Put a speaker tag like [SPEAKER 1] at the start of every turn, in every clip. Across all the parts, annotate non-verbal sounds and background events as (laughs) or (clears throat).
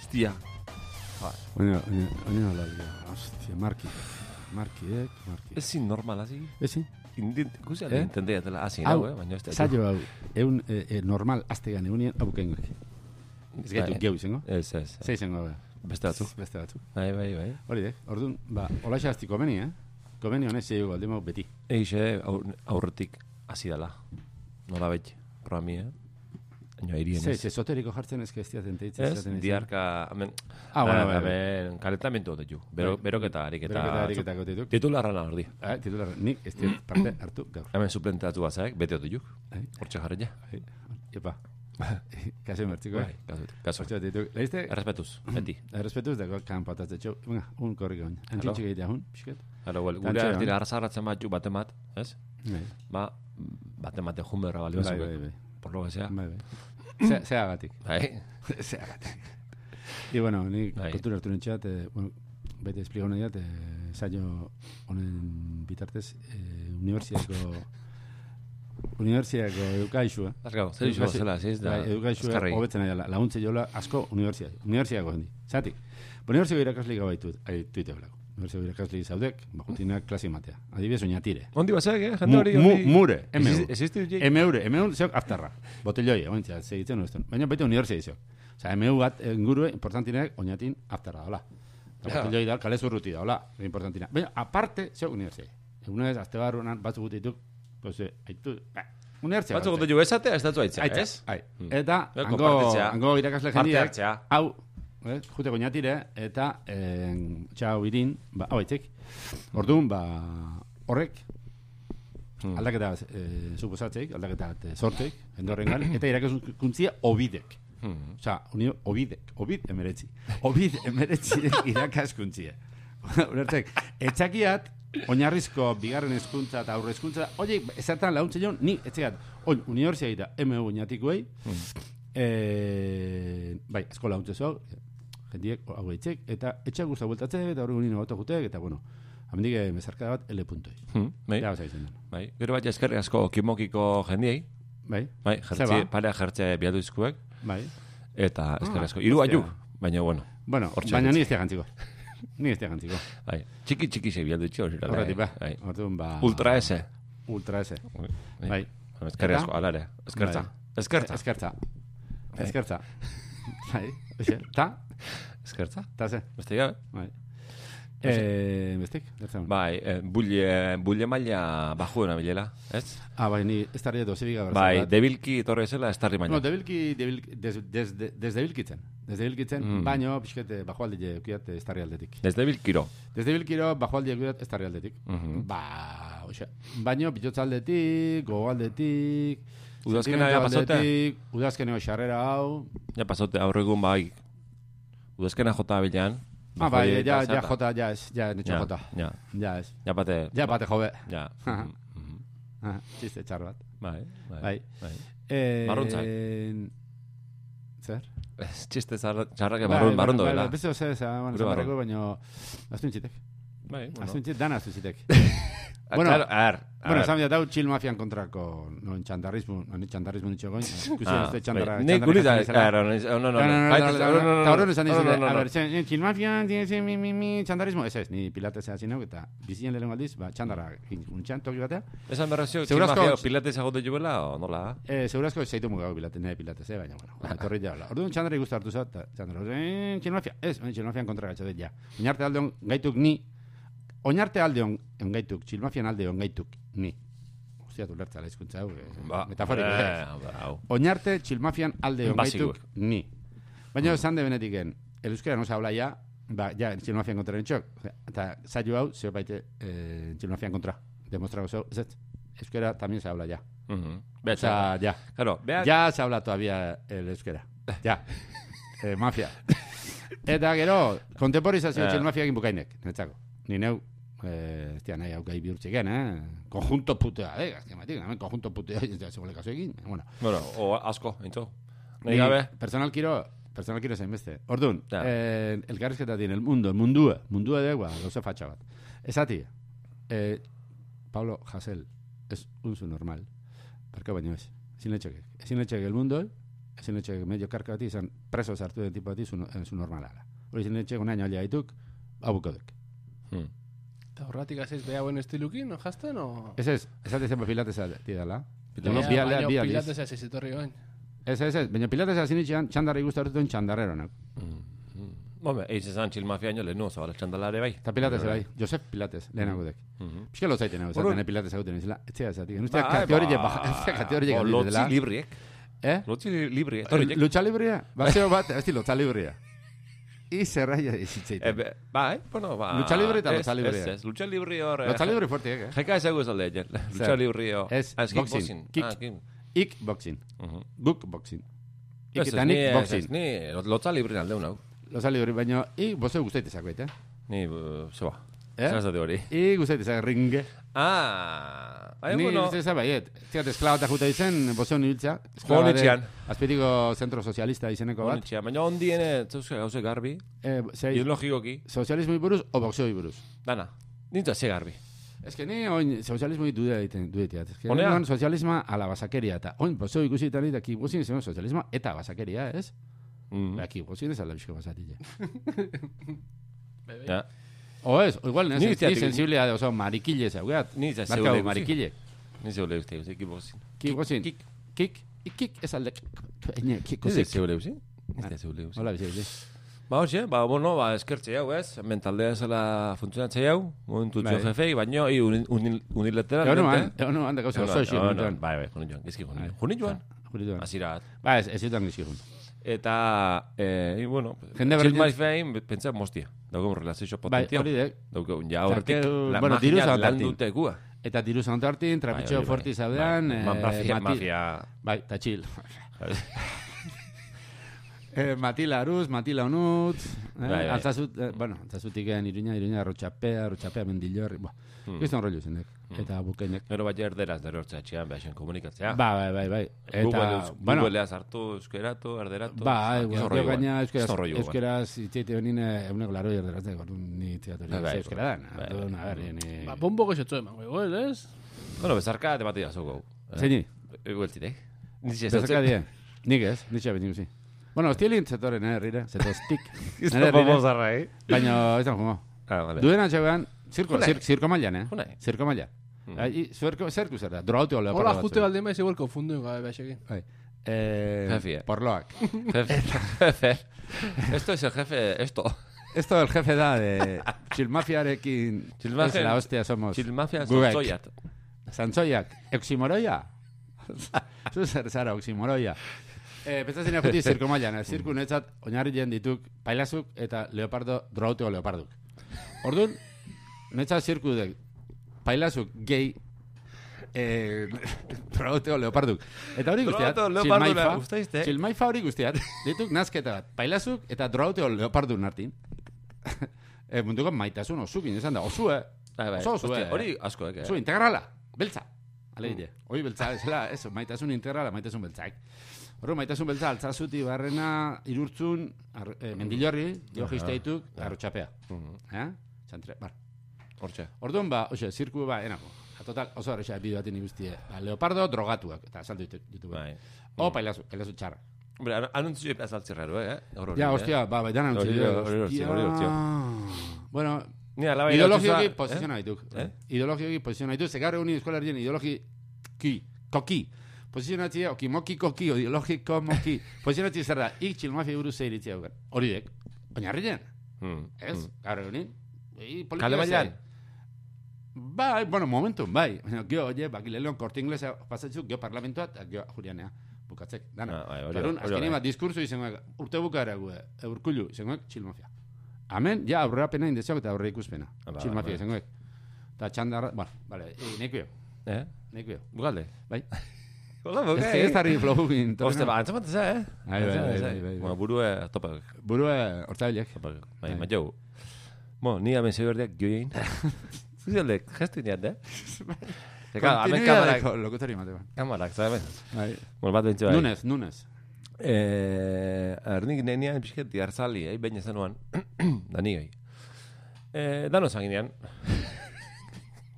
[SPEAKER 1] Ostia.
[SPEAKER 2] Baina, baina, baina nola dira. Ostia, marki. Markiek, marki.
[SPEAKER 1] Ez zin normala, hazi.
[SPEAKER 2] Ezin?
[SPEAKER 1] Indint, guzia
[SPEAKER 2] Eh?
[SPEAKER 1] eh? intendeatela, hazi,
[SPEAKER 2] Hau,
[SPEAKER 1] hau, eh? Baina ez da.
[SPEAKER 2] saio hau, eun, e, e, normal, aztegan egunien, abukengoek. Ez gaitu,
[SPEAKER 1] Bai.
[SPEAKER 2] gehu izango.
[SPEAKER 1] Ez, ez.
[SPEAKER 2] Ze izango da.
[SPEAKER 1] Beste batzuk.
[SPEAKER 2] Beste batzuk.
[SPEAKER 1] Bai, bai, bai.
[SPEAKER 2] Hori dek, orduan, ba, hola xasti komeni, eh? Komeni honez zeu galdemau beti.
[SPEAKER 1] Eixe eh, aur- aurretik hasi dala. Nola bait, programi, eh? Baina irien
[SPEAKER 2] Ze,
[SPEAKER 1] ez.
[SPEAKER 2] ze esoteriko jartzen ezke ez diaten teitzen.
[SPEAKER 1] Ez, diarka, amen,
[SPEAKER 2] Ah, bueno,
[SPEAKER 1] Ah,
[SPEAKER 2] bai,
[SPEAKER 1] a
[SPEAKER 2] bai.
[SPEAKER 1] ver, kalentamendu dut ju. Bero,
[SPEAKER 2] Bai.
[SPEAKER 1] beroketa, ariketa.
[SPEAKER 2] Beroketa, ariketako dituk.
[SPEAKER 1] Titularrana hor di.
[SPEAKER 2] Ah, titular, nik ez diat parte hartu gaur.
[SPEAKER 1] Hemen suplentatu bazaek, bete dut juk.
[SPEAKER 2] Bai.
[SPEAKER 1] Hortxe jarren ja.
[SPEAKER 2] Epa, (laughs) kasen bertziko, eh?
[SPEAKER 1] Bai, kasu, kasu.
[SPEAKER 2] Hortxe bat dituk. Leizte,
[SPEAKER 1] Errespetuz, beti.
[SPEAKER 2] errespetuz dago kanpataz detxo. Venga, un korriko baina. Antxintxe gehiagia hun, pixket.
[SPEAKER 1] Hala, well,
[SPEAKER 2] Tantxe,
[SPEAKER 1] gure
[SPEAKER 2] eh?
[SPEAKER 1] artira arzaratzen bat ju batemat, ez?
[SPEAKER 2] Bai,
[SPEAKER 1] Ba, batematen jumerra bali
[SPEAKER 2] bai,
[SPEAKER 1] bezu.
[SPEAKER 2] bai, bai.
[SPEAKER 1] Por lo que sea.
[SPEAKER 2] Bai, bai. Ze- (laughs) Zeagatik.
[SPEAKER 1] Bai,
[SPEAKER 2] Zeagatik. Di, bueno, nik
[SPEAKER 1] Bai.
[SPEAKER 2] kontura hartu nintxeat, eh, bueno, beti espliga hona diat, eh, saio honen bitartez, eh, unibertsiako unibertsiako edukaixua.
[SPEAKER 1] Azkau, zer iso zela, ziz da.
[SPEAKER 2] Bai, edukaixua
[SPEAKER 1] azkarregi.
[SPEAKER 2] hobetzen ari dela, laguntze jola asko unibertsia, unibertsiako hendi. Zatik, ba, unibertsiko irakaslik hau baitu, aituite belako. Unibertsiko irakaslik zaudek, bakutinak klase matea. Adibidez, oinatire.
[SPEAKER 1] Ondi bazak, eh? Jende
[SPEAKER 2] Mu,
[SPEAKER 1] hori...
[SPEAKER 2] mu,
[SPEAKER 1] hori-
[SPEAKER 2] mure,
[SPEAKER 1] Exist-
[SPEAKER 2] emeu.
[SPEAKER 1] Existitu jik?
[SPEAKER 2] Emeure, emeure, zeok aftarra. Botelloi, ointzea, segitzen nuen Baina baita unibertsia izok. Osa, emeu bat, engurue, importantinek, oinatin aftarra dola. Eta
[SPEAKER 1] Ja.
[SPEAKER 2] botelloi da, kale zurruti dola, importantina. Baina, aparte, zeok unibertsia. Egunez, azte barruan, batzu gutituk, pues, eh, aitu, ba, unibertsia.
[SPEAKER 1] Batzuk ondo jo esatea, ez datu aitzea,
[SPEAKER 2] Aitza,
[SPEAKER 1] ez?
[SPEAKER 2] ai. Eta,
[SPEAKER 1] Eko,
[SPEAKER 2] hango,
[SPEAKER 1] partetzea.
[SPEAKER 2] hango irakasle
[SPEAKER 1] Hmm. Eh, Parte
[SPEAKER 2] jendia,
[SPEAKER 1] hartzea.
[SPEAKER 2] hau, eh, juteko inatire, eta eh, txau irin, ba, hau aitzek. Orduan, ba, horrek, aldaketa bat, eh, suposatzeik, aldaketa bat, eh, sorteik, endorrengan, eta irakaskuntzia obidek.
[SPEAKER 1] Hmm.
[SPEAKER 2] Osa, unio, obidek, obid emeretzi. Obid emeretzi irakaskuntzia. (laughs) Ulertzek, etxakiat, oinarrizko bigarren hezkuntza eta aurre hezkuntza, oiek, ezertan launtzen joan, ni etxekat, oin, unibertsia eta MU oinatikoei, eh, bai, asko launtze zau, jendiek, hau etxek, eta etxak guztia bueltatzek, eta hori gunin agota jutek, eta bueno, hamendik eh, bezarkada bat, L puntoi.
[SPEAKER 1] Hmm, Bai,
[SPEAKER 2] Ja, oza izan den.
[SPEAKER 1] bai. Gero bat eskerrik asko kimokiko jendiei.
[SPEAKER 2] Bai,
[SPEAKER 1] Bai, jertzi,
[SPEAKER 2] Zeba.
[SPEAKER 1] parea jertze bilatu izkuek.
[SPEAKER 2] bai.
[SPEAKER 1] Eta eskerrik asko.
[SPEAKER 2] Ah,
[SPEAKER 1] Hiru
[SPEAKER 2] hostia.
[SPEAKER 1] aiuk, baina bueno.
[SPEAKER 2] Bueno,
[SPEAKER 1] Hortxe
[SPEAKER 2] baina
[SPEAKER 1] ditz.
[SPEAKER 2] ni ez jantziko. Ni ez jantziko.
[SPEAKER 1] Bai. Txiki txiki ze bilatu itxo.
[SPEAKER 2] Horretik, ba.
[SPEAKER 1] Bai.
[SPEAKER 2] Orduan, ba.
[SPEAKER 1] Ultra S.
[SPEAKER 2] Ultra S.
[SPEAKER 1] Bai.
[SPEAKER 2] Bai.
[SPEAKER 1] Eskerrik
[SPEAKER 2] Eta? Bai.
[SPEAKER 1] asko, alare. Eskertza. Eskertza.
[SPEAKER 2] Eskertza.
[SPEAKER 1] (laughs)
[SPEAKER 2] Eskertza. Bai. Oixe, ta,
[SPEAKER 1] Eskertza.
[SPEAKER 2] ta ze.
[SPEAKER 1] Beste gabe.
[SPEAKER 2] Bai. Eh, bestek, gertzen.
[SPEAKER 1] Bai, eh, bulle, bulle maila bajuena bilela, ez?
[SPEAKER 2] Ah, bai, ni ez tarri edo zibik abertzen.
[SPEAKER 1] Bai, debilki etorri zela estarri
[SPEAKER 2] No,
[SPEAKER 1] baina.
[SPEAKER 2] debilki, debilki, des, des, des, desdebilkitzen. Desdebilkitzen,
[SPEAKER 1] Mm.
[SPEAKER 2] baino, pixkete, bajo alde eukiat ez tarri aldetik.
[SPEAKER 1] Ez debilkiro.
[SPEAKER 2] Desdebilkiro, bajo alde eukiat ez tarri aldetik.
[SPEAKER 1] Mhm.
[SPEAKER 2] Ba, oixe, baino, pilotz aldetik, gogo aldetik,
[SPEAKER 1] Udazkena ja
[SPEAKER 2] sentimendu
[SPEAKER 1] pasotea?
[SPEAKER 2] aldetik, Udazkeneo xarrera hau,
[SPEAKER 1] Ja pasote aurregun bai. Udazkena jota bilan.
[SPEAKER 2] Ah, bai,
[SPEAKER 1] bajoi
[SPEAKER 2] ja,
[SPEAKER 1] eta
[SPEAKER 2] ja,
[SPEAKER 1] zata.
[SPEAKER 2] jota, ja ez, ja, netxo
[SPEAKER 1] Ba, Ja,
[SPEAKER 2] jota.
[SPEAKER 1] Ja,
[SPEAKER 2] Ja ez.
[SPEAKER 1] ja bate.
[SPEAKER 2] Ja, bate jobe.
[SPEAKER 1] Ja.
[SPEAKER 2] Aha.
[SPEAKER 1] Mhm.
[SPEAKER 2] Ah, Txiste txar bat.
[SPEAKER 1] Bai, bai.
[SPEAKER 2] Bai.
[SPEAKER 1] bai.
[SPEAKER 2] Eh,
[SPEAKER 1] Barruntzak.
[SPEAKER 2] Zer? Bai,
[SPEAKER 1] Ez txiste zarra- txarrak barrun, barrun doela.
[SPEAKER 2] Beste oza ez, ah, bueno,
[SPEAKER 1] Gure barrun.
[SPEAKER 2] zamarrako, baino... Aztu intzitek.
[SPEAKER 1] Bai,
[SPEAKER 2] Aztu intzitek, dana aztu intzitek.
[SPEAKER 1] Ah,
[SPEAKER 2] Bueno.
[SPEAKER 1] claro, a ver, a
[SPEAKER 2] bueno,
[SPEAKER 1] ver.
[SPEAKER 2] esan bidatau, chill mafian kontrako, no, txandarrismo, no, txandarrismo nitxo
[SPEAKER 1] (laughs)
[SPEAKER 2] goin. Ikusi
[SPEAKER 1] Ah,
[SPEAKER 2] ez txandarra.
[SPEAKER 1] bai. Nik guri da,
[SPEAKER 2] txandarra-
[SPEAKER 1] claro, no, no, no,
[SPEAKER 2] No, no, no,
[SPEAKER 1] Bai,
[SPEAKER 2] no,
[SPEAKER 1] no, no, no,
[SPEAKER 2] no, no, izan
[SPEAKER 1] no, no,
[SPEAKER 2] dizute,
[SPEAKER 1] no,
[SPEAKER 2] a
[SPEAKER 1] no.
[SPEAKER 2] ber, txan- txil mafian, tiene ese mi, mi, mi, txandarrismo, ez ez, ni pilatesa hasi nauk, eta bizien lehenengo aldiz, ba, txandarra, untxan toki batea,
[SPEAKER 1] Esan berra zio,
[SPEAKER 2] Seguro asko-
[SPEAKER 1] tximafia pilates agote juela, o nola?
[SPEAKER 2] Eh, segurazko zaitu mugau pilates, nire pilates, eh, baina, bueno, etorri ja hola. Orduan txandari guztu hartu zat, eta txandara, eh, txilmafia, ez, baina txilmafian kontra gatsa dut, ja. Oinarte aldeon gaituk ni, oinarte aldeon gaituk, txilmafian aldeon gaituk ni. Ostia, tu lertza, laizkuntza hau, eh, metaforiko, eh.
[SPEAKER 1] eh, ba, hau.
[SPEAKER 2] Oinarte, txilmafian aldeon
[SPEAKER 1] Basikoek.
[SPEAKER 2] gaituk ni. Baina esan de benetiken, el euskera no se habla ya, ba, ja, txilmafian kontra nintxok. Eta zailo hau, zeo baite, eh, txilmafian kontra. Demostrago zeu, ez ez, euskera también se habla ya.
[SPEAKER 1] Mhm. Beha,
[SPEAKER 2] O sea, ya.
[SPEAKER 1] claro, beha,
[SPEAKER 2] Ya se habla todavía el euskera. Ja. eh, mafia. Eta gero, kontemporizazio
[SPEAKER 1] Eh.
[SPEAKER 2] txil mafiakin bukainek, netzako. Ni neu, eh, ez dira nahi hau gai bihurtzeken, eh? Konjunto putea, eh? Azken batik, hemen konjunto putea, (laughs) ez da zegoen lekazu egin. eh, Bueno,
[SPEAKER 1] bueno, o asko, entzo. Nahi
[SPEAKER 2] ni
[SPEAKER 1] gabe,
[SPEAKER 2] Personal kiro, personal kiro zain beste. Bai, Orduan,
[SPEAKER 1] Ja.
[SPEAKER 2] eh, elkarrizketa dien, el mundo, el mundua, mundua de ba, gauza fatxa bat. Esati, eh, Pablo Hasel, es un su normal. Barka baino ez. Ezin letxek, ezin letxek el mundo, ezin etxe medio karka bati izan preso sartu den tipo bati zu, eh, zu normalala. Hori ezin etxe gonaino alia dituk, abuko duk. Mm,
[SPEAKER 1] Hmm.
[SPEAKER 3] Eta horratik azeiz beha buen estilukin, no jazten, o...
[SPEAKER 2] Ez ez, ez alde zenba pilatesa tidala.
[SPEAKER 1] Pilates-
[SPEAKER 2] Pilates. Bi alea, bi
[SPEAKER 3] Baina
[SPEAKER 2] aldiz.
[SPEAKER 3] pilates azeiz etorri goen.
[SPEAKER 2] Ez ez ez, baina pilatesa ezin etxean txandarri guztartu duen txandarreronak. mm.
[SPEAKER 1] Hombre, eiz esan txil mafiaino lehenu, zabala txandalare bai.
[SPEAKER 2] Eta pilates bai, Josef Pilates, lehenago dek. Piske lo zaiten hau,
[SPEAKER 1] Orduan- Bai, ba,
[SPEAKER 2] zaten eh, pilates egiten izela. Etzea ezatik,
[SPEAKER 1] Este
[SPEAKER 2] nuztea kate hori jepa, (laughs) nuztea kate hori jepa.
[SPEAKER 1] Lotzi libriek.
[SPEAKER 2] Eh?
[SPEAKER 1] Lotzi libriek.
[SPEAKER 2] Eh,
[SPEAKER 1] Etorriek.
[SPEAKER 2] Lucha librea, baseo bat, ez di lotza librea. Ize raia
[SPEAKER 1] Eh,
[SPEAKER 2] izitzeiten.
[SPEAKER 1] be- Bai, bueno, ba.
[SPEAKER 2] Lucha libre eta
[SPEAKER 1] Ez,
[SPEAKER 2] lucha libre.
[SPEAKER 1] Ez, ez, lucha libre hor. eh,
[SPEAKER 2] Lotza libre fuerteek, eh?
[SPEAKER 1] Jeka ezagu ez alde,
[SPEAKER 2] (laughs)
[SPEAKER 1] jen. Lucha libre hor.
[SPEAKER 2] Ez,
[SPEAKER 1] Ah,
[SPEAKER 2] boxing.
[SPEAKER 1] kickboxing.
[SPEAKER 2] Kick.
[SPEAKER 1] Ah, kick.
[SPEAKER 2] Ik boxing.
[SPEAKER 1] Mhm.
[SPEAKER 2] Guk boxing. Ik
[SPEAKER 1] Ez, ez,
[SPEAKER 2] eta
[SPEAKER 1] ni-
[SPEAKER 2] nik
[SPEAKER 1] ez,
[SPEAKER 2] boxing.
[SPEAKER 1] ez, Ni lotza libre alde hau.
[SPEAKER 2] Lotza libre, baina ik bozo guztaitezako, eta?
[SPEAKER 1] Ni, eh, zeba.
[SPEAKER 2] Eh?
[SPEAKER 1] Zer esate hori.
[SPEAKER 2] Ik guztaitezak ringe.
[SPEAKER 1] Ah, bai,
[SPEAKER 2] Ni
[SPEAKER 1] bueno.
[SPEAKER 2] uste ez baiet. Zigat, esklabata juta izen, bozeo nibiltza.
[SPEAKER 1] Joan etxean.
[SPEAKER 2] Azpitiko zentro sozialista izeneko bat.
[SPEAKER 1] Onitxea, Baina ondien, eh, zeuze gauze garbi,
[SPEAKER 2] Eh, zei,
[SPEAKER 1] ideologikoki,
[SPEAKER 2] sozialismo buruz o boxeo buruz.
[SPEAKER 1] dana. Nintza ze garbi.
[SPEAKER 2] Ez que ni oin sozialismo dudea egiten duetia. Ez que
[SPEAKER 1] Honea?
[SPEAKER 2] ni sozialisma ala basakeria eta oin bozeo ikusi eta nire aki guzin zegoen sozialisma eta basakeria, ez?
[SPEAKER 1] Mm.
[SPEAKER 2] Aki guzin ez ala bizko basatile.
[SPEAKER 3] Bebe.
[SPEAKER 1] Ja.
[SPEAKER 2] O ez, o igual,
[SPEAKER 1] Ni
[SPEAKER 2] ni
[SPEAKER 1] usteatik-
[SPEAKER 2] sensibilea de oso marikile zaugat.
[SPEAKER 1] Ni usteat
[SPEAKER 2] Barkau,
[SPEAKER 1] zeure gutxi.
[SPEAKER 2] marikile.
[SPEAKER 1] Ni zeule uste, uste, kibozin.
[SPEAKER 2] Ki guzin.
[SPEAKER 1] Kik.
[SPEAKER 2] Kik. Kik ez alde. Ine, kik
[SPEAKER 1] Ni
[SPEAKER 2] guzin.
[SPEAKER 1] ze zeule uste? Ni ze zeule uste.
[SPEAKER 2] Hola, bizi.
[SPEAKER 1] Ba, hoxe, ba, bueno, ba, eskertxe hau, ez? Mentaldea zela funtzionatzei hau, momentu
[SPEAKER 2] Bai.
[SPEAKER 1] txo jefei, baino, i uni- uni- unilateral.
[SPEAKER 2] Egon nuan, egon nuan, da gauza
[SPEAKER 1] Egon
[SPEAKER 2] oso
[SPEAKER 1] nuan,
[SPEAKER 2] eixi.
[SPEAKER 1] egon
[SPEAKER 2] Egon
[SPEAKER 1] nuan. Bai, bai, juni joan, gizki juni. Juni joan,
[SPEAKER 2] Jurituan.
[SPEAKER 1] azirat.
[SPEAKER 2] Ba, ez, ez zutan gizki jun.
[SPEAKER 1] Eta, eh, i, bueno,
[SPEAKER 2] Jende
[SPEAKER 1] Chill
[SPEAKER 2] berdin-
[SPEAKER 1] My Fame, pentsa mostia. Dago relazio
[SPEAKER 2] Bai,
[SPEAKER 1] potentia.
[SPEAKER 2] hori dek.
[SPEAKER 1] Daukagun, ja hortik,
[SPEAKER 2] Zakeu,
[SPEAKER 1] la
[SPEAKER 2] bueno, diruz
[SPEAKER 1] magia lan
[SPEAKER 2] aldatin.
[SPEAKER 1] dute gua.
[SPEAKER 2] Eta diru zantartin, trapitxo
[SPEAKER 1] hori bai.
[SPEAKER 2] forti zaudean.
[SPEAKER 1] Bai,
[SPEAKER 2] eh,
[SPEAKER 1] ma- mafia,
[SPEAKER 2] mati-
[SPEAKER 1] mafia.
[SPEAKER 2] Bai, eta chill. (laughs) Eh, Matila Aruz, Matila Onut, eh,
[SPEAKER 1] Bai, bai.
[SPEAKER 2] altzazut, eh, bueno, altzazutik egin iruña, iruña, rotxapea, rotxapea, mendillorri, buah,
[SPEAKER 1] Hmm.
[SPEAKER 2] kriston rollo izendek, eta bukainek.
[SPEAKER 1] Gero bat erderaz derortzea txean, behasen bai, komunikatzea.
[SPEAKER 2] Ba, bai, bai, bai.
[SPEAKER 1] Google,
[SPEAKER 2] Eta, bueno,
[SPEAKER 1] Googlea sartu, euskeratu, erderatu.
[SPEAKER 2] Ba, igual,
[SPEAKER 1] Ah, Zorro
[SPEAKER 2] yo gaina
[SPEAKER 1] igual.
[SPEAKER 2] euskeraz,
[SPEAKER 1] Zorro igual.
[SPEAKER 2] euskeraz itxeite honin eh, euneko laro erderatzen, gordun ni
[SPEAKER 1] Bai,
[SPEAKER 2] teatoria
[SPEAKER 1] bai,
[SPEAKER 2] euskera dan.
[SPEAKER 1] bai,
[SPEAKER 2] Orduan, a ber, ni...
[SPEAKER 3] Ba, bombo goxotxo eman, goe, goel, ez?
[SPEAKER 1] Bueno, bezarka debate da zugu. Eh.
[SPEAKER 2] Zeini,
[SPEAKER 1] Egueltitek. Nitxe (laughs)
[SPEAKER 2] bezarka die. Nik ez, nitxe abin ikusi. Bueno, hostilin zetorren, eh, herrira, (laughs) zetoztik. Nere herrira,
[SPEAKER 1] zarra, eh?
[SPEAKER 2] baina ez da jugo.
[SPEAKER 1] Ah, vale.
[SPEAKER 2] Duen atxean, zirko,
[SPEAKER 1] Jone.
[SPEAKER 2] zir, zirko mailan, eh?
[SPEAKER 1] Jone.
[SPEAKER 2] Zirko mailan. Mm. Zerko, zerko zer da, drogautio leopardo
[SPEAKER 3] Hola,
[SPEAKER 2] batzuk.
[SPEAKER 3] jute baldin baiz, igual konfundu gabe behaisekin.
[SPEAKER 2] Bai. Eh,
[SPEAKER 1] Jefie.
[SPEAKER 2] Porloak.
[SPEAKER 1] Jefe, jefe. Esto es el jefe, esto.
[SPEAKER 2] Esto el jefe da de Chilmafiarekin.
[SPEAKER 1] Chilmafian-
[SPEAKER 2] Ez la hostia somos.
[SPEAKER 1] Chilmafia
[SPEAKER 2] Gugaik.
[SPEAKER 1] zozoiat.
[SPEAKER 2] Zantzoiak, oximoroia? (laughs) Zu zer zara, oximoroia. Eh, Pentsatzen jakuti zirko mailan, eh? zirku netzat oinarri jen dituk pailazuk eta leopardo, drogauteo leoparduk. Orduan, netzat zirku dek, pailazuk gehi eh, (laughs) drogauteo leoparduk. Eta hori guztiat,
[SPEAKER 1] Drogauteo leoparduna, gustaizte?
[SPEAKER 2] txilmaifa, txilmaifa hori guztiat, dituk nazketa bat, pailazuk eta drogauteo leopardun hartin. (laughs) eh, munduko maitasun osukin esan da, osue,
[SPEAKER 1] Bai, bai.
[SPEAKER 2] oso osue.
[SPEAKER 1] Hostia, Hori asko, eh?
[SPEAKER 2] Zu integrala, beltza. Alegia.
[SPEAKER 1] Mm.
[SPEAKER 2] Hoi beltza bezala, ez, maitasun integrala, maitasun beltzak. Horro, maitasun beltza, altzazuti barrena, irurtzun, ar, eh, mendilorri, jogisteituk, arrotxapea.
[SPEAKER 1] Mm-hmm.
[SPEAKER 2] Eh? Txantre, bar.
[SPEAKER 1] Hortxe.
[SPEAKER 2] Orduan ba, oxe, zirku ba, enako. A total, oso horrexa bideo baten ikustie. Ba, leopardo drogatuak, eta saldu ditu. ditu bai.
[SPEAKER 1] Bai.
[SPEAKER 2] O, pailazu, pailazu txarra.
[SPEAKER 1] Hombre, anu- anuntzio azaltzerraro, eh? Hor hori,
[SPEAKER 2] Ja,
[SPEAKER 1] eh?
[SPEAKER 2] hostia, ba, bai, dana
[SPEAKER 1] Hori,
[SPEAKER 2] nutzi.
[SPEAKER 1] hori, hori, hori,
[SPEAKER 2] Bueno,
[SPEAKER 1] Ni alaba
[SPEAKER 2] ideologioki
[SPEAKER 1] irautza-
[SPEAKER 2] posiziona dituk.
[SPEAKER 1] Eh?
[SPEAKER 2] Ideologioki posiziona dituk. Ze gaur egun eskolarien ideologiki, koki. Posizionatzea, oki, moki, koki, ideologiko, moki. Posizionatzea zer da, ik txilmafi buruz zeiritzea dugan. Hori dek, oinarri den,
[SPEAKER 1] Eh? Mm.
[SPEAKER 2] ez? Gaur egunin. I politika
[SPEAKER 1] Kale
[SPEAKER 2] ez da.
[SPEAKER 1] bailan.
[SPEAKER 2] Bai, bueno, momentum, bai. Baina, gio, oie, bakile leon korte inglesa pasatzu, gio parlamentua, eta gio julianea bukatzek. Dana.
[SPEAKER 1] Ah, bai, hori da,
[SPEAKER 2] Garun,
[SPEAKER 1] hori
[SPEAKER 2] azkenean
[SPEAKER 1] da.
[SPEAKER 2] bat, diskurso izango, urte bukara gu, eh, urkullu, izango, txilmafia. Amen, ja, aurrera pena indeziok eta aurre ikuspena.
[SPEAKER 1] Ah, ba, ba.
[SPEAKER 2] Txilmafia izango. Eta txandarra, bueno, vale, e, nekio,
[SPEAKER 1] Eh?
[SPEAKER 2] nekio.
[SPEAKER 1] Bukalde.
[SPEAKER 2] Bai.
[SPEAKER 1] Hola,
[SPEAKER 2] Ez que ez harri flowin.
[SPEAKER 1] Oste, ba, antzamatzen za, eh?
[SPEAKER 2] Bai, bai,
[SPEAKER 1] Antzamatzen
[SPEAKER 2] bai,
[SPEAKER 1] za.
[SPEAKER 2] bai, bai, bai.
[SPEAKER 1] Bueno, burue topak.
[SPEAKER 2] Burua hortabilek.
[SPEAKER 1] Topak. Bai, bai, jau. Bueno, ni hemen zeberdeak
[SPEAKER 2] (laughs)
[SPEAKER 1] joien. Zuzalek, gestu inean, eh?
[SPEAKER 2] Bai.
[SPEAKER 1] Eka, hemen kamerak,
[SPEAKER 2] Kontinuidadeko lokutori matean.
[SPEAKER 1] kamerak, zabe.
[SPEAKER 2] Bai.
[SPEAKER 1] Bueno, bat bentsi bai.
[SPEAKER 2] Nunez, nunez.
[SPEAKER 1] Eh, ernik nenia pixket diarzali, eh, baina zen nuan. (clears throat) da ni gai. Eh, dano zanginean.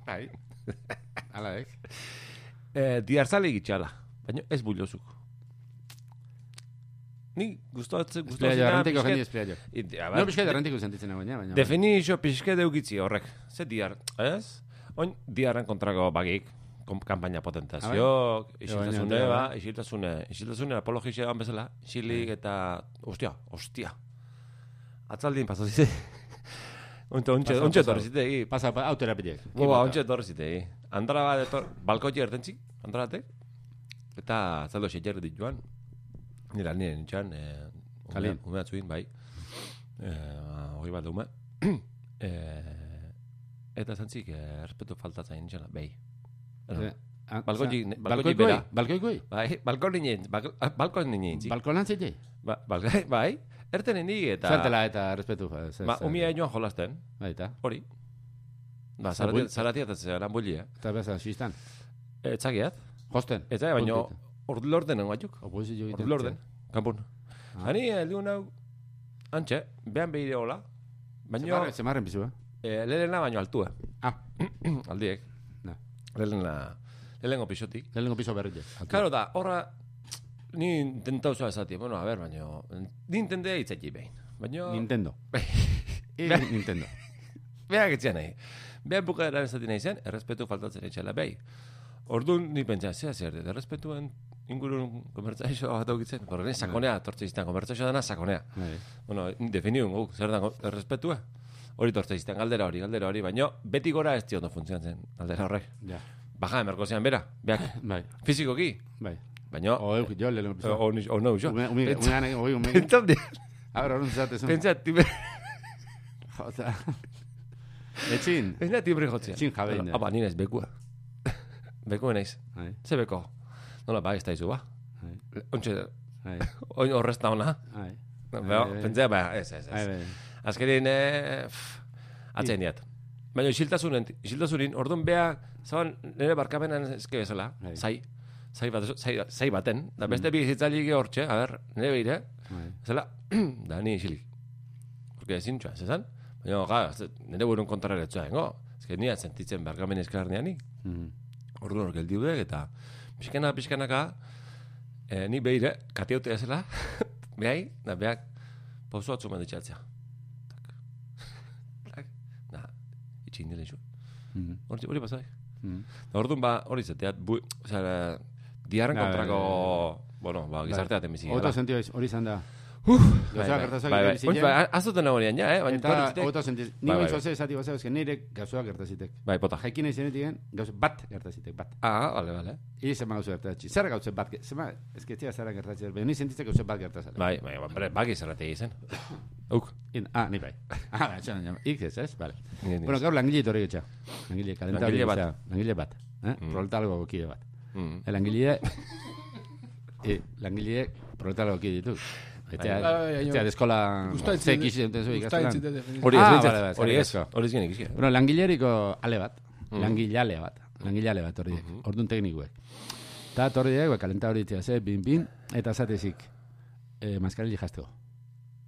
[SPEAKER 2] Bai. Hala ek.
[SPEAKER 1] Eh, diarzali gitxala. Baina ez bullozuk. Ni gustatzen
[SPEAKER 2] Espera
[SPEAKER 1] gustatzen
[SPEAKER 2] jo,
[SPEAKER 1] da.
[SPEAKER 2] errantiko
[SPEAKER 1] pixkat-
[SPEAKER 2] jende espera jo.
[SPEAKER 1] I- a ber,
[SPEAKER 2] No, pixka errantiko sentitzen nagoen, ja, baina. bai.
[SPEAKER 1] Definizio pixke deukitzi horrek. Ze diar, ez? Oin, diarren kontrako bagik, kom- kanpaina potentazio,
[SPEAKER 2] Ah, bai.
[SPEAKER 1] isiltasune,
[SPEAKER 2] baina,
[SPEAKER 1] ba, isiltasune, isiltasune apologizia dan bezala, isilik
[SPEAKER 2] Bai.
[SPEAKER 1] eta, ostia, ostia. Atzaldin pasazite. (laughs) Ontxe, ontxe,
[SPEAKER 2] Pasau,
[SPEAKER 1] ontxe
[SPEAKER 2] pasau.
[SPEAKER 1] etorri zitegi.
[SPEAKER 2] Pasa, pa, hau terapia.
[SPEAKER 1] Boba, ontxe ba, etorri zitegi. Andara bat etor, balkotxe ertentzik, andara batek. Eta zaldo xetxerre dit joan. Nira, nire nintxan, eh,
[SPEAKER 2] Kalean.
[SPEAKER 1] ume batzuin, bai. Eh, hori bat da ume. (clears throat) eh, eta zantzik, eh, respetu faltatzen nintxan, bai. Bueno, Balkoitik- balkoitik bera.
[SPEAKER 2] Ah, Balkoikoi.
[SPEAKER 1] Bai, balkon ninen, bak- ah, balkon ninen, zi.
[SPEAKER 2] Balkonan zite.
[SPEAKER 1] Ba- bal- (laughs) bai, erten nindi eta...
[SPEAKER 2] Saltela eta respetu. eh, ze-
[SPEAKER 1] Ba,
[SPEAKER 2] ze-
[SPEAKER 1] umia joan jolasten,
[SPEAKER 2] Baita.
[SPEAKER 1] hori. Ba,
[SPEAKER 2] Zabuil-
[SPEAKER 1] zaratia, zaratia eta eh. zeran bulia.
[SPEAKER 2] Eta bezan, xistan.
[SPEAKER 1] Etzakiat,
[SPEAKER 2] Josten.
[SPEAKER 1] etzakiat, eh, baino,
[SPEAKER 2] Puntito.
[SPEAKER 1] ordulorden nengoatuk.
[SPEAKER 2] Oposizio egiten.
[SPEAKER 1] Ordu orden, kanpun.
[SPEAKER 2] Ah.
[SPEAKER 1] Hani, eh, heldu nau, antxe, behan behire hola, baino,
[SPEAKER 2] Zemarren- Zemarren bizu, eh?
[SPEAKER 1] eh, lehenena baino altue,
[SPEAKER 2] Ah,
[SPEAKER 1] (clears throat) aldiek.
[SPEAKER 2] Na.
[SPEAKER 1] Lehenena, lehenengo pisotik.
[SPEAKER 2] lehenengo piso berri. Altua.
[SPEAKER 1] Karo da, horra, ni intentau zua esatia, bueno, a ber, baino, ni intendea itzeki behin. Baino, (laughs)
[SPEAKER 2] Nintendo. Eh, Nintendo.
[SPEAKER 1] behak etxean nahi. Behak bukaera esatia nahi zen, errespetu faltatzen etxela behi. Orduan, ni pentsa, zea zer, dut, errespetuen ingurun komertzaixo bat aukitzen. Horren, sakonea, tortze izan, komertzaixo dana sakonea.
[SPEAKER 2] Bai.
[SPEAKER 1] Bueno, definiun guk, zer dago, errespetua. Hori tortze izten, galdera hori, galdera hori, baino beti gora ez diondo funtzionatzen, galdera horrek.
[SPEAKER 2] Ja.
[SPEAKER 1] Baja, emerko zean bera, beak,
[SPEAKER 2] Bai.
[SPEAKER 1] fizikoki,
[SPEAKER 2] Bai.
[SPEAKER 1] baino,
[SPEAKER 2] O euk, jo lehenengo
[SPEAKER 1] eh,
[SPEAKER 2] piso.
[SPEAKER 1] o ni- o no,
[SPEAKER 2] (laughs)
[SPEAKER 1] jo. (laughs)
[SPEAKER 2] Ume- ume-
[SPEAKER 1] Pentsa-
[SPEAKER 2] umean- oi, ume-
[SPEAKER 1] Pentsa, handi-
[SPEAKER 2] A ber, orduan zatezun.
[SPEAKER 1] pentsa, tibre,
[SPEAKER 2] Jota. Etxin.
[SPEAKER 1] pentsa tibre jotzea.
[SPEAKER 2] Etxin jabe inda.
[SPEAKER 1] Ah, ba, nire ez bekua. (laughs) Bekua naiz,
[SPEAKER 2] Bai,
[SPEAKER 1] ze beko. Nola, ba, ez da izu, ba.
[SPEAKER 2] bai,
[SPEAKER 1] Ontxe,
[SPEAKER 2] bai,
[SPEAKER 1] oin horrez da ona.
[SPEAKER 2] bai.
[SPEAKER 1] Beo,
[SPEAKER 2] Ai, ai.
[SPEAKER 1] Pentsa, ba, ez, ez,
[SPEAKER 2] Bai,
[SPEAKER 1] ez.
[SPEAKER 2] bai.
[SPEAKER 1] Azkenin, eh, pff, atzen diat. Baina isiltasunen, isiltasunin, orduan bea, zaban, nire barkamenan ezke bezala,
[SPEAKER 2] Bai. Mm.
[SPEAKER 1] zai, zai, bat, zai, zai baten, da beste bi hitzailik hortxe, a ber, nire behire,
[SPEAKER 2] Bai.
[SPEAKER 1] zela, (clears throat) da ni isilik. Porque ezin txuan, zezan? Baina, ga, ez- nire burun kontraretzua dengo, ezke nia sentitzen barkamen eskar nianik,
[SPEAKER 2] Mhm.
[SPEAKER 1] orduan hor geldiu dek, eta pixkana, pixkanaka, eh, ni behire, katiotea zela, (laughs) behai, da behak, pauso atzu manditxatzea. Tak. Tak. Da, itxin dile zu.
[SPEAKER 2] Mhm.
[SPEAKER 1] Hori, hori pasai.
[SPEAKER 2] Mhm.
[SPEAKER 1] Da, orduan ba, hori zateat, bu, ozera, diarren
[SPEAKER 2] Ja,
[SPEAKER 1] kontrako,
[SPEAKER 2] bai,
[SPEAKER 1] bueno, ba, gizarteaten bizi.
[SPEAKER 2] Otro sentido ez, hori izan da.
[SPEAKER 1] Bai,
[SPEAKER 2] Gauza
[SPEAKER 1] bai,
[SPEAKER 2] gertazak
[SPEAKER 1] bai, bai.
[SPEAKER 2] bizitzen.
[SPEAKER 1] Hori, bai, azuten nagoenean, ja, eh? Baina,
[SPEAKER 2] Eta
[SPEAKER 1] etorri zitek-
[SPEAKER 2] otro sentido.
[SPEAKER 1] Bai,
[SPEAKER 2] Nigo
[SPEAKER 1] bai,
[SPEAKER 2] izo ze esati bazeu, esken nire gauza gertazitek.
[SPEAKER 1] Bai, pota.
[SPEAKER 2] Jakin nahi zenetik, gauza bat gertazitek, bat.
[SPEAKER 1] Ah, bale, bale.
[SPEAKER 2] Iri zema gauza gertatzi. Zer gauza bat, ge- zema, ez que ez dira zara gertatzen, baina ni sentitzen gauza bat gertatzen.
[SPEAKER 1] Bai, bai, bai, bai, gizartea izen. Uk.
[SPEAKER 2] In, ah, ni bai. (laughs) Ah, bai, txan, txan, ik ez, ez, bale.
[SPEAKER 1] Ni, ni.
[SPEAKER 2] Bueno, gaur langile etorri getxa. Langile, kalenta
[SPEAKER 1] Langile
[SPEAKER 2] hori
[SPEAKER 1] bat.
[SPEAKER 2] gutxa. Langile bat. Eh? Proletargo kide bat.
[SPEAKER 1] Mm.
[SPEAKER 2] Eh, Langile, (laughs) eh, langile proletargo kide ditu. Etxea,
[SPEAKER 3] Bai, bai, bai,
[SPEAKER 2] etxea
[SPEAKER 3] bai.
[SPEAKER 2] deskola
[SPEAKER 3] Gustatzen
[SPEAKER 2] zekiz entezu
[SPEAKER 3] Gustatzen
[SPEAKER 2] ikastolan.
[SPEAKER 3] zait definizio.
[SPEAKER 1] Hori ez,
[SPEAKER 2] Ah,
[SPEAKER 1] behintzat,
[SPEAKER 2] bale, bale,
[SPEAKER 1] hori
[SPEAKER 2] eskerrik
[SPEAKER 1] ez,
[SPEAKER 2] asko.
[SPEAKER 1] hori ez genik izkia.
[SPEAKER 2] Bueno, langileriko ale bat.
[SPEAKER 1] Mm.
[SPEAKER 2] Langile ale bat. Langile ale bat hori.
[SPEAKER 1] Mm-hmm.
[SPEAKER 2] Orduan teknikoek. Eta torri dek, ba, kalenta hori ditia, ze, bin, bin, eta zatezik, eh, maskarili jazteko.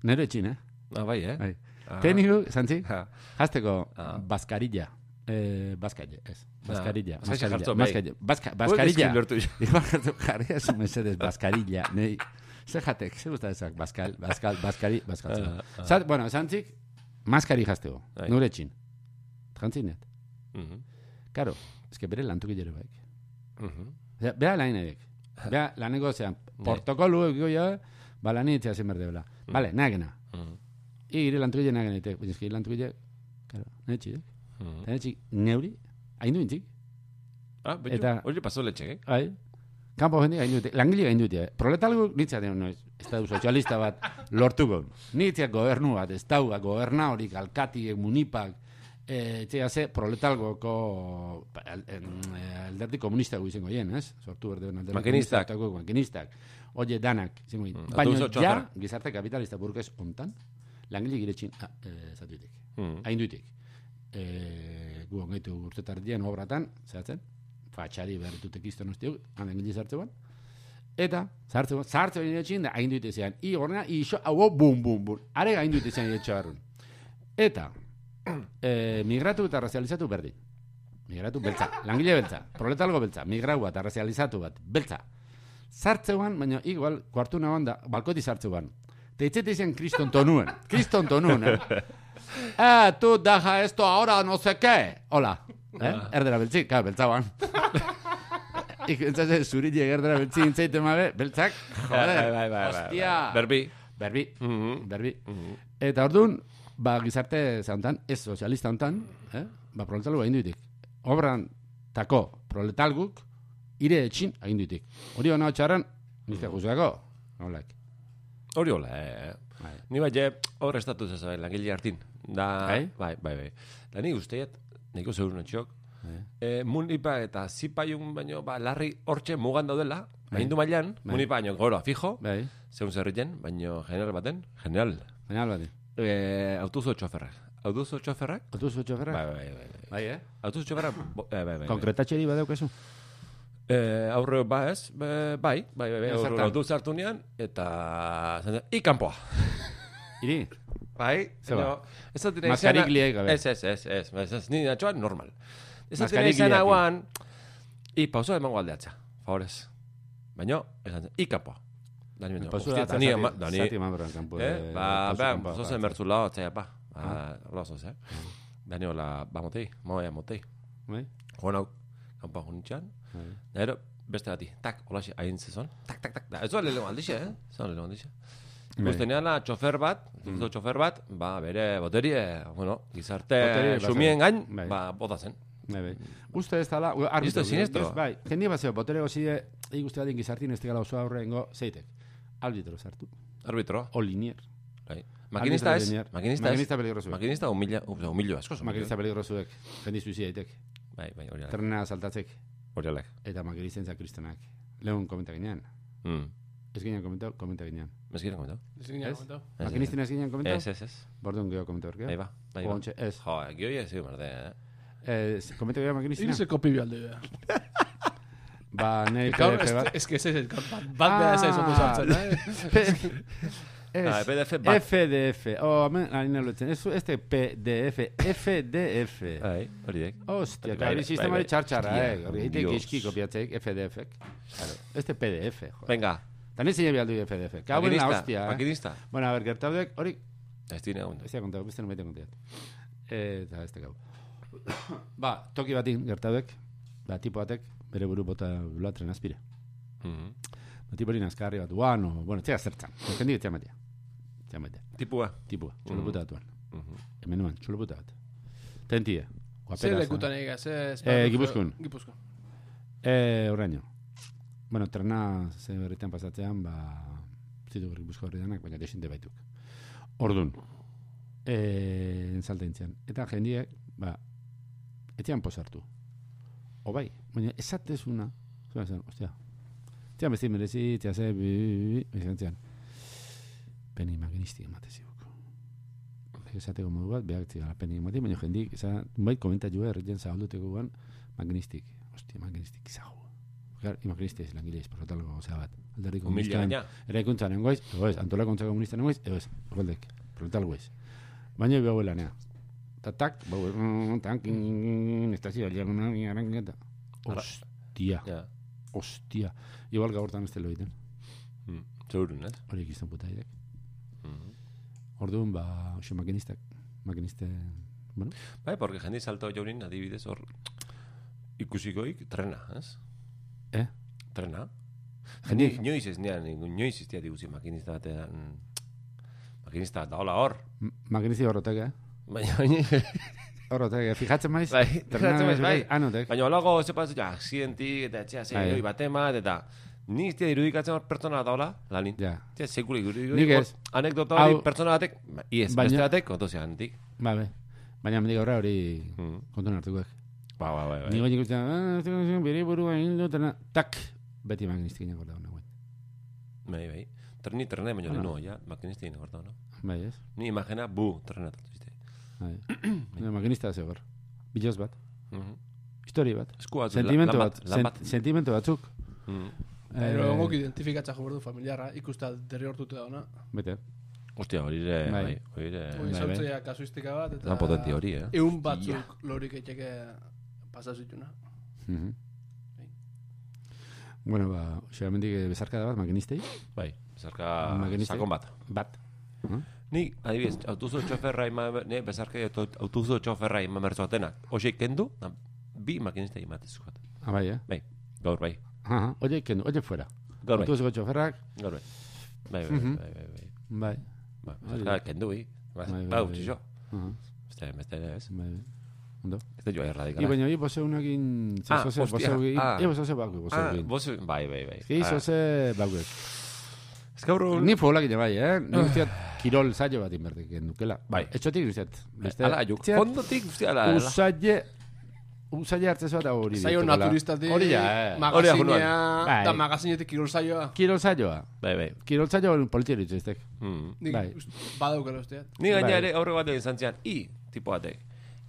[SPEAKER 2] Nero etxin, eh?
[SPEAKER 1] Ah, bai, eh?
[SPEAKER 2] Bai.
[SPEAKER 1] Ah.
[SPEAKER 2] Tekniko,
[SPEAKER 1] (laughs)
[SPEAKER 2] zantzi?
[SPEAKER 1] Ah.
[SPEAKER 2] Jazteko,
[SPEAKER 1] Ah.
[SPEAKER 2] baskarilla. Eh, baskalle, ez. Baskarilla.
[SPEAKER 1] Ah. Zaila jartzen, bai.
[SPEAKER 2] Baskarilla. Baska-
[SPEAKER 1] Ui,
[SPEAKER 2] Baskarilla.
[SPEAKER 1] eskin
[SPEAKER 2] (laughs)
[SPEAKER 1] lortu jo.
[SPEAKER 2] Iba jartu jarri, ez mesedez, baskarilla. Nei, ze jatek, ze gusta ezak, baskal, baskal, baskari, baskaltzeko.
[SPEAKER 1] (laughs) Ah, ah.
[SPEAKER 2] Zat, bueno, zantzik, maskari jazteko,
[SPEAKER 1] Bai.
[SPEAKER 2] nure eh? txin. Trantzinet.
[SPEAKER 1] Mhm,
[SPEAKER 2] Karo, eske bere lantuk gero baik.
[SPEAKER 1] mhm.
[SPEAKER 2] Osea, bea lain edek. Bea laneko, osea, portokolu egiko ja, ba lan egitea zen berdebela. Vale, nagena.
[SPEAKER 1] Mhm,
[SPEAKER 2] Igire lantuk gero nagena egitek. Baina eske gire lantuk gero, karo, nire txidek.
[SPEAKER 1] mhm.
[SPEAKER 2] Eta nire txik, neuri, hain duintzik.
[SPEAKER 1] Ah, betxu,
[SPEAKER 2] Eta-
[SPEAKER 1] hori pasó letxek, eh?
[SPEAKER 2] Bai. Kanpo jende gain dute, langile gain dute. Eh? Proletalgo nitzaten noiz, estatu sozialista bat lortuko. Nitzak gobernu bat, estaua, goberna horik, alkatiek, munipak, eh, txea ze, proletalgoko pa- al- em, eh, alderdi komunista gu izango hien, ez? Sortu berde alderdi
[SPEAKER 1] Makinistak.
[SPEAKER 2] komunista, tako, makinistak. Oie, danak, izango hien.
[SPEAKER 1] Mm,
[SPEAKER 2] Baina,
[SPEAKER 1] autobus
[SPEAKER 2] ja,
[SPEAKER 1] txoferra.
[SPEAKER 2] gizarte kapitalista burkez ontan, langile giretxin, ah, eh, zatuitek.
[SPEAKER 1] Mhm.
[SPEAKER 2] Hain duitik. E, gu ongeitu urte tardian obratan, zehatzen, fatxari berritutek izten ustiok, handen gili zartze ban. Eta, zartze ban, zartze ban etxin, da hain duite zean. I horrena, i iso, hau, bum, bum, bum. Are hain duite zean etxe barrun. Eta, e, migratu eta razializatu berdin. Migratu beltza, langile beltza, proletalgo beltza, migrau bat, razializatu bat, beltza. Sartzeuan, baina igual, kuartu nagoan da, balkoti sartzeuan. Teitzete izan kriston tonuen, kriston tonuen, eh? Eh, tu daja esto ahora no sé qué. Hola. Eh? Erdera beltzi, ka, (laughs) beltzauan. Ik, entzaz, zurilek erdera beltzi intzaiten mabe, beltzak,
[SPEAKER 1] Bai,
[SPEAKER 2] joder, hostia.
[SPEAKER 1] Berbi.
[SPEAKER 2] Berbi,
[SPEAKER 1] Mhm.
[SPEAKER 2] berbi. Eta orduan, ba, gizarte zantan, ez sozialista hontan, eh? ba, proletalu egin duitik. Obran tako proletalguk, ire etxin egin duitik. Hori hona hotxarren, nizka guzgako, nolak.
[SPEAKER 1] Hori hola, eh.
[SPEAKER 2] Bai.
[SPEAKER 1] Ni bai, eh, hor estatuz ez, bai, langile hartin. Da,
[SPEAKER 2] Bai?
[SPEAKER 1] bai, bai, bai. Da ni guztiet, niko zeur notxok,
[SPEAKER 2] Bai.
[SPEAKER 1] eh, munipa eta zipaiun baino, ba, larri hortxe mugan daudela, hain du mailan, munipa baino, gora, fijo,
[SPEAKER 2] Bai,
[SPEAKER 1] zeun zerriten, baino general baten, general.
[SPEAKER 2] baina albati.
[SPEAKER 1] Eh, autuzo txoferrak. Autuzo txoferrak?
[SPEAKER 2] Otu zu txoferra?
[SPEAKER 1] Bai, bai, bai. bai.
[SPEAKER 2] Bai, eh?
[SPEAKER 1] Autuzo txoferrak, bo- eh, bai, bai. bai.
[SPEAKER 2] Konkretatxeri badeuk ezu?
[SPEAKER 1] Eh, aurre ba ez, be- bai, bai, bai, bai,
[SPEAKER 2] Zertan?
[SPEAKER 1] aurre autoz hartu nian, eta... zan- Ikampoa.
[SPEAKER 2] Iri?
[SPEAKER 1] Bai,
[SPEAKER 2] Zeba.
[SPEAKER 1] baina, ez dut nahi
[SPEAKER 2] Maskarik
[SPEAKER 1] izana-
[SPEAKER 2] liek gabe.
[SPEAKER 1] Ez, ez, ez, ez, ez, ez, ni natxoan normal. Ez dut nahi
[SPEAKER 2] Maskarik
[SPEAKER 1] izan
[SPEAKER 2] liek.
[SPEAKER 1] hauan, i pauso emango aldeatza, favorez. Baina, esan zen, ikampoa. Dani bentsa,
[SPEAKER 2] Pasu
[SPEAKER 1] hostia,
[SPEAKER 2] da,
[SPEAKER 1] Dani, ama- Dani,
[SPEAKER 2] zati mamroan kanpo.
[SPEAKER 1] eh, ba, ba, pauso zen mertzula, otzea, ba, ba, losos, eh. Dani, hola, ba, motei, moa, motei.
[SPEAKER 2] Bai,
[SPEAKER 1] Joan hau, kanpoa junitxan,
[SPEAKER 2] bai.
[SPEAKER 1] Da gero, beste bati, tak, holaxe, hain zezon, tak, tak, tak, da, ez zuen lehenko aldixe, eh? Ez zuen lehenko aldixe.
[SPEAKER 2] Bai.
[SPEAKER 1] Gusten nena, txofer bat, mm. txofer bat, ba, bere boterie, bueno, gizarte
[SPEAKER 2] Boterie bazen.
[SPEAKER 1] sumien gain,
[SPEAKER 2] Bai.
[SPEAKER 1] ba, bota zen.
[SPEAKER 2] Bai, bai. Uste ez dala, u- arbitro.
[SPEAKER 1] Isto Mm. siniestro.
[SPEAKER 2] bez, Bai, jende bat zeo, botere gozide, egi guzti batin gizartin ez tegala oso aurrengo, zeitek. Arbitro sartu.
[SPEAKER 1] Arbitro,
[SPEAKER 2] O linier.
[SPEAKER 1] bai. Makinista ez,
[SPEAKER 2] linear.
[SPEAKER 1] makinista ez,
[SPEAKER 2] Makinista peligrosoek.
[SPEAKER 1] makinista humila, humilio asko, zuen.
[SPEAKER 2] Makinista peligrosuek, jende suizidaitek.
[SPEAKER 1] Bai, bai, hori alak,
[SPEAKER 2] Trena saltatzek,
[SPEAKER 1] hori alak.
[SPEAKER 2] eta makinisten zakristonak. Lehun komenta ginean.
[SPEAKER 1] Mm.
[SPEAKER 2] Ez ginean komenta, komenta ginean.
[SPEAKER 1] Ez gira komentau?
[SPEAKER 3] Ez ginen
[SPEAKER 2] Ez?
[SPEAKER 3] komentau.
[SPEAKER 1] Ez,
[SPEAKER 2] Makinisten ez ginean komenta?
[SPEAKER 1] Ez, ez, ez,
[SPEAKER 2] Bordun geho komenta horkeo.
[SPEAKER 1] nahi ba, nahi ba.
[SPEAKER 2] Ontxe, ez.
[SPEAKER 1] Jo, gio ez, gio merde, eh?
[SPEAKER 2] Ez, komenta geho makinistina.
[SPEAKER 3] Irse kopibi alde da.
[SPEAKER 1] (laughs)
[SPEAKER 2] Ba, nahi
[SPEAKER 3] Gaur,
[SPEAKER 2] PDP bat.
[SPEAKER 3] ez- ez que ez ez, gaur bat- bat behar ez ez otu
[SPEAKER 2] (laughs)
[SPEAKER 3] sartzen, eh?
[SPEAKER 1] (laughs) Ah,
[SPEAKER 2] Ez,
[SPEAKER 1] PDF bat.
[SPEAKER 2] FDF. Oh, hemen hain elutzen. Ez, este PDF, FDF.
[SPEAKER 1] Bai, hori dek.
[SPEAKER 2] Hostia,
[SPEAKER 1] Bai,
[SPEAKER 2] claro,
[SPEAKER 1] bai,
[SPEAKER 2] el sistema
[SPEAKER 1] bai,
[SPEAKER 2] de charchara,
[SPEAKER 1] hostia,
[SPEAKER 2] eh. Hori egite
[SPEAKER 1] Dios.
[SPEAKER 2] gizki kopiatzek, FDF. -ek. Claro, este PDF, joder.
[SPEAKER 1] Venga,
[SPEAKER 2] También se lleve al duio FDF. Cabo en la
[SPEAKER 1] makinista,
[SPEAKER 2] hostia, eh.
[SPEAKER 1] makinista.
[SPEAKER 2] Bueno, a ver, gertaudek, hori,
[SPEAKER 1] Ez dira, ondo.
[SPEAKER 2] ez da kontatu, beste no meten kontatu. Eh, eta este (coughs) gau. ba, toki batin gertaudek, ba, tipo batek, bere buru bota bulatren azpire.
[SPEAKER 1] Mhm.
[SPEAKER 2] Ba, tipo hori nazkarri bat, uan, o, bueno, txega zertzan. Jendik txea matea. Txea matea.
[SPEAKER 1] Tipua.
[SPEAKER 2] Tipua, txulo puta batuan.
[SPEAKER 1] Mhm.
[SPEAKER 2] Hemen eman, txulo puta bat. eh? Tentie.
[SPEAKER 3] Zer
[SPEAKER 2] guaperaza.
[SPEAKER 3] lekutan egaz, ez?
[SPEAKER 2] Eh, Gipuzkoan.
[SPEAKER 3] Gipuzkoan.
[SPEAKER 2] E, oraino. Bueno, trena ze berritan pasatzean, ba, zitu berrik buzko horri danak, baina desinte baituk. Ordun. E, entzalta intzian. Eta jendiek, ba, etxean posartu. O bai, baina esatezuna, zua zen, ostia, etxean besti merezi, etxean ze, bi, bi, bi, bi, izan zian. Peni maginisti ematezibuk. Esateko modu bat, behar zidala peni ematik, baina jendik, esan, bai bait komentatu erretzen zabalduteko guan, magnistik, hostia, magnistik zago. Gar, imaginiste ez langile ez, porrotalgo gauza bat. Alderdi
[SPEAKER 1] Humila
[SPEAKER 2] komunistan,
[SPEAKER 1] gaina.
[SPEAKER 2] eraikuntzan nengoiz, edo ez, antolakuntza komunistan nengoiz, edo ez, horreldek, porrotalgo ez. Baina behu lanea. Ta tak, behu, mm, tank, mm, estazio, diagonal, diagonal, eta.
[SPEAKER 1] Ara.
[SPEAKER 2] Hostia,
[SPEAKER 1] Ja.
[SPEAKER 2] hostia. Igual gaurtan ez telo egiten,
[SPEAKER 1] Mm. Zeurun, ez?
[SPEAKER 2] hori egizten puta idek.
[SPEAKER 1] Mhm.
[SPEAKER 2] Mm-hmm. Orduan, ba, oso makinistak, makiniste, bueno,
[SPEAKER 1] Bai, porque jende salto jaurin adibidez hor ikusikoik trena, ez?
[SPEAKER 2] Eh?
[SPEAKER 1] Trena.
[SPEAKER 2] Jende-
[SPEAKER 1] Jende, inoiz ez nean, inoiz ez diat ikusi makinista batean, makinista bat daola hor.
[SPEAKER 2] m- makiniste horrotek, eh?
[SPEAKER 1] Baina,
[SPEAKER 2] (laughs)
[SPEAKER 1] baina,
[SPEAKER 2] Horrotek, eh? fijatzen maiz? ah,
[SPEAKER 1] Bai,
[SPEAKER 2] Ternan
[SPEAKER 1] fijatzen maiz,
[SPEAKER 2] ez
[SPEAKER 1] bai.
[SPEAKER 2] berez, Anotek.
[SPEAKER 1] baina holago ze pasatzen, ja, accidentik eta etxea ze
[SPEAKER 2] Bai.
[SPEAKER 1] iroi batemat, eta ni iztia irudikatzen hor pertsona bat daola, lanin.
[SPEAKER 2] Ja,
[SPEAKER 1] Tia, sekule irudi-
[SPEAKER 2] Nik
[SPEAKER 1] hor,
[SPEAKER 2] ez.
[SPEAKER 1] Anekdota hori
[SPEAKER 2] Hau-
[SPEAKER 1] pertsona batek, ba, iez,
[SPEAKER 2] Baina-
[SPEAKER 1] beste batek, otozia antik.
[SPEAKER 2] ba, be. Baina, mendik aurra hori
[SPEAKER 1] Mm.
[SPEAKER 2] kontuan hartukoek.
[SPEAKER 1] Ba, ba, ba,
[SPEAKER 2] Ni
[SPEAKER 1] ba.
[SPEAKER 2] goin ikusten, ah, ez dut ikusten, bere burua egin dut, eta tak, beti makiniste ginen gorda hona,
[SPEAKER 1] Bai, bai. Terni, trena, baina
[SPEAKER 2] Hala.
[SPEAKER 1] lehenago, ja, makinista gine gortan, no?
[SPEAKER 2] Bai, ez?
[SPEAKER 1] Ni imagina, bu, trena tatu zite.
[SPEAKER 2] Bai. Baina makinista ez egor. Biloz bat, histori bat,
[SPEAKER 1] Esku batzu,
[SPEAKER 2] sentimento Mhm. bat,
[SPEAKER 1] lan bat.
[SPEAKER 2] sen- sentimento batzuk.
[SPEAKER 1] Mm.
[SPEAKER 3] Pero
[SPEAKER 2] Eh,
[SPEAKER 3] guk identifikatza jo berdu familiarra, ikusta derriortuta dauna.
[SPEAKER 2] Bete.
[SPEAKER 1] Hostia, hori ere,
[SPEAKER 2] Bai.
[SPEAKER 1] bai, hori ere.
[SPEAKER 3] Hoi
[SPEAKER 2] bai.
[SPEAKER 3] sortzea kasuistika bat, eta...
[SPEAKER 1] Lan potente hori, eh?
[SPEAKER 3] Egun
[SPEAKER 1] Bai.
[SPEAKER 3] batzuk lorik etxeke pasazituna.
[SPEAKER 2] Mhm. Bueno, ba, xeramendik bezarka da bat, makinistei.
[SPEAKER 1] Bai, zarka
[SPEAKER 2] Makinistei.
[SPEAKER 1] sakon bat.
[SPEAKER 2] Bat.
[SPEAKER 1] Ni, adibidez, autozo txoferra ima, ne, bezarka diot, autozo txoferra ima mertzo atenak. Oxe kendu, da, bi makinista imatezko bat.
[SPEAKER 2] Ah, bai, eh?
[SPEAKER 1] Bai, gaur bai.
[SPEAKER 2] Aha, oie, kendu, oie fuera.
[SPEAKER 1] Gaur bai,
[SPEAKER 2] Autobuseko txoferrak,
[SPEAKER 1] gaur bai. Bai, bai, bai, bai, bai, bai.
[SPEAKER 2] bai.
[SPEAKER 1] Ba,
[SPEAKER 2] Hori
[SPEAKER 1] zarka kendu, hi.
[SPEAKER 2] Bai, bai,
[SPEAKER 1] Ba,
[SPEAKER 2] bai.
[SPEAKER 1] utzi jo.
[SPEAKER 2] Aha,
[SPEAKER 1] Beste, beste, ere, ez.
[SPEAKER 2] bai. Ondo.
[SPEAKER 1] Beste jo
[SPEAKER 2] I
[SPEAKER 1] erradikala.
[SPEAKER 2] baina, hi, bose unekin,
[SPEAKER 1] bai. Ah,
[SPEAKER 2] zoze, bose
[SPEAKER 1] hostia,
[SPEAKER 2] hugin,
[SPEAKER 1] ah.
[SPEAKER 2] hi, bose baugu, bose
[SPEAKER 1] Ah,
[SPEAKER 2] hugin.
[SPEAKER 1] vos, bai, bai, bai.
[SPEAKER 2] Hi,
[SPEAKER 1] Ah,
[SPEAKER 2] zoze baugu.
[SPEAKER 1] Ez gaur,
[SPEAKER 2] Ni futbolak ere bai, eh? Ni usteat kirol saio bat inberteken dukela.
[SPEAKER 1] Bai.
[SPEAKER 2] Etxotik usteat.
[SPEAKER 1] ala, juk, fondotik, guztia, ala, ala.
[SPEAKER 2] Usaile, usaile hartzezoa eta hori.
[SPEAKER 3] Zaio
[SPEAKER 2] dituela.
[SPEAKER 3] naturistatik,
[SPEAKER 2] Hori ja, eh?
[SPEAKER 1] Hori da,
[SPEAKER 3] magazinea,
[SPEAKER 2] Bai.
[SPEAKER 3] eta magazinetik kirol zaioa.
[SPEAKER 2] Kirol saioa.
[SPEAKER 1] Bai, bai.
[SPEAKER 2] Kirol saioa politxero itzestek.
[SPEAKER 1] Mm.
[SPEAKER 3] Nik
[SPEAKER 2] Bai.
[SPEAKER 3] ust- badaukala eh. usteat.
[SPEAKER 1] Ni gaina
[SPEAKER 2] Bai.
[SPEAKER 1] ere aurre bat egin zantzian, i, tipo batek.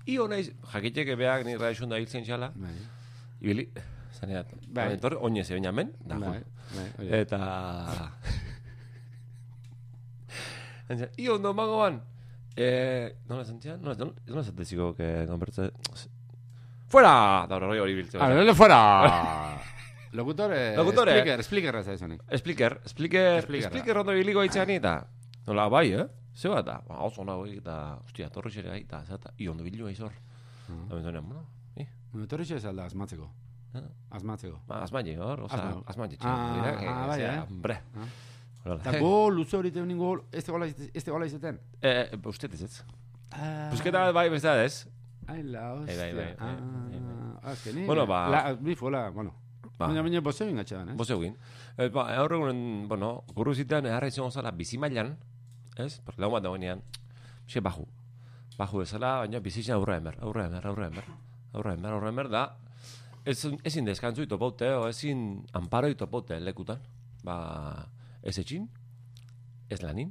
[SPEAKER 1] I honaiz, jakiteke beak ni raizun da hiltzen xala,
[SPEAKER 2] Bai.
[SPEAKER 1] ibili, zaneat,
[SPEAKER 2] Bai.
[SPEAKER 1] bai. etorri, oinez egin amen, da,
[SPEAKER 2] Bai,
[SPEAKER 1] jun.
[SPEAKER 2] bai, hori da.
[SPEAKER 1] Eta... Zantzian, i ondo mango ban, eh, nola zantzian, nola, nola, nola zanteziko, que konbertze... Fuera! Da eh. hori hori biltzen.
[SPEAKER 2] Ah, lele
[SPEAKER 1] (laughs)
[SPEAKER 2] fuera! eh, Locutore,
[SPEAKER 1] Locutore.
[SPEAKER 2] Splicker, Splicker raza esonek.
[SPEAKER 1] Expliker, expliker,
[SPEAKER 2] Expliker,
[SPEAKER 1] expliker ondo biliko aitzan eta. Nola, bai, eh? Ze bat da, ba, oso nago eta, hostia, torri xere gai, eta zata, i ondo bilu aizor. Da bentonean, bueno, eh?
[SPEAKER 2] Bueno, torri xe esalda asmatzeko.
[SPEAKER 1] Ah. (laughs)
[SPEAKER 2] Asmatzeko.
[SPEAKER 1] Ba, azmaile hor, oza,
[SPEAKER 2] Asma.
[SPEAKER 1] azmaile
[SPEAKER 2] Ah,
[SPEAKER 1] txan.
[SPEAKER 2] ah, bai, eh?
[SPEAKER 1] Hombre.
[SPEAKER 2] Ah.
[SPEAKER 1] Hola.
[SPEAKER 2] Eta gol luze hori teun gol, este gola, izate- este gola izeten.
[SPEAKER 1] Eh, eh, uste ez ez.
[SPEAKER 2] Ah,
[SPEAKER 1] Busketa bat bai bestea ez.
[SPEAKER 2] Ai, la
[SPEAKER 1] bai,
[SPEAKER 2] hostia.
[SPEAKER 1] bai,
[SPEAKER 2] Ah,
[SPEAKER 1] bai,
[SPEAKER 2] azkenik.
[SPEAKER 1] Bueno, ba-
[SPEAKER 2] La, bi fuela, bueno.
[SPEAKER 1] Ba.
[SPEAKER 2] Baina, baina, bose bingatxe dan, eh?
[SPEAKER 1] Boz egin. Eh, ba, gaur egunen, bueno, gurru zitean, eharra izango zala bizimailan, ez? Porque lagun bat dagoenean, xe baju. Baju bezala, baina bizitza aurra emer, aurra emer, aurra emer, aurra emer, aurra emer da, ez, ezin deskantzu itopaute, o ezin amparo itopaute lekutan. Ba, ez etxin, ez lanin,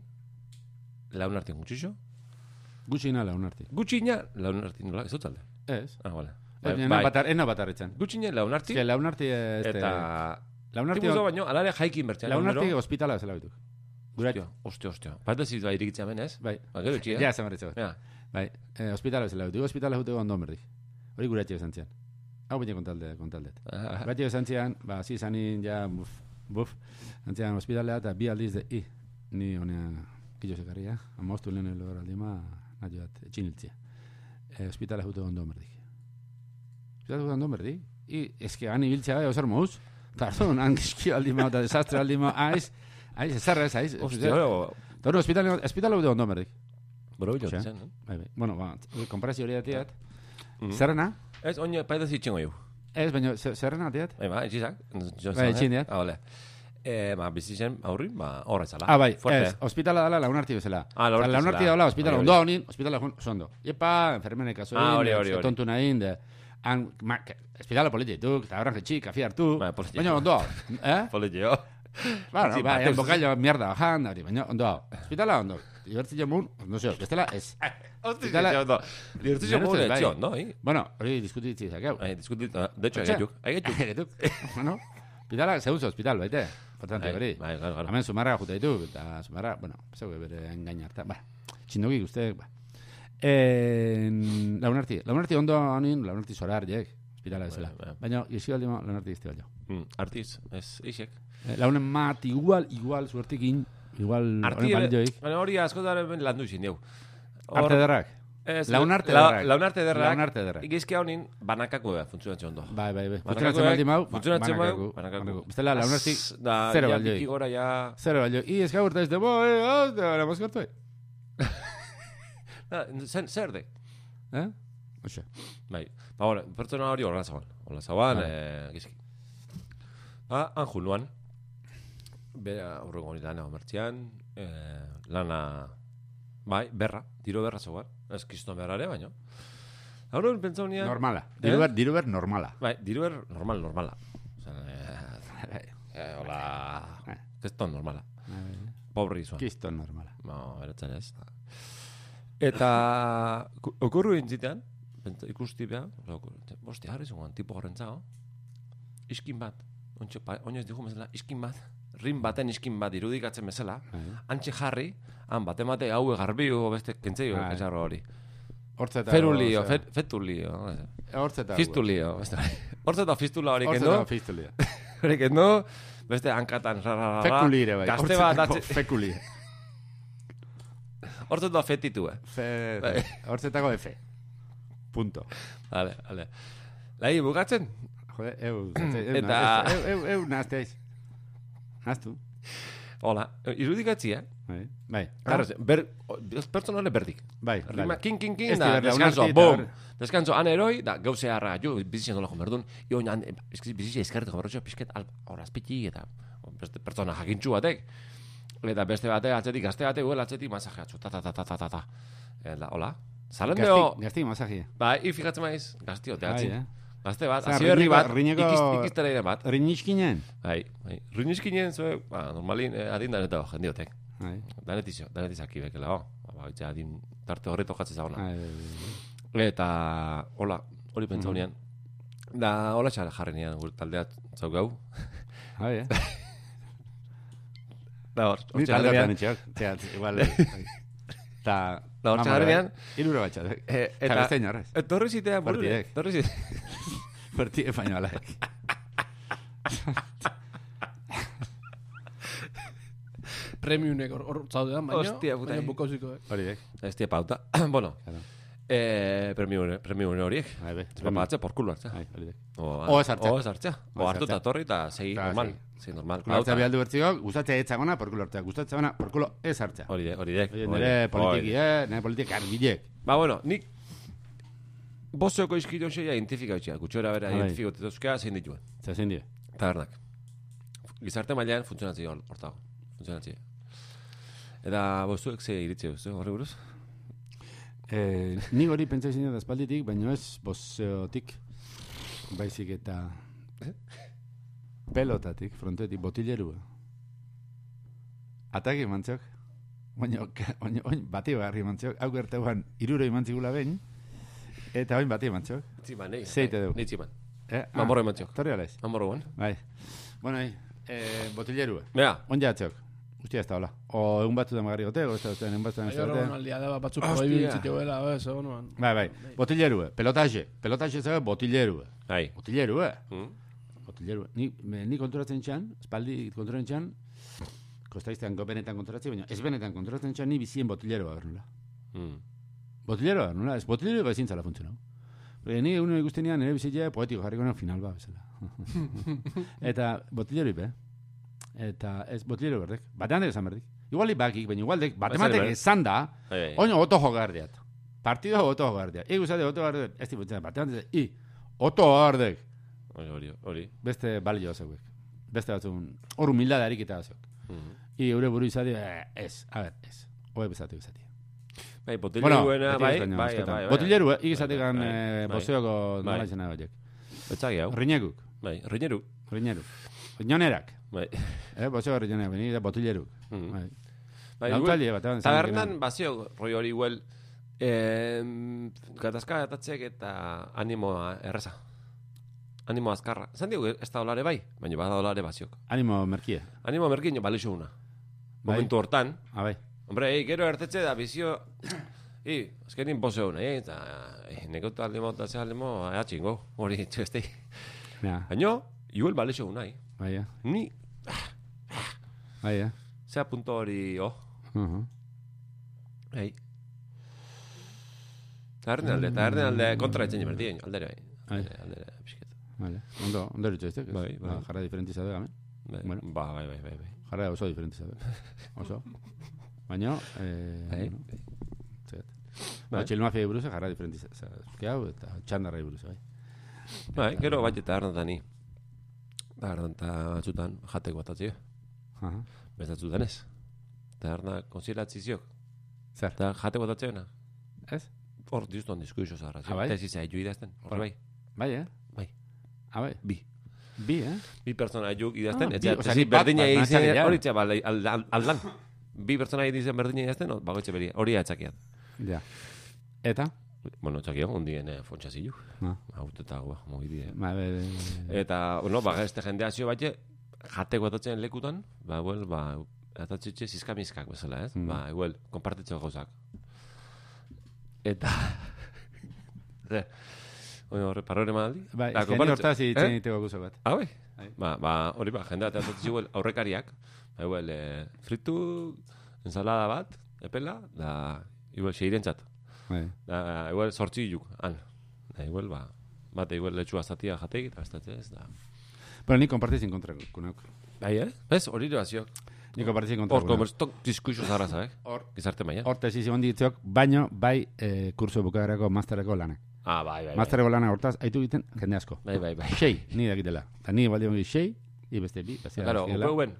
[SPEAKER 1] laun artin gutxixo,
[SPEAKER 2] Gutxi nala, unarti.
[SPEAKER 1] gutxina, laun artin nola, ez dut alde.
[SPEAKER 2] Ez.
[SPEAKER 1] Ah, vale.
[SPEAKER 2] Ez,
[SPEAKER 1] Bai,
[SPEAKER 2] ena
[SPEAKER 1] bai.
[SPEAKER 2] batar, ena batarretzen.
[SPEAKER 1] Gutxina, laun
[SPEAKER 2] Ez que
[SPEAKER 1] artin,
[SPEAKER 2] launarti, este...
[SPEAKER 1] eta...
[SPEAKER 2] Launarti,
[SPEAKER 1] Tibuzo baino, alare jaikin bertzean.
[SPEAKER 2] launarti
[SPEAKER 1] egunero.
[SPEAKER 2] ospitala bezala bituk. Gurat.
[SPEAKER 1] Hostia, hostia, hostia. Bat ez izba irikitzea ben, ez?
[SPEAKER 2] Bai.
[SPEAKER 1] Ba, gero txia.
[SPEAKER 2] Ja, zan berretxe bat.
[SPEAKER 1] Ja.
[SPEAKER 2] Bai, eh, ospitala bezala bituk. Ospitala juteko ondoan berdik. Hori guratxe bezan zian. Hau baina kontalde, kontalde.
[SPEAKER 1] Ah,
[SPEAKER 2] Bati esan zian, ba, zi zanin, ja, buf, buf, antzian ospitalea eta bi aldiz de, i, ni honea, kilo sekarria, amaustu lehen elo aldima, nahi bat, etxin hiltzia. E, ospitalea jute ondo berdik. Ospitalea jute ondo berdik? I, eske han ibiltzea bai gai, ozer mouz, tardun, hankizki aldima, eta desastre aldima, aiz, aiz, ezarra Bai, ez, aiz.
[SPEAKER 1] Hostia,
[SPEAKER 2] Eta
[SPEAKER 1] hori,
[SPEAKER 2] hori, ospitalea jute ondo berdik.
[SPEAKER 1] bero bilo
[SPEAKER 2] Osea.
[SPEAKER 1] zen,
[SPEAKER 2] Bai, bai. Bueno, ba, komparazio hori ateat,
[SPEAKER 1] Mhm.
[SPEAKER 2] zerrena,
[SPEAKER 1] eh? Ez, oin, paida zitxengo jau.
[SPEAKER 2] ez, baina, zer- zerrena ateat,
[SPEAKER 1] Bai, ba, etxizak. Johnson,
[SPEAKER 2] Bai,
[SPEAKER 1] eh?
[SPEAKER 2] etxindeak.
[SPEAKER 1] Ah, ole. Eh, ba, bizitzen aurri, ba, horra zala.
[SPEAKER 2] Ah, bai,
[SPEAKER 1] Fuerte.
[SPEAKER 2] ez, ospitala dala launarti bezala.
[SPEAKER 1] Ah, launarti
[SPEAKER 2] Osa, launarti
[SPEAKER 1] bezala.
[SPEAKER 2] dala, ospitala
[SPEAKER 1] Bai,
[SPEAKER 2] ondoa honin, ospitala jun, sondo. Iepa, enfermene kaso
[SPEAKER 1] Ah,
[SPEAKER 2] egin,
[SPEAKER 1] hori, hori,
[SPEAKER 2] ze
[SPEAKER 1] hori.
[SPEAKER 2] tontu nahin, de, han, ma, ke- ospitala politi dituk, eta horren jetxik, kafi hartu,
[SPEAKER 1] Bai, politi.
[SPEAKER 2] baina ondoa,
[SPEAKER 1] (laughs)
[SPEAKER 2] eh?
[SPEAKER 1] Politi, jo.
[SPEAKER 2] Ba,
[SPEAKER 1] pues Sí,
[SPEAKER 2] no, bai,
[SPEAKER 1] bateu.
[SPEAKER 2] bokailo, mierda, bajan, hori, baina ondoa, ospitala ondo, divertzio mun, Pues no sé, bestela, ez.
[SPEAKER 1] Hosti,
[SPEAKER 2] Eta la-
[SPEAKER 1] zitxen, ondo. Divertizio
[SPEAKER 2] Menos
[SPEAKER 1] modu
[SPEAKER 2] bai.
[SPEAKER 1] etxion, no? Eh?
[SPEAKER 2] Bueno, hori diskutitzi zakeu.
[SPEAKER 1] Ai, diskutit, ah, de hecho,
[SPEAKER 2] Etxe.
[SPEAKER 1] agetuk.
[SPEAKER 2] (laughs)
[SPEAKER 1] Agetuk.
[SPEAKER 2] Eretuk, (laughs) bueno, ospitala, zeuz ospital, baite, importante hori.
[SPEAKER 1] Bai, bai, gara, gara.
[SPEAKER 2] Hemen sumarra jute ditu, eta sumarra, bueno, zeu bere engaina harta. Ba, txindogi guztek, ba. En, launarti, launarti ondo honin, launarti zorar, jek, ospitala bezala.
[SPEAKER 1] Bai, bai.
[SPEAKER 2] Baina, gizio aldi ma, launarti izte baino.
[SPEAKER 1] Mm, Artiz, ez, isek.
[SPEAKER 2] Eh, Launen mat, igual, igual, suertikin, igual,
[SPEAKER 1] Arti,
[SPEAKER 2] honen balioik.
[SPEAKER 1] baina hori askotaren landu izin dugu.
[SPEAKER 2] Arte derrak.
[SPEAKER 1] Ez,
[SPEAKER 2] Launarte
[SPEAKER 1] la-
[SPEAKER 2] derrak.
[SPEAKER 1] Launarte derrak.
[SPEAKER 2] Launarte derrak.
[SPEAKER 1] Igizkia honin, banakako da, funtzionatzen ondo.
[SPEAKER 2] Bai, bai, bai.
[SPEAKER 1] Banakakoak,
[SPEAKER 2] Funtzionatzen baldi mau,
[SPEAKER 1] funtzionatzen bau,
[SPEAKER 2] banakako.
[SPEAKER 1] banakako.
[SPEAKER 2] Ba, Bestela, launarti,
[SPEAKER 1] Az, da,
[SPEAKER 2] zero
[SPEAKER 1] ja,
[SPEAKER 2] balioik.
[SPEAKER 1] biki gora, ja...
[SPEAKER 2] zero balio. I, ez gaur, eta ez debo, eh, hau, da, la mozkortu, eh.
[SPEAKER 1] Da, zen, zer de?
[SPEAKER 2] Eh? Oxe.
[SPEAKER 1] Bai. Ba, bueno, pertsona hori horrela zagoan. Horrela zagoan,
[SPEAKER 2] Bai.
[SPEAKER 1] eh, gizki. Ba, Anju nuan. Bera, aurreko hori lana omertzian. Eh, lana... Bai, berra. Tiro berra zagoan. Ez kiston berrare, baino. Aurreko pentsa unian...
[SPEAKER 2] Normala.
[SPEAKER 1] Eh?
[SPEAKER 2] Diru ber, diru ber normala.
[SPEAKER 1] Bai, diru ber, normal, normala. Osa, eh, (laughs) eh, hola...
[SPEAKER 2] Eh.
[SPEAKER 1] Keston normala. Bai, Pobre izuan.
[SPEAKER 2] Kisto normala.
[SPEAKER 1] No, beretzen Ba, ez. Eta ku- okurru intzitean, ikusti beha, bosti, harri zungan, tipo horren zao, iskin bat, ontxe, pa- oinez dihu bezala, iskin bat, rin baten iskin bat irudikatzen bezala,
[SPEAKER 2] Bai.
[SPEAKER 1] antxe jarri, han bate mate hau garbi o beste kentzei
[SPEAKER 2] Bai.
[SPEAKER 1] esarro hori.
[SPEAKER 2] Hortza eta...
[SPEAKER 1] Ferulio,
[SPEAKER 2] osea,
[SPEAKER 1] fet, fetulio,
[SPEAKER 2] Hortza eta...
[SPEAKER 1] fistulio. beste. Hortz eta fistula hori
[SPEAKER 2] Hortz eta
[SPEAKER 1] kendu, (laughs)
[SPEAKER 2] fistulia.
[SPEAKER 1] horrek endo, beste hankatan, ra, ra, ra, ra.
[SPEAKER 2] Fekuli ere bai.
[SPEAKER 1] Gazte bat,
[SPEAKER 2] Hortzetako
[SPEAKER 1] atxe-
[SPEAKER 2] Fekuli.
[SPEAKER 1] hortzen doa fetitu, eh?
[SPEAKER 2] Fe-
[SPEAKER 1] (laughs) Bai.
[SPEAKER 2] Hortzetako F. Punto.
[SPEAKER 1] Vale, vale. Lai, bukatzen?
[SPEAKER 2] Jode,
[SPEAKER 1] (clears throat)
[SPEAKER 2] eu, eu,
[SPEAKER 1] Eta-
[SPEAKER 2] nahazte- eu, eu, eu nahazteaiz. Nahaztu.
[SPEAKER 1] Hola, irudikatzi, eh?
[SPEAKER 2] Bai. Bai.
[SPEAKER 1] Claro, ber, pertsona hone berdik.
[SPEAKER 2] Bai,
[SPEAKER 1] Rima,
[SPEAKER 2] dale.
[SPEAKER 1] kin, kin,
[SPEAKER 2] Ez
[SPEAKER 1] kin, da,
[SPEAKER 2] diberla,
[SPEAKER 1] descanso,
[SPEAKER 2] onarti eta
[SPEAKER 1] boom.
[SPEAKER 2] hor.
[SPEAKER 1] Descanso, han eroi, da, gauze harra, jo, bizitzen nola jomerdun, jo, han, eskiz, bizitzen eskerretu jomerotxo, pixket, al, hor azpiti, eta beste pertsona jakintxu batek. Eta beste batek, atzetik, gazte batek, huel, atzetik, masajeatzu, ta, ta, ta, ta, ta, ta, ta. Eta, hola, zalen
[SPEAKER 2] Gazti,
[SPEAKER 1] deo,
[SPEAKER 2] gazti masajia.
[SPEAKER 1] bai, i fijatzen maiz, gaztio,
[SPEAKER 2] Bai,
[SPEAKER 1] teatzin.
[SPEAKER 2] eh.
[SPEAKER 1] Gazte bat,
[SPEAKER 2] Zara,
[SPEAKER 1] hazi berri
[SPEAKER 2] riñeko-
[SPEAKER 1] bat,
[SPEAKER 2] riñeko-
[SPEAKER 1] ikiz- ikiztera ere bat.
[SPEAKER 2] Rinitxkinen.
[SPEAKER 1] Bai, bai. Ruinizkinen, zue, ba, normalin, eh, adindan eta jendiotek.
[SPEAKER 2] Bai.
[SPEAKER 1] Danetizio, danetizaki bekela, ho. Ba, baitza, adin, tarte horreto jatzez dagoena.
[SPEAKER 2] Bai.
[SPEAKER 1] Eta, hola, hori pentsa
[SPEAKER 2] Mm-hmm.
[SPEAKER 1] honean. Da, hola txar jarri nian, gure taldea zauk gau.
[SPEAKER 2] Bai,
[SPEAKER 1] (laughs)
[SPEAKER 2] eh.
[SPEAKER 1] Da, hor, hor
[SPEAKER 2] Ni
[SPEAKER 1] txar
[SPEAKER 2] taldean
[SPEAKER 1] jarri
[SPEAKER 2] etxeak. Zeat, igual. bai. Ta...
[SPEAKER 1] Da, hortxe jarrian.
[SPEAKER 2] Iruro batxat.
[SPEAKER 1] Eh,
[SPEAKER 2] Eta
[SPEAKER 1] eta-
[SPEAKER 2] beste inorrez.
[SPEAKER 1] Torri zitea, burure.
[SPEAKER 2] Partidek.
[SPEAKER 1] Torri zitea.
[SPEAKER 2] Berti espainolak.
[SPEAKER 1] bai.
[SPEAKER 3] Premiumek hor- hor zaudean, baina...
[SPEAKER 1] Hostia, puta,
[SPEAKER 3] baina
[SPEAKER 1] eh.
[SPEAKER 3] bukauziko, eh.
[SPEAKER 2] Horiek.
[SPEAKER 1] (laughs) Ez tia pauta. (clears throat) bueno,
[SPEAKER 2] Claro.
[SPEAKER 1] eh, premio premio horiek.
[SPEAKER 2] Bai, bai.
[SPEAKER 1] Zepa patzea, por culo hartzea.
[SPEAKER 2] Bai, horiek.
[SPEAKER 1] O
[SPEAKER 2] O ez hartzea.
[SPEAKER 1] O ez hartzea. O
[SPEAKER 2] O ez
[SPEAKER 1] hartu eta
[SPEAKER 2] hartzea.
[SPEAKER 1] torri eta segi
[SPEAKER 2] Ta,
[SPEAKER 1] normal.
[SPEAKER 2] segi.
[SPEAKER 1] Segi normal.
[SPEAKER 2] Kulo hartzea
[SPEAKER 1] Pauta.
[SPEAKER 2] behaldu bertzikok, gustatzea etzagona, porkulo hartzea, gustatzea ona, porkulo ez hartzea.
[SPEAKER 1] Hori dek, hori dek.
[SPEAKER 2] Oie,
[SPEAKER 1] hori
[SPEAKER 2] nire
[SPEAKER 1] dek, hori
[SPEAKER 2] politiki,
[SPEAKER 1] dek.
[SPEAKER 2] eh? Nire politik argilek.
[SPEAKER 1] Ba, bueno, nik bozoko izkilo xeia identifika utxea. Kutxora bera
[SPEAKER 2] Bai.
[SPEAKER 1] identifiko tetuzkea zein dituen.
[SPEAKER 2] Zazen dio.
[SPEAKER 1] Tabernak. Gizarte mailean funtzionatzea hor- hortago. Funtzionatzea. Eta bozuek ze iritzi duzu, horri buruz?
[SPEAKER 2] Eh, ni hori pentsa izan dut aspalditik, baina ez bozeotik, baizik eta pelotatik, frontetik, botilerua. Ataki mantziok, baina oin, oin bati barri mantziok, hau gertauan iruro imantzigula behin, eta oin bati mantziok.
[SPEAKER 1] Tziman, nahi.
[SPEAKER 2] Zeite dugu.
[SPEAKER 1] Ni tziman.
[SPEAKER 2] Eh?
[SPEAKER 1] Ah. Amorro eman txok.
[SPEAKER 2] Torri alaiz.
[SPEAKER 1] Amorro guan.
[SPEAKER 2] Bai. Bueno, eh, eh, botilerua.
[SPEAKER 1] Bea,
[SPEAKER 2] On jatzeok. Ustia ez da hola. O egun batzutan magarri gote, o ez da ustean, egun batzutan ez da
[SPEAKER 3] Aio
[SPEAKER 2] ustean.
[SPEAKER 3] Ronaldia daba batzuk
[SPEAKER 1] Hostia.
[SPEAKER 3] hori biltziteuela, ba, ez, egon nuan.
[SPEAKER 2] Bai, bai. Botilerue. Pelotaxe. Pelotaxe zaga botilerue.
[SPEAKER 1] nahi.
[SPEAKER 2] Botilerue.
[SPEAKER 1] Mm.
[SPEAKER 2] Botilerue. Ni, me, ni konturatzen txan, espaldi konturatzen txan, kostaiztean go benetan konturatzen, baina ez benetan konturatzen txan, ni bizien botilerua bernula.
[SPEAKER 1] Mm.
[SPEAKER 2] Botilerua bernula, ez botilerua bezin zala funtzionau. Porque ni egun ikusten nian, nire bizitzea poetiko jarriko nuen final ba, bezala. Eta botilerui be. Eta ez botileru berdek. Batean dek esan berdek. Igual bakik, baina igual dek,
[SPEAKER 1] Bazare
[SPEAKER 2] batematek
[SPEAKER 1] berdek.
[SPEAKER 2] esan da,
[SPEAKER 1] Ai, ai.
[SPEAKER 2] Oño, oto jogar diat. Partido oto jogar diat. Ego zate oto jogar diat. Ez tiputzen, batean diat. I, oto jogar diat.
[SPEAKER 1] Hori, hori, hori.
[SPEAKER 2] Beste balio zeuek. Beste batzun, hor humildaderik eta zeuek.
[SPEAKER 1] Mm.
[SPEAKER 2] I, eure buru izate, eh, ez, a ber, ez. Hoe bezate bezate.
[SPEAKER 1] Bai, botileruena, bai, bai, bai, bai.
[SPEAKER 2] Botileru, eh, izate gan
[SPEAKER 1] Bai, bai.
[SPEAKER 2] bozeoko
[SPEAKER 1] Bai.
[SPEAKER 2] nola izena horiek.
[SPEAKER 1] Betzagi hau.
[SPEAKER 2] Rinekuk,
[SPEAKER 1] Bai, rineru.
[SPEAKER 2] rineru. Rinonerak,
[SPEAKER 1] Bai.
[SPEAKER 2] eh, bozeoko rinonerak, bini da botileruk.
[SPEAKER 1] Mhm.
[SPEAKER 2] Bai.
[SPEAKER 1] Bai, igual,
[SPEAKER 2] Nautaldi, batean. zan
[SPEAKER 1] tabernan
[SPEAKER 2] genan.
[SPEAKER 1] bazio roi hori huel. Eh, gatazka atatzek eta animoa erreza. Animo azkarra. Zan digu, ez da olare bai, baina bada olare baziok.
[SPEAKER 2] Animo merkia.
[SPEAKER 1] Animo merkiño, balixo una.
[SPEAKER 2] Bai.
[SPEAKER 1] Momentu hortan,
[SPEAKER 2] Abai.
[SPEAKER 1] hombre, ei, gero ertetxe da bizio... I, azkenin boze hona, eh? Eta, eh, nekotu alde mota ze alde mo, ea txingo, hori (laughs) txestei.
[SPEAKER 2] Ja,
[SPEAKER 1] Baina, juel balixo una, eh?
[SPEAKER 2] bai, eh,
[SPEAKER 1] Ni,
[SPEAKER 2] bai, eh.
[SPEAKER 1] zea punto hori, oh,
[SPEAKER 2] Mhm.
[SPEAKER 1] ei. Tabernen alde, tabernen alde kontra etzen jemerdien, aldere, bai.
[SPEAKER 2] Bai.
[SPEAKER 1] Aldere, aldere, pixket.
[SPEAKER 2] Vale. Ondo, ondo eritxo eztek.
[SPEAKER 1] Bai, bai.
[SPEAKER 2] Ba, jarra diferentiza da, gamen.
[SPEAKER 1] Bai,
[SPEAKER 2] Bueno.
[SPEAKER 1] ba, bai, bai, bai, bai.
[SPEAKER 2] Jarra oso diferentiza da. Oso. Baina, eh,
[SPEAKER 1] Bai.
[SPEAKER 2] bueno, zeat.
[SPEAKER 1] Bai.
[SPEAKER 2] Ba, txilmafia buruz jarra diferentiza. Euske hau eta txandarra buruz, bai.
[SPEAKER 1] Bai, gero bai, eta tabernan ni. Tabernan eta batzutan, jatek bat atzio.
[SPEAKER 2] Aha.
[SPEAKER 1] Bezatzutan ez. Taberna konsilatziziok.
[SPEAKER 2] Zer?
[SPEAKER 1] Eta jate botatzeona.
[SPEAKER 2] Ez?
[SPEAKER 1] Hor dizton diskuizio zarra.
[SPEAKER 2] Ah, bai?
[SPEAKER 1] Eta ez izai idazten. Hor bai.
[SPEAKER 2] Bai, eh?
[SPEAKER 1] Bai.
[SPEAKER 2] Ah, bai.
[SPEAKER 1] Bi.
[SPEAKER 2] Bi, eh?
[SPEAKER 1] Bi pertsona juk idazten.
[SPEAKER 2] Ah,
[SPEAKER 1] Ah,
[SPEAKER 2] bi,
[SPEAKER 1] eta
[SPEAKER 2] osea,
[SPEAKER 1] tesi
[SPEAKER 2] ni bat,
[SPEAKER 1] berdina
[SPEAKER 2] bat,
[SPEAKER 1] egizien
[SPEAKER 2] natzarean.
[SPEAKER 1] hori txea balai- al- al- aldan. Bi pertsona egizien berdina idazten, no, bagoitxe beria. Hori atxakiat.
[SPEAKER 2] Ja. Eta?
[SPEAKER 1] Bueno, atxakiat, ondien eh, fontxazilu.
[SPEAKER 2] Ah.
[SPEAKER 1] Haute eta guak, mogidie.
[SPEAKER 2] Ba, be,
[SPEAKER 1] Eta, bueno, ba, este jende hasio bate, jateko atatzen lekutan, ba, igual, ba, atatzitxe zizkamizkak bezala, ez?
[SPEAKER 2] Mhm.
[SPEAKER 1] Ba, igual, konpartitzeko gauzak. Eta, (laughs) ze, Bueno, horre, parrore maldi.
[SPEAKER 2] Bai,
[SPEAKER 1] Da,
[SPEAKER 2] jendio
[SPEAKER 1] konparatze-
[SPEAKER 2] hortaz
[SPEAKER 1] Eh?
[SPEAKER 2] itzen ditego guzo bat.
[SPEAKER 1] Ah, bai?
[SPEAKER 2] Bai.
[SPEAKER 1] Ba, ba, hori ba, jendea teatzen ziguel aurrekariak. Ba, igual, eh, fritu, ensalada bat, epela, da, igual, seirentzat.
[SPEAKER 2] Bai.
[SPEAKER 1] Da, igual, sortzi hiluk, han. Da, igual, ba, bate, igual, letxua zatia jateik, eta bestatzea ez, da.
[SPEAKER 2] Bueno, ni konpartizin kontra kunauk.
[SPEAKER 1] Bai, eh? Ez, hori doa ziok.
[SPEAKER 2] Ni konpartizin kontra
[SPEAKER 1] Hor,
[SPEAKER 2] kunauk.
[SPEAKER 1] komertztok diskuixo zara, zabe?
[SPEAKER 2] Hor,
[SPEAKER 1] Gizarte maia.
[SPEAKER 2] Hortez izi hondi ditziok, baino bai eh, kurso bukaderako mastereko lanak.
[SPEAKER 1] Ah, bai, bai, bai.
[SPEAKER 2] Mastereko lanak hortaz, haitu egiten jende asko.
[SPEAKER 1] Bai, bai, bai.
[SPEAKER 2] Sei, ni dakitela. Eta ni baldi hongi sei, i beste bi, bazia.
[SPEAKER 1] Ah, Claro,
[SPEAKER 2] dakitela.
[SPEAKER 1] UPV-en.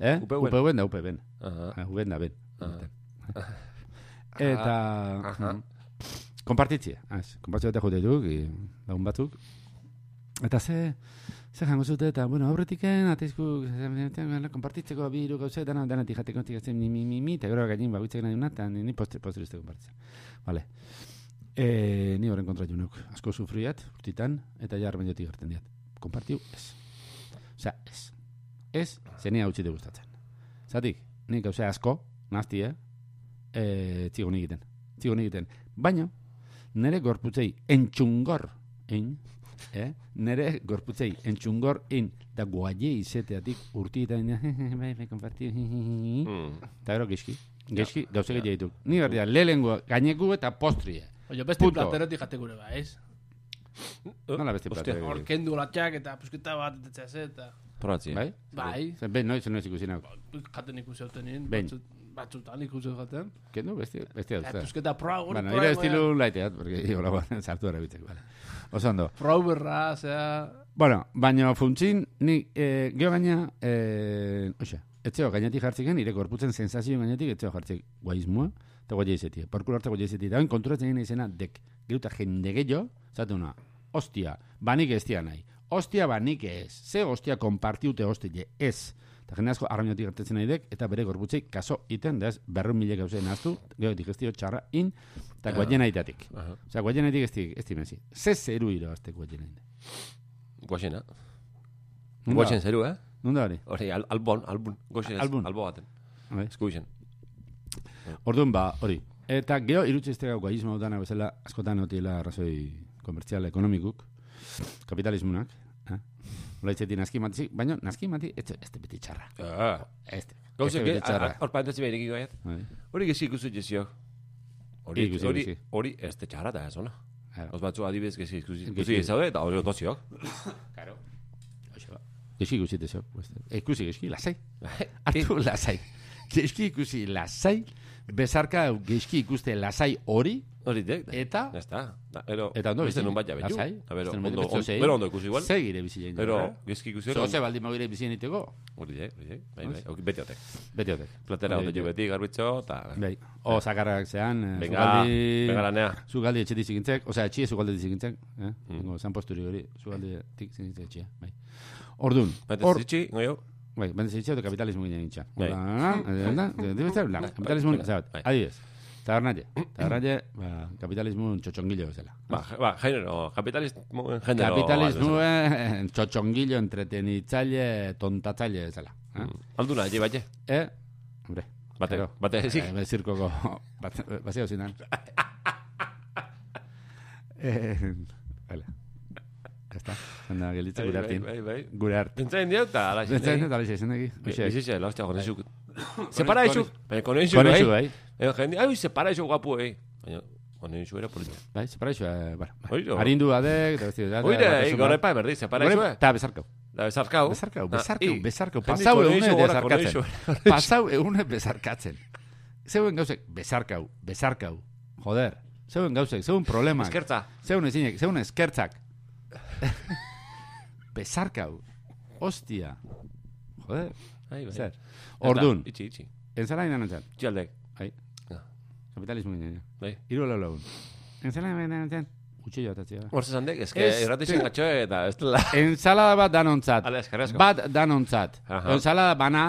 [SPEAKER 2] Eh?
[SPEAKER 1] UPV.
[SPEAKER 2] UPV da UPV.
[SPEAKER 1] Aha.
[SPEAKER 2] Ah, UPV da ben.
[SPEAKER 1] Ah.
[SPEAKER 2] Eta... mm,
[SPEAKER 1] Aha.
[SPEAKER 2] Kompartitzia. Az, kompartitzia eta jute duk, i, lagun batzuk. Eta ze, ze jango zute, eta, bueno, aurretiken, ateizku, kompartitzeko bi hiru gauze, dana, dana, tijateko, tijatzen, mi, mi, mi, mi, eta gero gainin, baguitzek nahi una, eta ni ni postre, postre uste kompartitzea. Vale. E, ni horren kontra junok. Asko sufriat, urtitan, eta jar mendiotik hartzen diat. Kompartiu, ez. Osea, ez. Ez, zenia utzi gustatzen. Zatik, nik gauze asko, nazti, eh? E, txigon egiten. Txigon egiten. Baina, nire gorputzei entxungor, in, (laughs) eh? nire gorputzei entxungor, in, da guaie izeteatik urti eta (laughs) bai, bai, konpartiu,
[SPEAKER 1] Mm.
[SPEAKER 2] eta gero gizki, gizki, gauze gehiago dituk. Ni berdia, lehengo, gaineku eta eh? postria.
[SPEAKER 3] Oio, beste
[SPEAKER 2] Punto.
[SPEAKER 3] platero tijate gure ba, ez?
[SPEAKER 2] Nola beste
[SPEAKER 1] Hostia,
[SPEAKER 2] platea.
[SPEAKER 3] Hor, kendu latxak eta pusketa bat, eta txaz, eta...
[SPEAKER 1] Probatzi. eh?
[SPEAKER 2] Bai?
[SPEAKER 3] Bai.
[SPEAKER 2] Zer, Ben, noiz, noiz ikusi nago.
[SPEAKER 3] Jaten ikusi hauten nien,
[SPEAKER 2] Behin.
[SPEAKER 3] batzut- batzutan ikusi jaten.
[SPEAKER 2] Kendu, beste, beste
[SPEAKER 3] Eta
[SPEAKER 2] dut.
[SPEAKER 3] pusketa proa gure.
[SPEAKER 2] Bueno, ira estilu laiteat, porque (laughs) hola, bueno, sartu erabitzeko, vale. Oso ondo.
[SPEAKER 3] Proa berra, zera...
[SPEAKER 2] Bueno, baina funtzin, ni, eh, geho gaina, eh, oxe, etzeo, gainetik jartziken, nire gorputzen sensazio gainetik, etzeo jartzik guaizmoa, eta guaia izetik, porkul hartza guaia izetik, dagoen konturatzen gina izena, dek, geruta jende gehiago, zatu na, ostia, banik ez dia nahi, ostia banik ez, ze ostia konpartiute hostile, ez, eta jende asko arrainotik gertetzen nahi dek, eta bere gorputzei kaso iten, da ez, berrun mila gauzeen aztu, geho digestio txarra in, eta guaien aitatik.
[SPEAKER 1] Aha.
[SPEAKER 2] Osa, guaien aitik ez di- ez di mezi. Ze zeru irabazte guaien aitatik.
[SPEAKER 1] Guaxena.
[SPEAKER 2] Ondo.
[SPEAKER 1] Guaxen zeru, eh?
[SPEAKER 2] Nunda hori?
[SPEAKER 1] Hori, al, albon, albun. Goxen ez,
[SPEAKER 2] Albun.
[SPEAKER 1] albo baten.
[SPEAKER 2] Bai.
[SPEAKER 1] Eskuixen.
[SPEAKER 2] Orduan ba, hori. Eta gero irutze iztega guaizma dana bezala askotan otila arrazoi komertzial ekonomikuk, kapitalismunak, eh? Ola itzetik naski matzik, baina naski mati, ez ez beti txarra.
[SPEAKER 1] Ah.
[SPEAKER 2] Ez te, ez
[SPEAKER 1] Gauzek,
[SPEAKER 2] beti txarra.
[SPEAKER 1] hor parentetzi behin egiko gaiat.
[SPEAKER 2] Bai.
[SPEAKER 1] eh? Hori gezi ikusi jezio. Hori,
[SPEAKER 2] Ikusi,
[SPEAKER 1] hori,
[SPEAKER 2] ikusi.
[SPEAKER 1] hori ez te txarra da ez ona.
[SPEAKER 2] Claro.
[SPEAKER 1] Oz batzu adibidez gezi ikusi
[SPEAKER 2] Gezi.
[SPEAKER 1] ikusi izaude eta hori ondoziok. Oh.
[SPEAKER 2] Claro. Hoxe ba. Gexi ikusi tezo. Ikusi, gexi, lasai. Artu lasai. Gexki ikusi lasai, bezarka gexki ikuste lasai hori,
[SPEAKER 1] Hori dek. da.
[SPEAKER 2] eta...
[SPEAKER 1] Ya está. Da, Ero,
[SPEAKER 2] Eta ondo
[SPEAKER 1] beste
[SPEAKER 2] bizi.
[SPEAKER 1] nun bat jabetu.
[SPEAKER 2] Lasai.
[SPEAKER 1] A ver,
[SPEAKER 2] Beste nun bat
[SPEAKER 1] ondo,
[SPEAKER 2] jabetu,
[SPEAKER 1] on-
[SPEAKER 2] zei.
[SPEAKER 1] bero ondo ikusi igual.
[SPEAKER 2] Segire bizi jain. eh?
[SPEAKER 1] Ero, gizki ikusi hori.
[SPEAKER 2] Zoze baldin magire bizien iteko,
[SPEAKER 1] Hori dek, hori dek. Bai, bai. Oki, Beti otek.
[SPEAKER 2] beti hotek.
[SPEAKER 1] Platera
[SPEAKER 2] Hori
[SPEAKER 1] ote jo
[SPEAKER 2] dek.
[SPEAKER 1] beti, garbitxo, eta...
[SPEAKER 2] Bai. O, zakarrak zean, eh,
[SPEAKER 1] Venga,
[SPEAKER 2] zugaldi...
[SPEAKER 1] venga lanea.
[SPEAKER 2] Zugaldi etxe dizikintzek, osea, etxie zugaldi dizikintzek, eh? Mm. Zan posturi hori, zugaldi dizikintzek etxea, bai. Ordun,
[SPEAKER 1] Bete
[SPEAKER 2] hor,
[SPEAKER 1] zitsi, goio.
[SPEAKER 2] bai, bende zitxe eta kapitalismo ginen gintxa.
[SPEAKER 1] Bai.
[SPEAKER 2] Kapitalismo
[SPEAKER 1] Bai.
[SPEAKER 2] ginen, zabat,
[SPEAKER 1] Bai.
[SPEAKER 2] adibidez. Tabernalle, tabernalle, ba, kapitalismo txotxongilo bezala.
[SPEAKER 1] Ba, ja- ba, genero, kapitalismo en genero.
[SPEAKER 2] Kapitalismo eh, txotxongilo entretenitzaile, tontatzaile bezala.
[SPEAKER 1] Mm.
[SPEAKER 2] Eh?
[SPEAKER 1] Alduna, je, bai, je.
[SPEAKER 2] Eh? Hombre,
[SPEAKER 1] Bate,
[SPEAKER 2] claro.
[SPEAKER 1] bate, ezik.
[SPEAKER 2] Eh, zirkoko, bat- bazio
[SPEAKER 1] (laughs)
[SPEAKER 2] zinan. eh, hala. Ya está. Anda, gelitza gure hartin.
[SPEAKER 1] Bai, bai, bai.
[SPEAKER 2] Gure hart.
[SPEAKER 1] Pentsatzen dio, eta ala
[SPEAKER 2] Entzain
[SPEAKER 1] zinei.
[SPEAKER 2] eta lexe zenegi.
[SPEAKER 1] Bizi
[SPEAKER 2] Oxe,
[SPEAKER 1] zela, hostia, konen zuk. Separa
[SPEAKER 2] Konen-
[SPEAKER 1] izuk. Baina konen zuk,
[SPEAKER 2] konen zu,
[SPEAKER 1] bai.
[SPEAKER 2] bai.
[SPEAKER 1] Edo jende, ai, separa izuk guapu, bai. Baina, konen zuk era polito.
[SPEAKER 2] Bai, separa iso, eh, bueno.
[SPEAKER 1] Oiro.
[SPEAKER 2] Arindu adek, eta beste.
[SPEAKER 1] Oire, igor epa, berdi, separa izuk, eh?
[SPEAKER 2] Ta, bezarkau.
[SPEAKER 1] Da, bezarkau.
[SPEAKER 2] Bezarkau,
[SPEAKER 1] Da,
[SPEAKER 2] bezarkau,
[SPEAKER 1] Ah, i,
[SPEAKER 2] bezarkau.
[SPEAKER 1] jende
[SPEAKER 2] Pasau
[SPEAKER 1] konen
[SPEAKER 2] egunez
[SPEAKER 1] zuk gora, konen
[SPEAKER 2] bezarkatzen.
[SPEAKER 1] (laughs) zuk.
[SPEAKER 2] Pasau egunez bezarkatzen. Zeuen gauzek, bezarkau, bezarkau. Joder. Zeuen gauzek, zeuen problemak.
[SPEAKER 1] Eskertza.
[SPEAKER 2] Zeun ezinek, zeun eskertzak. (laughs) Bezarkau. Ostia. Joder.
[SPEAKER 1] Ai, bai.
[SPEAKER 2] Zer.
[SPEAKER 1] Eta,
[SPEAKER 2] Ordun,
[SPEAKER 1] Itxi, itxi.
[SPEAKER 2] enzala inan entzan.
[SPEAKER 1] Itxi aldek.
[SPEAKER 2] Ai.
[SPEAKER 1] Ja.
[SPEAKER 2] Kapitalismo ginen.
[SPEAKER 1] Bai.
[SPEAKER 2] Iru lau lagun. Enzala inan entzan. Utsi jo eh? atatzea.
[SPEAKER 1] Hortz esan dek, eske
[SPEAKER 2] Este-
[SPEAKER 1] irratizen gatxo eta ez dela. Ba-
[SPEAKER 2] Ensalada bat danontzat.
[SPEAKER 1] Ale, eskerrik asko.
[SPEAKER 2] Bat danontzat.
[SPEAKER 1] Aha.
[SPEAKER 2] Ensalada bana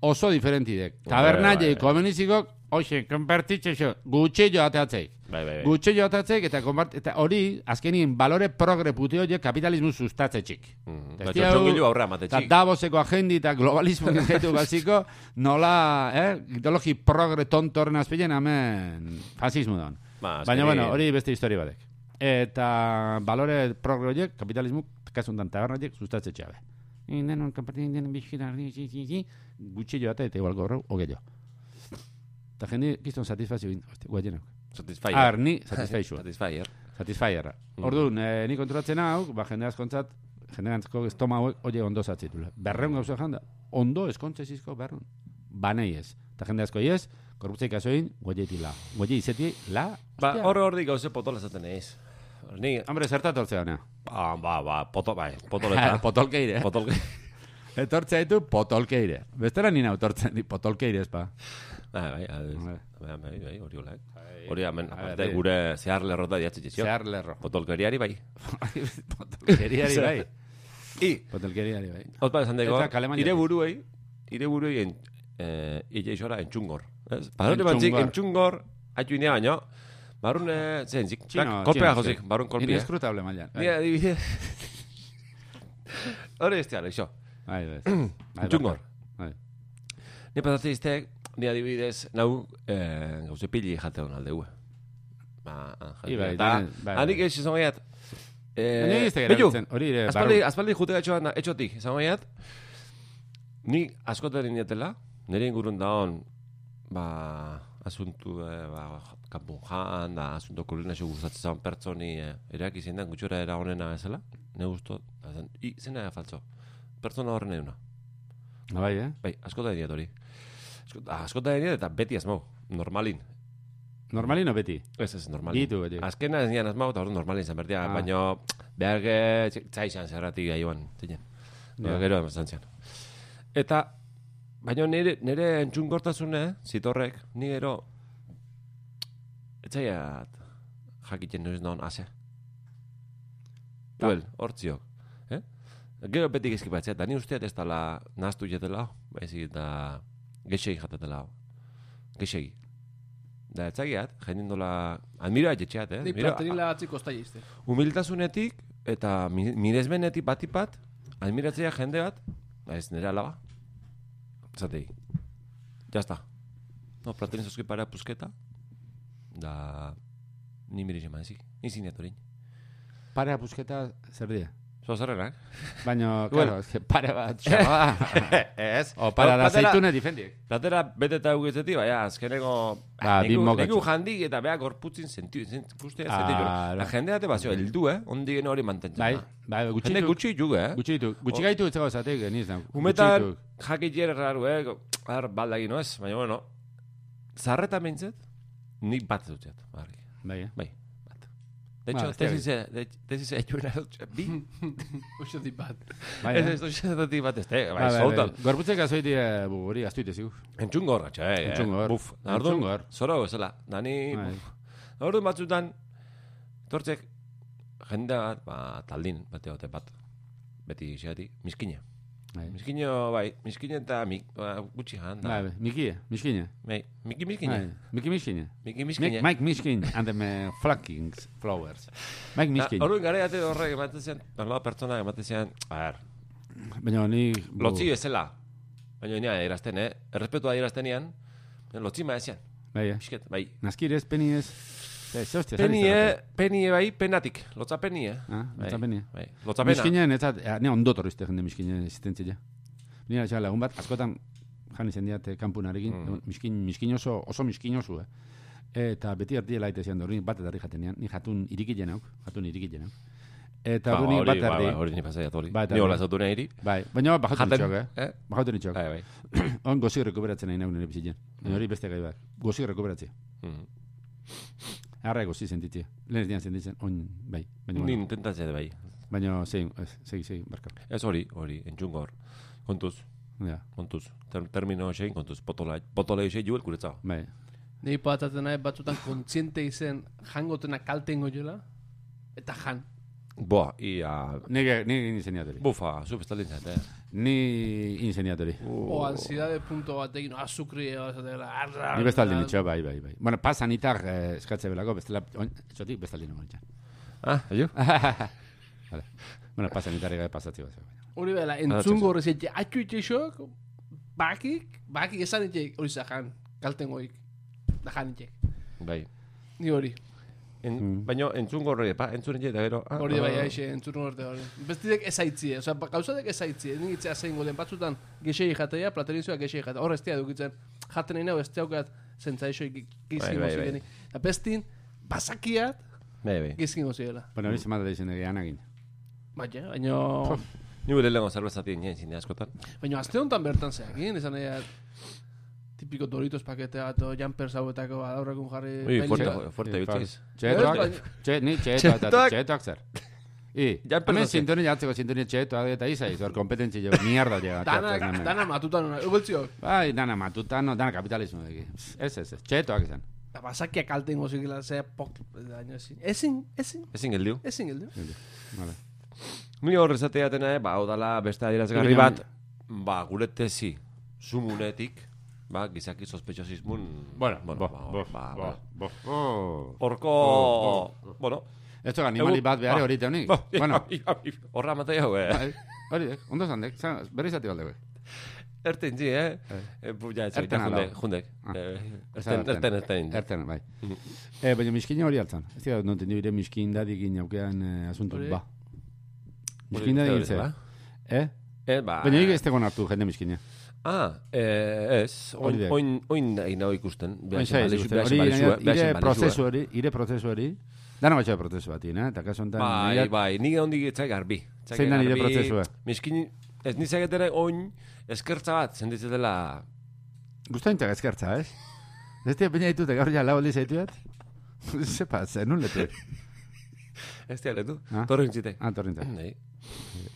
[SPEAKER 2] oso diferentidek. Tabernaile,
[SPEAKER 1] bai, bai.
[SPEAKER 2] komenizikok, hoxe, konpartitxexo, gutxillo ateatzeik.
[SPEAKER 1] Bai, bai, bai.
[SPEAKER 2] Gutxillo ateatzeik eta, konpart- eta hori azkenien balore progre pute horiek kapitalismo sustatzetxik.
[SPEAKER 1] Mm,
[SPEAKER 2] Eta
[SPEAKER 1] Ba,
[SPEAKER 2] ez diau-
[SPEAKER 1] txotxongillo aurra
[SPEAKER 2] Eta
[SPEAKER 1] matetxik.
[SPEAKER 2] Davoseko agendi eta globalismo gaitu baziko, nola, eh, ideologi progre tontorren azpilen, amen, fasismo don.
[SPEAKER 1] Ba, azkenean-
[SPEAKER 2] Baina, bueno, hori beste historia badek. Eta balore progre horiek, kapitalismo, kasuntan taberna horiek, sustatze txabe. Denon, kapatzen denon, bizkita, ardi, zi, zi, zi. Gutxi joate, eta igual gorrau, hogeio. Eta jende, kiston satisfazio bin, hosti, guaienak.
[SPEAKER 1] Satisfyer.
[SPEAKER 2] Ar, ni,
[SPEAKER 1] (laughs)
[SPEAKER 2] satisfaixua.
[SPEAKER 1] Satisfyer.
[SPEAKER 2] Satisfyerra. Orduan, eh, ni konturatzen hau, ba, jende askontzat, jende asko estoma hauek, oie ondo zatzitula. Berreun gauza janda, ondo eskontzezizko berreun. Banei ez. Eta jende asko ez, korruptzei kasoin, goieti la. Goie izeti la,
[SPEAKER 1] Ba,
[SPEAKER 2] hostia.
[SPEAKER 1] hor hor dik gauze potola esaten eiz. Ni,
[SPEAKER 2] Hombre, zerta tortzea gana.
[SPEAKER 1] ba, ba, ba, poto, bai, potoleta.
[SPEAKER 2] (laughs) potolkeire.
[SPEAKER 1] Potolke. (laughs)
[SPEAKER 2] Etortzea ditu potolkeire. Bestera nina autortzen, di potolkeire ba? espa.
[SPEAKER 1] Bai, bai, bai,
[SPEAKER 2] Bai.
[SPEAKER 1] bai, bai, bai, hori olak. Hori, hemen,
[SPEAKER 2] A
[SPEAKER 1] aparte,
[SPEAKER 2] ver, eh.
[SPEAKER 1] gure zehar lerrota diatze txizio.
[SPEAKER 2] Zehar lerro.
[SPEAKER 1] Potolkeriari, bai.
[SPEAKER 2] Potolkeriari bai.
[SPEAKER 1] I,
[SPEAKER 2] (laughs) Potolkeriari bai.
[SPEAKER 1] hot bat esan dago,
[SPEAKER 2] Eta kale mailatik.
[SPEAKER 1] ire buruei, ire buruei, en, eh, ire isora entxungor. Ez? Barrune
[SPEAKER 2] Entzungor.
[SPEAKER 1] bantzik, entxungor, haitu inea baino, barrune, zein zik,
[SPEAKER 2] Txino,
[SPEAKER 1] tak,
[SPEAKER 2] txino,
[SPEAKER 1] kolpea jozik,
[SPEAKER 2] txino.
[SPEAKER 1] barrun kolpea.
[SPEAKER 2] Ineskrutable mailan. Bai,
[SPEAKER 1] Ni adibidez. Hore bestea, loixo.
[SPEAKER 2] bai, bai. Bai,
[SPEAKER 1] Entzungor.
[SPEAKER 2] bai.
[SPEAKER 1] Ni pasatzen iztek, ni adibidez, nau, eh, gauze pili jateon aldeue. Ba,
[SPEAKER 2] I bai,
[SPEAKER 1] eta,
[SPEAKER 2] bai, bai.
[SPEAKER 1] hanik ah, ez izan gaiat.
[SPEAKER 2] Baina
[SPEAKER 1] Eh,
[SPEAKER 2] ez da
[SPEAKER 1] Pellu,
[SPEAKER 2] erabiltzen, hori ere, barru.
[SPEAKER 1] Aspaldi, aspaldi jute gatxo bat, etxotik, izan baiat, ni askotan indiatela, nire ingurun daon, ba, asuntu, eh, ba, kanpun jan, da, asunto kulinasio gustatzen zaun pertsoni, eh, erak izin den, gutxura era honena bezala, ne guztu, i, zena faltzo, pertsona horren eguna.
[SPEAKER 2] Ah, Bai, eh?
[SPEAKER 1] Bai, askotan indiat hori. Askot- Askotan indiat eta beti asmau, normalin.
[SPEAKER 2] Normalino beti.
[SPEAKER 1] Ez, ez, normalin.
[SPEAKER 2] Ditu beti.
[SPEAKER 1] Azkena ez nian asmau, eta hori normalin zan bertia,
[SPEAKER 2] Ah.
[SPEAKER 1] baina behar ge, txaixan zerratik gaioan, zinen.
[SPEAKER 2] Ja.
[SPEAKER 1] Ja. Ba, Gero eman zan zian. Eta, baina nire, nire entzungortasune, zitorrek, ni gero, etzaiat, jakiten noiz non haze.
[SPEAKER 2] Ta.
[SPEAKER 1] Duel, hortziok. Eh? Gero beti gezkipatzea, eta ni usteat ez dala naztu jetela, baizik eta gexegi jatetela. Gexegi. Da, etzagiat, jendin dola, admiroa jetxeat, eh?
[SPEAKER 3] Nik
[SPEAKER 1] Admiroa-
[SPEAKER 3] platerila atziko oztai izte.
[SPEAKER 1] humiltasunetik eta mi- miresmenetik bati bat, admiratzea jende bat, ba ez nire alaba, zatei, jazta. No, platerin zozki para pusketa, da ni mire jaman ezik, izin datorin.
[SPEAKER 2] Parea busketa zer dira.
[SPEAKER 1] Zo
[SPEAKER 2] (laughs)
[SPEAKER 1] zerrenak?
[SPEAKER 2] Baina,
[SPEAKER 1] Bueno.
[SPEAKER 2] claro, ez que pare bat (laughs) xaba.
[SPEAKER 1] Ez.
[SPEAKER 2] o para da
[SPEAKER 1] platera-
[SPEAKER 2] zeitune difendiek.
[SPEAKER 1] Platera bete eta eukitzetik, baina, azkeneko...
[SPEAKER 2] Ba, bi mokatxo.
[SPEAKER 1] Neku jandik eta behar gorputzin zentu, zentu, zentu,
[SPEAKER 2] Ah,
[SPEAKER 1] zentu, jendea te bazio, heldu, eh? Ondi gene hori mantentzen.
[SPEAKER 2] Bai,
[SPEAKER 1] da.
[SPEAKER 2] bai, gutxi
[SPEAKER 1] Jende gutxi jugu, eh?
[SPEAKER 2] Gutxi ditu. Gutxi gaitu etzago zatek geniz da.
[SPEAKER 1] Humetan, jakit jere raru, eh? go- Ar, baldagi, no ez? Baina, bueno, zarreta meintzet, nik bat dutzet, barri.
[SPEAKER 2] Bai, eh?
[SPEAKER 1] Bai, bat. De
[SPEAKER 2] Ba,
[SPEAKER 1] hecho,
[SPEAKER 2] ez Hmm. da
[SPEAKER 1] tesis, de, tesis egin bi,
[SPEAKER 3] Uxo dit bat.
[SPEAKER 2] Bai,
[SPEAKER 1] ez
[SPEAKER 2] eh?
[SPEAKER 1] ez doxetatik bat, ez te,
[SPEAKER 2] Bai,
[SPEAKER 1] bai,
[SPEAKER 2] bai, bai.
[SPEAKER 1] zautan.
[SPEAKER 2] Gorputzek azoiti eh, bu, hori astuite zigu.
[SPEAKER 1] Entzungo hor, gatxa, eh?
[SPEAKER 2] Entzungo hor.
[SPEAKER 1] Buf, da,
[SPEAKER 2] Entzungo hor.
[SPEAKER 1] orduan, zora bezala, dani,
[SPEAKER 2] Bai.
[SPEAKER 1] buf. Orduan batzutan, tortzek, jende bat, ba, taldin, bate bate bat, beti xeati, miskina.
[SPEAKER 2] Bai,
[SPEAKER 1] Miskino, bai, miskina eta mik, ba, gutxi jan, da.
[SPEAKER 2] bai, mikie, miskine.
[SPEAKER 1] Bai, miki miskina.
[SPEAKER 2] Bai, Miki miskine.
[SPEAKER 1] Miki
[SPEAKER 2] Mike,
[SPEAKER 1] miskina.
[SPEAKER 2] Mike Miskin and the eh, Flackings Flowers. Mike Miskin.
[SPEAKER 1] Horren gara jate horrek ematen zen, nola pertsonak ematen zen, a ber,
[SPEAKER 2] Baina ni... bu-
[SPEAKER 1] lotzi bezala. Baina nina erazten, eh? Errespetua adierazten ean, lotzi ma ezian,
[SPEAKER 2] Bai, eh?
[SPEAKER 1] pixket, bai.
[SPEAKER 2] Naskirez, peniez... Ez, hostia, zari
[SPEAKER 1] Penie,
[SPEAKER 2] zerrate.
[SPEAKER 1] penie bai, penatik, lotza penie.
[SPEAKER 2] Ah, lotza penie.
[SPEAKER 1] Bai, lotza pena.
[SPEAKER 2] Miskinen, ez zat, ne ondo torrizte jende miskinen existentzia. Nira etxan lagun bat, askotan jan izan diat eh, kanpunarekin,
[SPEAKER 1] Mm.
[SPEAKER 2] mm. miskin, miskin oso, oso miskin oso, eh? Eta beti erdi laite zian dorri, bat erdi jaten nian, ni jatun irikilen hauk, jatun irikilen hauk. Eta
[SPEAKER 1] Ba,
[SPEAKER 2] hori
[SPEAKER 1] hori,
[SPEAKER 2] bat
[SPEAKER 1] ba,
[SPEAKER 2] erdi.
[SPEAKER 1] ba, hori ni pasaia, hori.
[SPEAKER 2] Bat
[SPEAKER 1] Ni hola
[SPEAKER 2] erdi.
[SPEAKER 1] zautu nahi iri.
[SPEAKER 2] Bai, baina bajatu nitxok, eh?
[SPEAKER 1] eh?
[SPEAKER 2] Bajatu nitxok.
[SPEAKER 1] Bai, Mm. bai.
[SPEAKER 2] On gozik rekuperatzen nahi nahi nire bizitzen. Baina hori beste gai bat. Gozik rekuperatzea.
[SPEAKER 1] Mm.
[SPEAKER 2] Arra gozik sentitzea. Lehen ez dian sentitzen, on, bai. Baina,
[SPEAKER 1] Ni
[SPEAKER 2] bueno,
[SPEAKER 1] intentatzea bai.
[SPEAKER 2] baina zein, ez, segi, segi, barka.
[SPEAKER 1] Ez hori, hori, entzungo hor. Kontuz,
[SPEAKER 2] Ja,
[SPEAKER 1] kontuz. Ter termino xein, kontuz. Potola, potola xein juel kuretza.
[SPEAKER 2] bai.
[SPEAKER 3] Nei patatzen nahi batzutan kontziente izen jangotena kaltengo jola. Eta jan.
[SPEAKER 1] Boa, ia...
[SPEAKER 2] Nire, nire ingeniatori.
[SPEAKER 1] Bufa, zu bestalin zait, eh?
[SPEAKER 2] Ni ingeniatori.
[SPEAKER 3] O ansiedade punto ah, batekin, azukri, azatela, arra.
[SPEAKER 2] Ni bestaldi nitxo, bai, bai, bai. Bueno, pasan itar eh, eskatze belako, bestela, on, etxotik bestaldi nago (laughs) nitxan.
[SPEAKER 1] Ah, aio?
[SPEAKER 2] Hala. Bueno, pasan itar ega pasatzi bat. baina.
[SPEAKER 3] Hori bela, entzungo horrez etxe, atxu itxexok, bakik, bakik esan etxek, hori za jan, kaltengoik. Da jan etxek.
[SPEAKER 1] Bai.
[SPEAKER 3] Ni hori.
[SPEAKER 1] en,
[SPEAKER 2] Hmm.
[SPEAKER 1] baina entzun gorri, pa, entzun egin eta gero... ah,
[SPEAKER 3] Hori bai,
[SPEAKER 1] ah,
[SPEAKER 3] aixe, entzun horte hori. Bestidek ez eh. aitzie, oza, gauzadek ba, ez aitzie, nik itzea zein golen batzutan gexei jatea, platerizioa gexei jatea. Hor ez tia dukitzen, jaten egin hau ez tiaukat zentzaiso
[SPEAKER 1] Bai,
[SPEAKER 3] gizkin
[SPEAKER 1] bai, bai.
[SPEAKER 3] mozireni. Eta bestin, bazakiat
[SPEAKER 1] Bai, bai.
[SPEAKER 3] gizkin mozirela.
[SPEAKER 2] Bueno, hori zemate da izan egia anagin.
[SPEAKER 3] Baina, baina...
[SPEAKER 1] Ni gure lehenko zerbezatien nien zine askotan.
[SPEAKER 3] Baina aste honetan bertan zeakin, esan ea tipiko Doritos paketea ato jumpers hauetako badaurrekun jarri...
[SPEAKER 1] Ui, fuerte,
[SPEAKER 3] pelita.
[SPEAKER 1] fuerte, bitziz.
[SPEAKER 2] Txetoak, txe, ni txetoak, eta
[SPEAKER 1] Txetoak.
[SPEAKER 2] txetoak zer. I, (laughs)
[SPEAKER 1] Ja, pero
[SPEAKER 2] hemen
[SPEAKER 1] sí.
[SPEAKER 2] sintonia atzeko sintonia txetoak eta izaiz, hor kompetentzi jo, (laughs) mierda llega.
[SPEAKER 3] Dana,
[SPEAKER 2] txetoak hemen.
[SPEAKER 3] dana matutan una, ubeltzio.
[SPEAKER 2] Bai, dana matutano, dana kapitalismo deki. Ez, ez, ez, txetoak izan.
[SPEAKER 3] Eta bazakiak kalte ingo zikila, zea pok... Daño ezin, ezin, ezin,
[SPEAKER 1] Ezin geldiu.
[SPEAKER 3] ezin gildu.
[SPEAKER 2] Vale.
[SPEAKER 1] Ni hor esatea dena, eh, ba, hau dala beste adierazgarri bat, ba, gure tesi sumunetik, ba, gizaki sospechosismun...
[SPEAKER 2] Bueno, bo,
[SPEAKER 1] ba,
[SPEAKER 2] bo,
[SPEAKER 1] ba,
[SPEAKER 2] bo,
[SPEAKER 1] ba.
[SPEAKER 2] bo, bo.
[SPEAKER 1] Horko, bueno,
[SPEAKER 2] Esto animali
[SPEAKER 1] Egu-
[SPEAKER 2] bat behar
[SPEAKER 1] ba.
[SPEAKER 2] horita honik.
[SPEAKER 1] Ba,
[SPEAKER 2] (laughs)
[SPEAKER 1] (laughs)
[SPEAKER 2] Bueno,
[SPEAKER 1] horra matei hau, eh?
[SPEAKER 2] bai, hori, dek, ondo zandek, zan- berriz ati baldek.
[SPEAKER 1] Erten zi, eh? Eh, bu, Ja, ez,
[SPEAKER 2] Bai. Erten
[SPEAKER 1] ja,
[SPEAKER 2] ala.
[SPEAKER 1] jundek, jundek.
[SPEAKER 2] Ah.
[SPEAKER 1] Eh,
[SPEAKER 2] Esa
[SPEAKER 1] Erten, erten, erten.
[SPEAKER 2] Erten, bai. Eh, baina miskina hori altzan. Ez dira, non tendu bire miskin dadikin aukean eh, asuntu,
[SPEAKER 3] Hori-
[SPEAKER 2] ba. Miskin dadikin zer.
[SPEAKER 1] Ba?
[SPEAKER 2] Eh?
[SPEAKER 1] Eh, ba...
[SPEAKER 2] Baina nik ez tegoen hartu jende miskina.
[SPEAKER 1] Ah, eh, ez,
[SPEAKER 2] Hori
[SPEAKER 1] oin,
[SPEAKER 2] da.
[SPEAKER 1] oin, oin nahi nago ikusten.
[SPEAKER 2] Hori,
[SPEAKER 1] Behasen balezu- behasen balezue, behasen
[SPEAKER 2] ire
[SPEAKER 1] balezue.
[SPEAKER 2] prozesu hori, ire prozesu hori, dana batxoa prozesu batin, eh? Eta kaso honetan,
[SPEAKER 1] Bai,
[SPEAKER 2] nireak-
[SPEAKER 1] bai, nik ondik etzai garbi. Etzai
[SPEAKER 2] Zein da nire
[SPEAKER 1] garbi,
[SPEAKER 2] prozesua?
[SPEAKER 1] Miskin, ez nizaketere oin eskertza bat, senditzetela...
[SPEAKER 2] Gustatzen eta gazkertza, ez? eh? Ez dira peina ditut, gaur ja lau aldiz zaituet? (laughs) Ze pasa, nun letu?
[SPEAKER 1] Ez diale du,
[SPEAKER 2] Ah.
[SPEAKER 1] torren txite.
[SPEAKER 2] Ah,
[SPEAKER 1] (clears throat) (laughs)
[SPEAKER 2] torrinta.
[SPEAKER 1] Nei.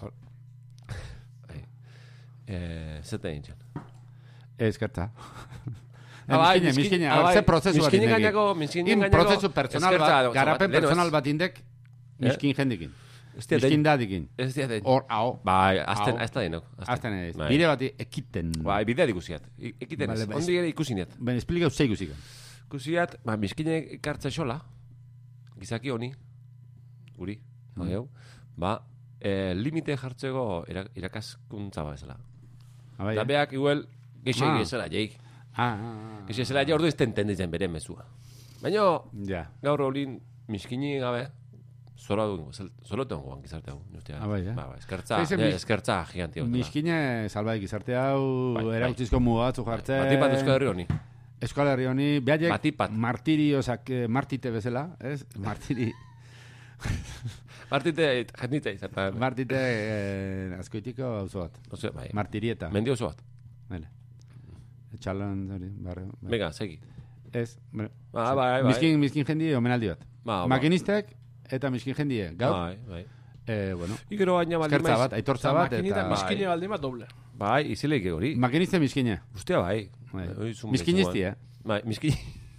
[SPEAKER 2] Hor.
[SPEAKER 1] Ai. Eh, zeta nintzen.
[SPEAKER 2] Eskertza.
[SPEAKER 1] Ah, bai,
[SPEAKER 2] Miskine, miskine, hor, ze prozesu bat
[SPEAKER 1] Miskine
[SPEAKER 2] indeki.
[SPEAKER 1] gainako, miskine
[SPEAKER 2] In
[SPEAKER 1] gainako...
[SPEAKER 2] prozesu personal
[SPEAKER 1] eskertza
[SPEAKER 2] bat,
[SPEAKER 1] dago,
[SPEAKER 2] garapen
[SPEAKER 1] leno ez. Eh?
[SPEAKER 2] personal bat indek, miskin jendikin.
[SPEAKER 1] Ez diat
[SPEAKER 2] Miskin
[SPEAKER 1] den,
[SPEAKER 2] dadikin.
[SPEAKER 1] ez diat den.
[SPEAKER 2] Hor, hau,
[SPEAKER 1] Bai, azten,
[SPEAKER 2] Au.
[SPEAKER 1] azten denok.
[SPEAKER 2] azten ez.
[SPEAKER 1] Bai.
[SPEAKER 2] Bide bati ekiten.
[SPEAKER 1] Bai, bidea dikusiat. I- Ekiten ez,
[SPEAKER 2] Vale, bai.
[SPEAKER 1] ondik ere ikusinet.
[SPEAKER 2] Ben, esplikau zei guzikan.
[SPEAKER 1] Kusiat, ba, miskine kartza xola, gizaki honi, guri, mm. hau, ba, e, limite jartzeko irak, irakaskuntza ba bezala.
[SPEAKER 2] Abai,
[SPEAKER 1] Eta
[SPEAKER 2] eh?
[SPEAKER 1] beak, igual, geixo
[SPEAKER 2] Ah.
[SPEAKER 1] ah. ezela jeik.
[SPEAKER 2] Ah, ah, ah.
[SPEAKER 1] Geixo ezela jeik, ordu ez tentenditzen bere mezua. Baina,
[SPEAKER 2] Ja,
[SPEAKER 1] gaur olin, miskini gabe, zora du, zora du guan gizarte hau. Justia.
[SPEAKER 2] Ah, bai, eh?
[SPEAKER 1] Ba, ba, eskertza,
[SPEAKER 2] Zaizen
[SPEAKER 1] eh,
[SPEAKER 2] mis-
[SPEAKER 1] eskertza giganti hau.
[SPEAKER 2] Miskine salbai gizarte hau
[SPEAKER 1] Bai, bai.
[SPEAKER 2] erakutsizko mugatzu jartzen.
[SPEAKER 1] Bati bat euskal herri honi.
[SPEAKER 2] Euskal Herri honi, behaiek
[SPEAKER 1] Batik bat.
[SPEAKER 2] martiriosak, eh, martite bezala, ez?
[SPEAKER 1] (laughs)
[SPEAKER 2] Martiri,
[SPEAKER 1] Martite, jendita izan.
[SPEAKER 2] martite eh, azkoitiko auzo bat.
[SPEAKER 1] Ose, bai,
[SPEAKER 2] Martirieta.
[SPEAKER 1] mendi oso bat.
[SPEAKER 2] Bale. Txalan, hori, barrio. bai.
[SPEAKER 1] Venga, segi.
[SPEAKER 2] Ez, bale.
[SPEAKER 1] Ba, bai, bai.
[SPEAKER 2] Miskin, miskin jendi, omenaldi bat.
[SPEAKER 1] Ba, ba.
[SPEAKER 2] Makinistek eta miskin jendie. Gaur,
[SPEAKER 1] Bai, bai.
[SPEAKER 2] eh, bueno,
[SPEAKER 1] Y gero baina baldin
[SPEAKER 2] eskertza
[SPEAKER 1] maiz-
[SPEAKER 2] bat, aitortza
[SPEAKER 3] Eta
[SPEAKER 2] bat,
[SPEAKER 3] makinita,
[SPEAKER 2] eta... bai.
[SPEAKER 1] miskin-
[SPEAKER 3] miskine baldin bat doble.
[SPEAKER 1] Bai, izileik hori.
[SPEAKER 2] Makiniste miskine.
[SPEAKER 1] Ustea bai.
[SPEAKER 2] Bai.
[SPEAKER 1] Hori zuen
[SPEAKER 2] Miskinesti,
[SPEAKER 1] mezuan.
[SPEAKER 2] eh?
[SPEAKER 1] Bai, miskin...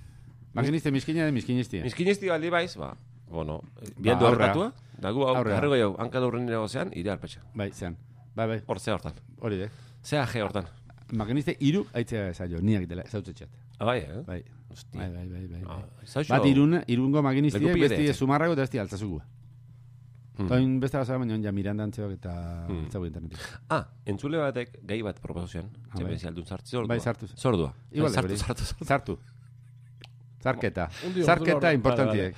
[SPEAKER 2] (laughs) Makiniste miskine, miskinisti.
[SPEAKER 1] Miskinesti baldi baiz, ba. Bueno, biandu
[SPEAKER 2] aurrea.
[SPEAKER 1] hartatua. Dagu hau,
[SPEAKER 2] Aurrea.
[SPEAKER 1] jarriko jau, hanka daurren nire gozean, ire alpetxan.
[SPEAKER 2] Bai, zean. Bai, bai,
[SPEAKER 1] Hor, zea hortan.
[SPEAKER 2] hori dek.
[SPEAKER 1] Zea G hortan.
[SPEAKER 2] Makiniste iru aitzea zailo, niak dela, zautzetxat.
[SPEAKER 1] Ah, Bai, eh?
[SPEAKER 2] Bai,
[SPEAKER 1] Hostia.
[SPEAKER 2] bai, bai, bai, bai.
[SPEAKER 1] Ah,
[SPEAKER 2] bai.
[SPEAKER 1] zauxo-
[SPEAKER 2] Bat irun, irungo
[SPEAKER 1] Leku
[SPEAKER 2] makinistia,
[SPEAKER 1] pila
[SPEAKER 2] besti
[SPEAKER 1] deitzen.
[SPEAKER 2] sumarrago eta besti altzazugua.
[SPEAKER 1] Hmm.
[SPEAKER 2] Hmm. Toin beste bazara, baina ja mirandan zeok eta hmm.
[SPEAKER 1] Hmm.
[SPEAKER 2] internetik.
[SPEAKER 1] Ah, entzule batek gai bat proposazion.
[SPEAKER 2] Ah,
[SPEAKER 1] Zemen
[SPEAKER 2] bai.
[SPEAKER 1] bai. aldun sartu zordua.
[SPEAKER 2] Bai, sartu.
[SPEAKER 1] Zordua.
[SPEAKER 2] Igual,
[SPEAKER 1] sartu,
[SPEAKER 2] hori.
[SPEAKER 1] sartu, sartu.
[SPEAKER 2] Zartu. Zarketa.
[SPEAKER 3] Un dio, un
[SPEAKER 2] Zarketa
[SPEAKER 3] dio,
[SPEAKER 2] importantiek.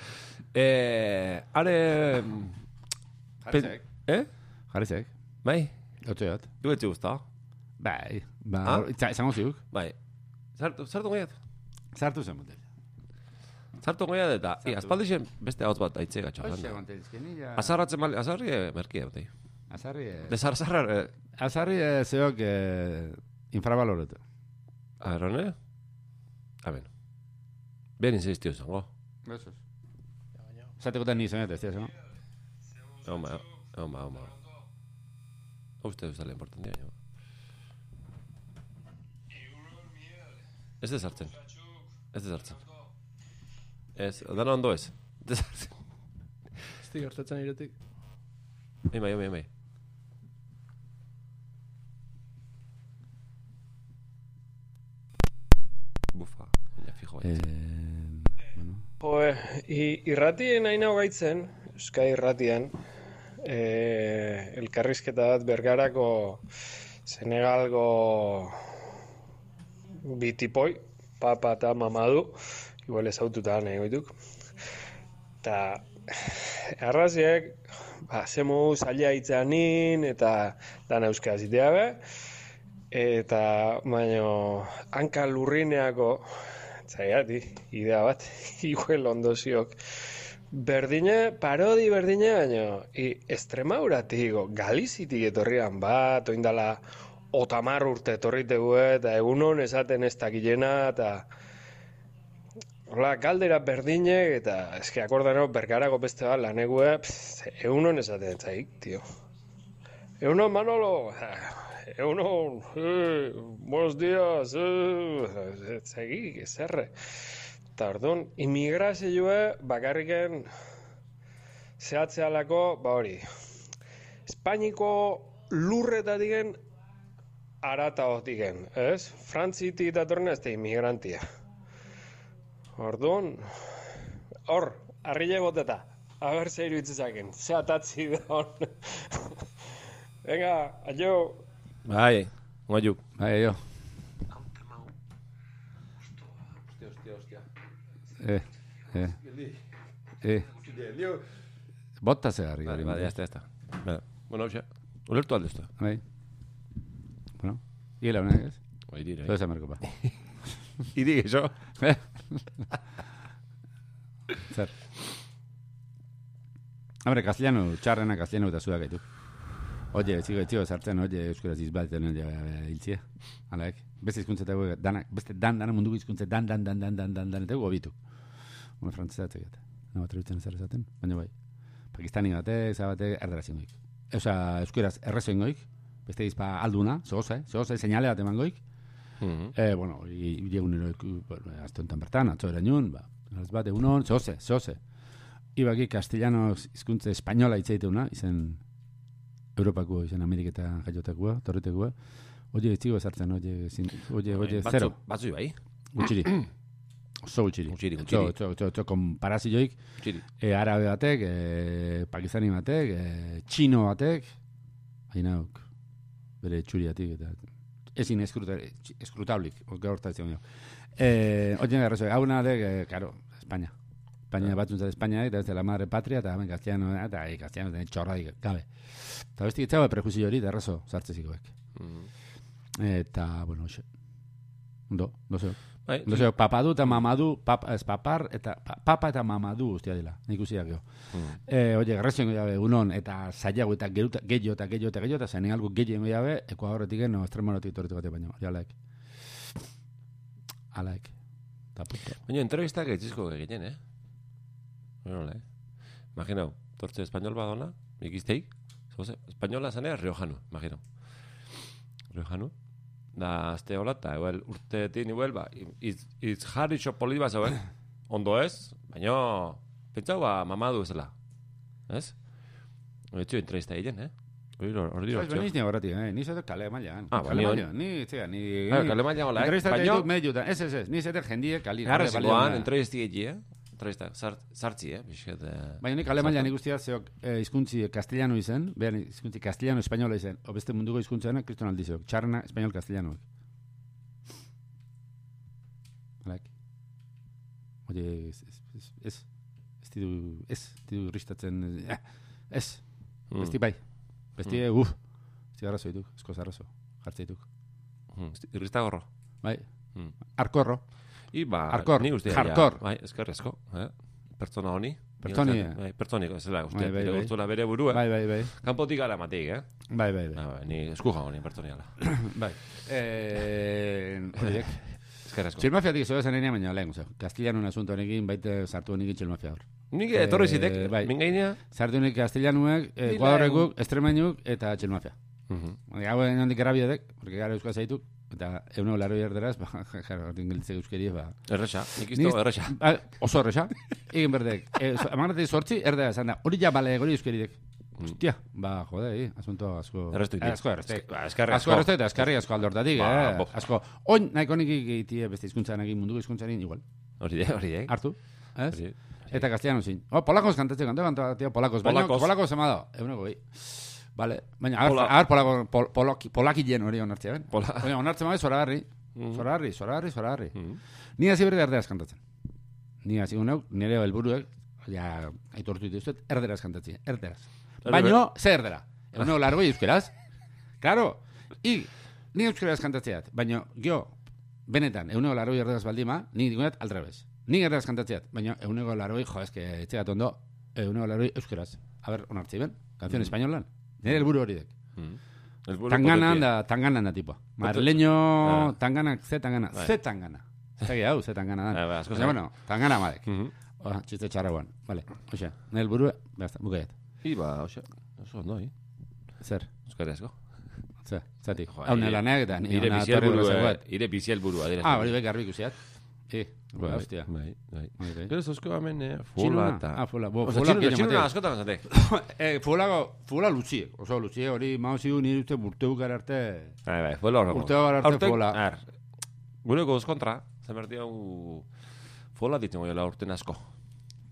[SPEAKER 1] Eh, are... mm,
[SPEAKER 2] Jarrizek.
[SPEAKER 1] Eh?
[SPEAKER 2] Jarrizek.
[SPEAKER 1] Bai?
[SPEAKER 2] Otzeot.
[SPEAKER 1] Du etxe guztao?
[SPEAKER 2] Bai. Ba,
[SPEAKER 1] Ah?
[SPEAKER 2] hor- itza- izango ziuk.
[SPEAKER 1] Bai. Sartu, sartu gaiat.
[SPEAKER 2] Zartu zen motel.
[SPEAKER 1] Zartu goia eta, i, aspaldixen beste hau bat aitze gatxo.
[SPEAKER 2] Hoxe, guantelizkenilla.
[SPEAKER 1] Azarratzen mal, azarri eh, merkia dute.
[SPEAKER 2] Azarri, eh,
[SPEAKER 1] Desar, zarra, eh,
[SPEAKER 2] azarri eh, zeok eh, infrabaloretu.
[SPEAKER 1] arone? Amen. Ben insistio zango.
[SPEAKER 2] Besos. Zatekotan ni zenet, ez dira, zeno?
[SPEAKER 1] Oma, oma, oma. ba. Uste duz dela importantia. jo. Ez desartzen. Ez desartzen. Ez, dana ondo ez. Desartzen.
[SPEAKER 3] Ez di gertatzen iretik.
[SPEAKER 1] Ema, ema, ema. Bufa, ja fijo.
[SPEAKER 2] Eh,
[SPEAKER 1] baietz.
[SPEAKER 2] bueno.
[SPEAKER 4] Jo, eh, i- irratien nahi nago gaitzen, Euskal Irratian, eh, elkarrizketa bat bergarako Senegalgo bitipoi, papa eta mamadu, igual ezaututa nahi goituk. Eta arraziek, ba, ze modu zaila itzanin, eta dan euskaz itea be. Eta, baino, hanka lurrineako, zaiati, idea bat, (laughs) iguel ondoziok. Berdina, parodi berdina, baino, i, estremauratik, o, galizitik etorrian bat, oindala, otamar urte etorritegu, eta egunon esaten ez dakilena, eta... Hola, galdera berdinek, eta eske akordano bergarako beste bat lanegue, pff, egunon esaten zaik, tio. Egunon, Manolo, egunon, eh, buenos días, eh, zegi, ezerre. Eta orduan, imigrazioa bakarriken zehatzealako, ba hori, Espainiko lurretatiken aratagotiken, ez? Frantzitik datorren ez da imigrantia. Orduan, hor, arrile boteta, aber ze iruditzezaken, ze atatzi da hor. Venga, aio!
[SPEAKER 2] Eh,
[SPEAKER 1] Bai, guaiuk.
[SPEAKER 2] Bai, jo. Eh, eh. Eh. Bota ze harri.
[SPEAKER 1] Bai, bai, jazta, jazta. Bera. Bueno, hau Ulertu alde usta.
[SPEAKER 2] Bai. Bueno, hiela honek ez?
[SPEAKER 1] Bai, dire.
[SPEAKER 2] Zoe zamarko ba.
[SPEAKER 1] Idi, eso.
[SPEAKER 2] Eh? Zer. Hombre, castellano, txarrena castellano eta zuak gaitu. Oye, etzigo, etzigo, sartzen, oye, euskaraz izbalten hiltzia. Alaek, beste hizkuntzetago danak, beste dan, dana munduko hizkuntze, dan, dan, dan, dan, dan, dan, dan, eta gobitu. Home, frantzesa eta gata. Nago atrebitzen zer esaten, baina bai. Pakistani bate, zabate, erderaz ingoik. Osa, euskaraz errezo ingoik, beste izpa alduna, zogoza, eh? zogoza, seinale bat emangoik, Eh, bueno, iriegunero, azte honetan bertan, atzo erainun, ba, garaz bat, egunon, zoze, zoze. Ibaki castellano hizkuntza espainola itzaiteuna, izen Europako, izen Ameriketan jaiotakua, torretekua. Oie, etzigo ezartzen, oie, ezin- oie,
[SPEAKER 1] Eh,
[SPEAKER 2] oie, zero,
[SPEAKER 1] Batzu bai, (clears throat)
[SPEAKER 2] gutxiri. Oso gutxiri.
[SPEAKER 1] Gutxiri, gutxiri.
[SPEAKER 2] Oso, oso, oso, oso, konparazioik,
[SPEAKER 1] txiri.
[SPEAKER 2] e, arabe batek, e, pakistani batek, e, txino batek, baina ok, bere txuriatik eta ezin eskruta, eskrutaulik, ok, gaur eta zion jo. E, Otzen garrazo, hau nahi dek, e, karo, Espainia. Espainia batzun zara Espainia, eta ez de la madre patria, eta hemen castellano, eta e, castellano den txorra dik, gabe. Eta beste gitzau, prejuzio hori, da errazo, sartzezikoek. Eta, bueno, xe. Do, do zeo.
[SPEAKER 1] Bai,
[SPEAKER 2] No sé, papadu eta mamadu, pap, ez papar, eta pa- papa eta mamadu guztia dela, nik usiak jo. Eh, oye, garrasio ingo jabe, unon, eta zailago, eta geruta, gehiago, eta gehiago, eta gehiago, eta zainen algo gehiago ingo jabe, ekuadorretik eno, estremorotik torretu bate baino, hori alaik. Alaik. Eta punto.
[SPEAKER 1] Baina, entrevistak gaitzizko egiten, eh? Bueno, eh? Imaginau, tortze espainol badona, ikizteik, zoze, espainola zanea riojano, imaginau. Riojano. Da, azte hola, eta igual, urteetin igual, ba, itz, itz jarri txopoli bat zauen,
[SPEAKER 2] (clears throat)
[SPEAKER 1] ondo ez, baina, pentsau, ba, mamadu ezela, ez? Etxu, entrevista egiten, eh? Hori hor- hori
[SPEAKER 2] Pues
[SPEAKER 1] hori
[SPEAKER 2] beniz nio horretik, eh, ni zetek kale mailan.
[SPEAKER 1] Ah,
[SPEAKER 2] Kale
[SPEAKER 1] balio.
[SPEAKER 2] mailan, Ni, txega, ni...
[SPEAKER 1] Ah, kale mailan hola, eh,
[SPEAKER 2] Entrevista
[SPEAKER 1] baino-
[SPEAKER 2] ditut mediotan, ez, ez, ez, ni zetek jendie kali.
[SPEAKER 1] Garra
[SPEAKER 2] kale
[SPEAKER 1] zikoan,
[SPEAKER 2] balioan.
[SPEAKER 1] entrevista egiten, eh? Entrevista, zart, zartzi, eh? Bixet, eh?
[SPEAKER 2] Baina nik alemanian ikustia zeok eh, hizkuntzi castellano izen, behan hizkuntzi castellano espainola izen, o beste munduko hizkuntzaena kriston aldizeok, txarna espainol castellanoak. Halak. Oie, ez, ez, ez, ez, ez ditu, ez, ditu ristatzen, eh, ez,
[SPEAKER 1] Mm.
[SPEAKER 2] besti bai, besti, mm. uff, besti arrazo dituk, eskoz arrazo, jartze dituk.
[SPEAKER 1] Mm, Irristagorro.
[SPEAKER 2] Bai,
[SPEAKER 1] Mm.
[SPEAKER 2] arkorro,
[SPEAKER 1] Iba,
[SPEAKER 2] Hardcore,
[SPEAKER 1] ba, ni uste
[SPEAKER 2] hardcore.
[SPEAKER 1] Ja, bai, eskerrezko, eh? Pertsona honi.
[SPEAKER 2] Pertsoni,
[SPEAKER 1] Ni uste- Bai, pertsoniko, ez dela, uste,
[SPEAKER 2] Bai, bai,
[SPEAKER 1] bere
[SPEAKER 2] bai.
[SPEAKER 1] gustula bere burua.
[SPEAKER 2] bai, bai, bai,
[SPEAKER 1] Kanpotik gara matik, eh?
[SPEAKER 2] bai, bai, bai,
[SPEAKER 1] Ah, bai, ni esku jago ni pertsoniala.
[SPEAKER 2] bai. Eh, horiek.
[SPEAKER 1] Eskerrezko.
[SPEAKER 2] Txilmafiatik zoaz anenean baina lehen, oza, kastilanun asunto honekin, baite sartu honekin txilmafia hor.
[SPEAKER 1] Nik etorri
[SPEAKER 2] Eh,
[SPEAKER 1] zitek,
[SPEAKER 2] bai.
[SPEAKER 1] mingainia.
[SPEAKER 2] Sartu honek kastilanuek, eh,
[SPEAKER 1] Dila
[SPEAKER 2] kuadorrekuk, estremainuk eta txilmafia.
[SPEAKER 1] Mhm.
[SPEAKER 2] Hau egin handik errabiadek, porque gara euskaz zaituk, eta euneko laro erderaz, ba, (laughs) jara, hortin gelitze euskeriz, ba.
[SPEAKER 1] Erresa, nik
[SPEAKER 2] Nik
[SPEAKER 1] izto
[SPEAKER 2] ez-
[SPEAKER 1] erresa.
[SPEAKER 2] Ba, oso horreza, egin berdek. E, Amagatik sortzi, erdera esan da, hori ja bale, hori euskeritek. Hostia, ba, jode, eh, asunto asko...
[SPEAKER 1] Mm. Erraztu ditu.
[SPEAKER 2] Asko erraztu.
[SPEAKER 1] Ba, eskerrik asko.
[SPEAKER 2] Asko erraztu eta eskarri asko aldortatik,
[SPEAKER 1] Ba,
[SPEAKER 2] eh?
[SPEAKER 1] bo.
[SPEAKER 2] Asko, oin nahiko nik egitea beste hizkuntzan egin munduko hizkuntzarekin igual.
[SPEAKER 1] Hori da, hori da.
[SPEAKER 2] Hartu, ez?
[SPEAKER 1] Hori-
[SPEAKER 2] Eta castellano zin. Oh, polakos kantatzen, kantatzen, kantatzen, polakos. Baina,
[SPEAKER 1] Polakos.
[SPEAKER 2] polakos ema da, eguneko gehi. Vale, baina,
[SPEAKER 1] Pola- Ah.
[SPEAKER 2] har, polako, pol, polaki, polakien hori onartzea, ben?
[SPEAKER 1] Pola-
[SPEAKER 2] Baina, onartzen bai, zoragarri.
[SPEAKER 1] Mm.
[SPEAKER 2] Zoragarri, Mm. zoragarri, zoragarri. Ni hasi berde erderaz kantatzen. Ni hasi guneuk, nire helburuek, ja, aitortu dituzet, erderaz kantatzen, erderaz. Baino, ze erdera? Eguneko largoi euskeraz? Claro, i, ni euskeraz kantatzeat, baino, jo, benetan, eguneko largoi erderaz baldima, ni digunet al revés. Ni erderaz kantatzeat, baino, eguneko largoi, jo, eske, etxegat ondo, eguneko largoi euskeraz. A ber, onartzi ben,
[SPEAKER 1] Mm.
[SPEAKER 2] kanzion espainolan. Nire helburu hori dek.
[SPEAKER 1] eh?
[SPEAKER 2] Tangana da, tangana da tipoa.
[SPEAKER 1] Ah.
[SPEAKER 2] Marleño, tangana, ze tangana, ze tangana. Zagi hau, ze tangana
[SPEAKER 1] Bai. Ah, ba,
[SPEAKER 2] da.
[SPEAKER 1] asko
[SPEAKER 2] Baina,
[SPEAKER 1] zabe.
[SPEAKER 2] bueno, tangana madek.
[SPEAKER 1] Mhm.
[SPEAKER 2] Oa, txiste txarra guan. Vale, oxe, nire helburu, basta, bukaiet.
[SPEAKER 1] Iba, ba, oso, oso, no, eh?
[SPEAKER 2] Zer,
[SPEAKER 1] Euskara asko.
[SPEAKER 2] zer, zatik.
[SPEAKER 1] Jo,
[SPEAKER 2] Hau
[SPEAKER 1] eh, nire-
[SPEAKER 2] nire lanak eta nire
[SPEAKER 1] Ire
[SPEAKER 2] ona
[SPEAKER 1] biziel
[SPEAKER 2] torri
[SPEAKER 1] burua,
[SPEAKER 2] burua.
[SPEAKER 1] ire biziel burua.
[SPEAKER 2] Ah, hori bek garbi ikusiat. Eh,
[SPEAKER 1] Bai,
[SPEAKER 2] hostia.
[SPEAKER 1] Bai, bai.
[SPEAKER 2] Bai, bai.
[SPEAKER 1] Gero zauzko hemen, eh,
[SPEAKER 2] Txiluna.
[SPEAKER 1] fola eta...
[SPEAKER 2] Ah, fola, bo,
[SPEAKER 1] Osa,
[SPEAKER 2] fola
[SPEAKER 1] txiluna,
[SPEAKER 2] pila
[SPEAKER 1] txiluna
[SPEAKER 2] mateo.
[SPEAKER 1] askotan
[SPEAKER 2] (laughs)
[SPEAKER 1] gazatek.
[SPEAKER 2] Eh, fola, fola luzie. Oso luzie hori, mauziu nire uste urteukar arte.
[SPEAKER 1] Bai, bai, fola horrego.
[SPEAKER 2] Urteo gara arte
[SPEAKER 1] Aurten-
[SPEAKER 2] fola.
[SPEAKER 1] Ar, gure goz er kontra, zenberti hau fola ditzen goiola urten asko.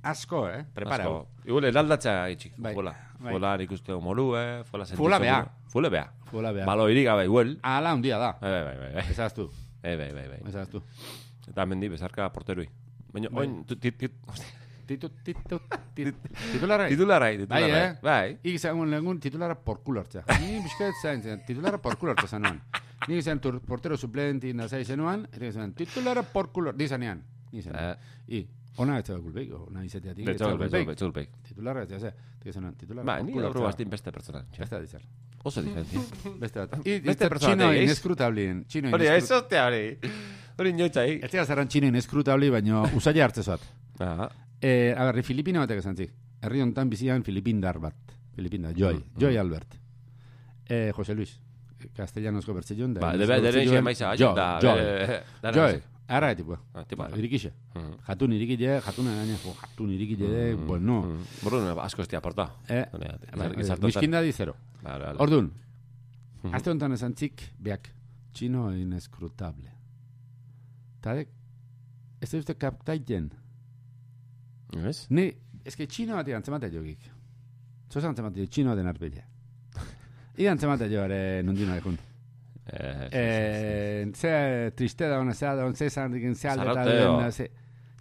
[SPEAKER 2] Asko, eh? Prepara.
[SPEAKER 1] Asko. Igule, eraldatza itxik,
[SPEAKER 2] Bai,
[SPEAKER 1] fola.
[SPEAKER 2] bai.
[SPEAKER 1] Fola ikusteo molue, fola sentitzen.
[SPEAKER 2] Fola bea.
[SPEAKER 1] Fola bea.
[SPEAKER 2] Fola behar.
[SPEAKER 1] Balo irik gabe, huel.
[SPEAKER 2] Ala hundia da.
[SPEAKER 1] Bai, bai, bai, bai, bai.
[SPEAKER 2] Ezaztu,
[SPEAKER 1] Bai, bai, bai, bai.
[SPEAKER 2] ezaztu.
[SPEAKER 1] Eta mendi bezarka porterui. Baina, oin, tu- tit, tit, (laughs)
[SPEAKER 2] Titu, titu, titu. Titularra.
[SPEAKER 1] titularrai, titularrai.
[SPEAKER 2] Bai, eh?
[SPEAKER 1] Bai.
[SPEAKER 2] Ik zangon lengun titularra porkulo hartzea. Ni bizkat zain zen, titularra porkulo hartzea zanuan. Ni zen tur- portero suplenti nazai zenuan, eta zen titularra porkulo, di zanean. Ni zen.
[SPEAKER 1] Eh.
[SPEAKER 2] I, ona ez da gulpeik, ona izateatik.
[SPEAKER 1] De
[SPEAKER 2] ez da
[SPEAKER 1] txolpek,
[SPEAKER 2] gulpeik.
[SPEAKER 1] txolpek, txolpek.
[SPEAKER 2] Titularra ez da ze. Ti zenuan, titularra
[SPEAKER 1] Ba, ni
[SPEAKER 2] porkulo
[SPEAKER 1] gaur
[SPEAKER 2] hartzea.
[SPEAKER 1] bastin beste pertsonan. txe.
[SPEAKER 2] Beste da dizar.
[SPEAKER 1] Oso diferentzia.
[SPEAKER 2] Beste bat. I,
[SPEAKER 1] Beste
[SPEAKER 2] beste
[SPEAKER 1] pertsona
[SPEAKER 2] Txino
[SPEAKER 1] bat, eh, iz?
[SPEAKER 2] ineskrutablin. Txino
[SPEAKER 1] Hori, ez
[SPEAKER 2] ineskrutablin.
[SPEAKER 1] ostea hori. Hori inoitzai.
[SPEAKER 2] Ez da zarran txino ineskrutablin, baina usaila hartzezoat.
[SPEAKER 1] Aha.
[SPEAKER 2] Eh, a ber, Filipina batek esan zik. Herri hontan bizian Filipindar bat. Filipindar, Joy.
[SPEAKER 1] Mm,
[SPEAKER 2] Joy Albert. Eh, Jose Luis. Castellanozko bertzion.
[SPEAKER 1] Ba, debe, debe, xe maiza,
[SPEAKER 2] Joy,
[SPEAKER 1] da,
[SPEAKER 2] Joy.
[SPEAKER 1] bere- dara
[SPEAKER 2] Joy.
[SPEAKER 1] gauza.
[SPEAKER 2] Arra tipo.
[SPEAKER 1] Ah, tipo arra.
[SPEAKER 2] Irikixe.
[SPEAKER 1] Mhm.
[SPEAKER 2] Jatun irikide, jatun araña, jo, jatun irikide, de, bueno.
[SPEAKER 1] Mm, Bruno, asko ez aporta.
[SPEAKER 2] Eh, Miskinda di zero. Ordun.
[SPEAKER 1] Mm-hmm.
[SPEAKER 2] Aste honetan esan tzik, beak. Txino inescrutable. Tadek, ez da uste kaptaien.
[SPEAKER 1] ¿Ves?
[SPEAKER 2] Ni, eske txino bat antzemate jogik. Zoz antzemate jo, txino den
[SPEAKER 1] (laughs)
[SPEAKER 2] arpile. I antzemate jo, ere, nondino dekun.
[SPEAKER 1] Eh,
[SPEAKER 2] Eh, ze triste da hona, zea da hona, ze zan dikin, ze aldeta
[SPEAKER 1] Zarrateo.
[SPEAKER 2] den, ze...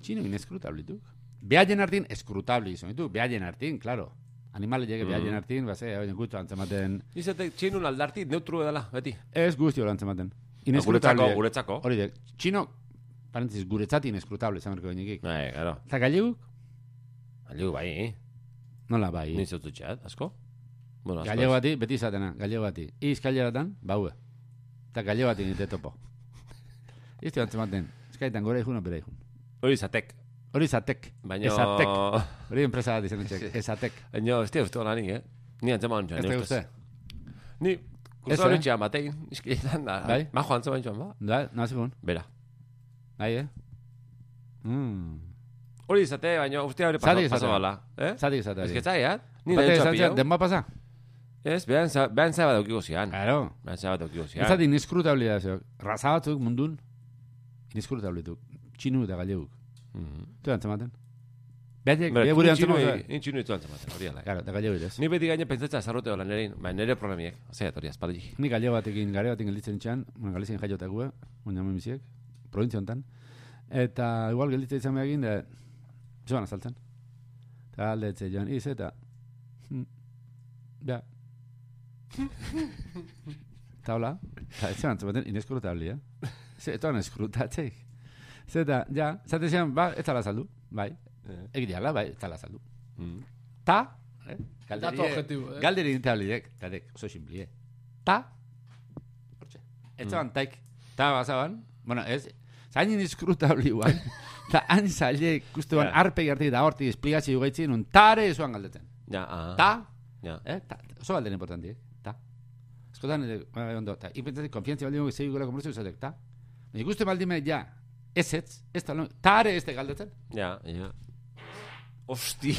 [SPEAKER 2] Txino ineskrutablituk. Behaien hartin, eskrutabli izan ditu, behaien hartin, claro. Animale jege behaien
[SPEAKER 1] Mm.
[SPEAKER 2] hartin, base, oin guztu antzematen.
[SPEAKER 1] Izate, txinun aldarti neutru edala, beti.
[SPEAKER 2] Ez guzti hori antzematen.
[SPEAKER 1] Guretzako,
[SPEAKER 2] Ineskrutable.
[SPEAKER 1] guretzako.
[SPEAKER 2] Hori de, txino, parentziz, guretzat ineskrutable, izan berko gainikik.
[SPEAKER 1] Bai, claro.
[SPEAKER 2] Eta galleguk,
[SPEAKER 1] Aliu bai, eh?
[SPEAKER 2] nola bai.
[SPEAKER 1] Ni zautu txat, asko? Bueno, asko.
[SPEAKER 2] Gallego bati, beti izatena, gallego bati. Iz kalleratan, baue. Eta gallego bati nite
[SPEAKER 1] (laughs)
[SPEAKER 2] topo. Izte bat zematen, eskaitan gora ihun opera ihun.
[SPEAKER 1] Hori izatek.
[SPEAKER 2] Hori izatek,
[SPEAKER 1] Baina... (laughs)
[SPEAKER 2] ezatek. Hori enpresa bat izan etxek, ezatek.
[SPEAKER 1] Baina, ez dira uste hola ni, eh? Ni antzeman joan.
[SPEAKER 2] Ez da uste?
[SPEAKER 1] Ni,
[SPEAKER 2] Ez,
[SPEAKER 1] kursoan
[SPEAKER 2] eh?
[SPEAKER 1] itxean batein, iskiletan da.
[SPEAKER 2] Bai?
[SPEAKER 1] Majo antzeman joan, ba?
[SPEAKER 2] Da, nazikun,
[SPEAKER 1] Bera.
[SPEAKER 2] nahi, eh? Mm.
[SPEAKER 1] Hori izate, baina uste hori
[SPEAKER 2] Zati
[SPEAKER 1] paso,
[SPEAKER 2] izatea.
[SPEAKER 1] paso bala. Eh?
[SPEAKER 2] Zatik izatea.
[SPEAKER 1] Ez
[SPEAKER 2] hori.
[SPEAKER 1] getzai, eh? Ni
[SPEAKER 2] Batek
[SPEAKER 1] nire Mm.
[SPEAKER 2] esan
[SPEAKER 1] txapio.
[SPEAKER 2] zidan, Denba pasa?
[SPEAKER 1] Ez, behan za- behan zaba daukiko zian.
[SPEAKER 2] Claro.
[SPEAKER 1] Behan zaba daukiko zian.
[SPEAKER 2] Ez zatik ineskrutabilia zeo. Raza batzuk mundun, ineskrutabilituk. Txinu eta galleguk.
[SPEAKER 1] Mhm.
[SPEAKER 2] Tu antzematen? Beatek,
[SPEAKER 1] Bera,
[SPEAKER 2] bea gure
[SPEAKER 1] ni txinua-
[SPEAKER 2] antzematen.
[SPEAKER 1] Ni txinu ditu antzematen, hori ala. eh?
[SPEAKER 2] Claro, eta gallego irez.
[SPEAKER 1] Ni beti gaine pentsatza zarrote hola nire, ba, nire problemiek. Osea, hori aspaldi.
[SPEAKER 2] Ni gale batekin, gare batekin gelditzen txan, bueno, galizien jaiotakua, baina hemen biziek, provintzia honetan. Eta igual gelditzen izan behar egin, da, zoan azaltzen. Eta aldetze joan, iz, eta... hm, Ja. Eta hola, eta ez zan baten ineskrutable, eh? Ze, etoan eskrutatzek. Zeta, ja, zate zian, ba, ez zala saldu, bai.
[SPEAKER 1] Eh.
[SPEAKER 2] Egitea, la, bai, ez zala saldu.
[SPEAKER 1] Mm.
[SPEAKER 2] Ta, eh?
[SPEAKER 3] Dato objetibo, eh?
[SPEAKER 2] Galderi intabliek, tarek, oso simplie. Ta, hortxe, ez zaban taik, ta bazaban, bueno, ez, zain indiskrutabli
[SPEAKER 1] (laughs)
[SPEAKER 2] guan, ta hain zaile ikustuan
[SPEAKER 1] Ja.
[SPEAKER 2] arpegi hartik da hortik esplikatzi jugaitzin, un tare esuan galdetzen.
[SPEAKER 1] Ja, ah.
[SPEAKER 2] Ta,
[SPEAKER 1] Ja.
[SPEAKER 2] eh, ta, oso galderi importantiek, ta. Eskotan, eh, ondo, ta, ipentzatik konfiantzia baldin gugu zeigula konvertzio izatek, ta. Baina ikusten baldin bai, ja, ez ez, ez da, lo- tare ez da galdetzen.
[SPEAKER 1] Ja, ja. Osti.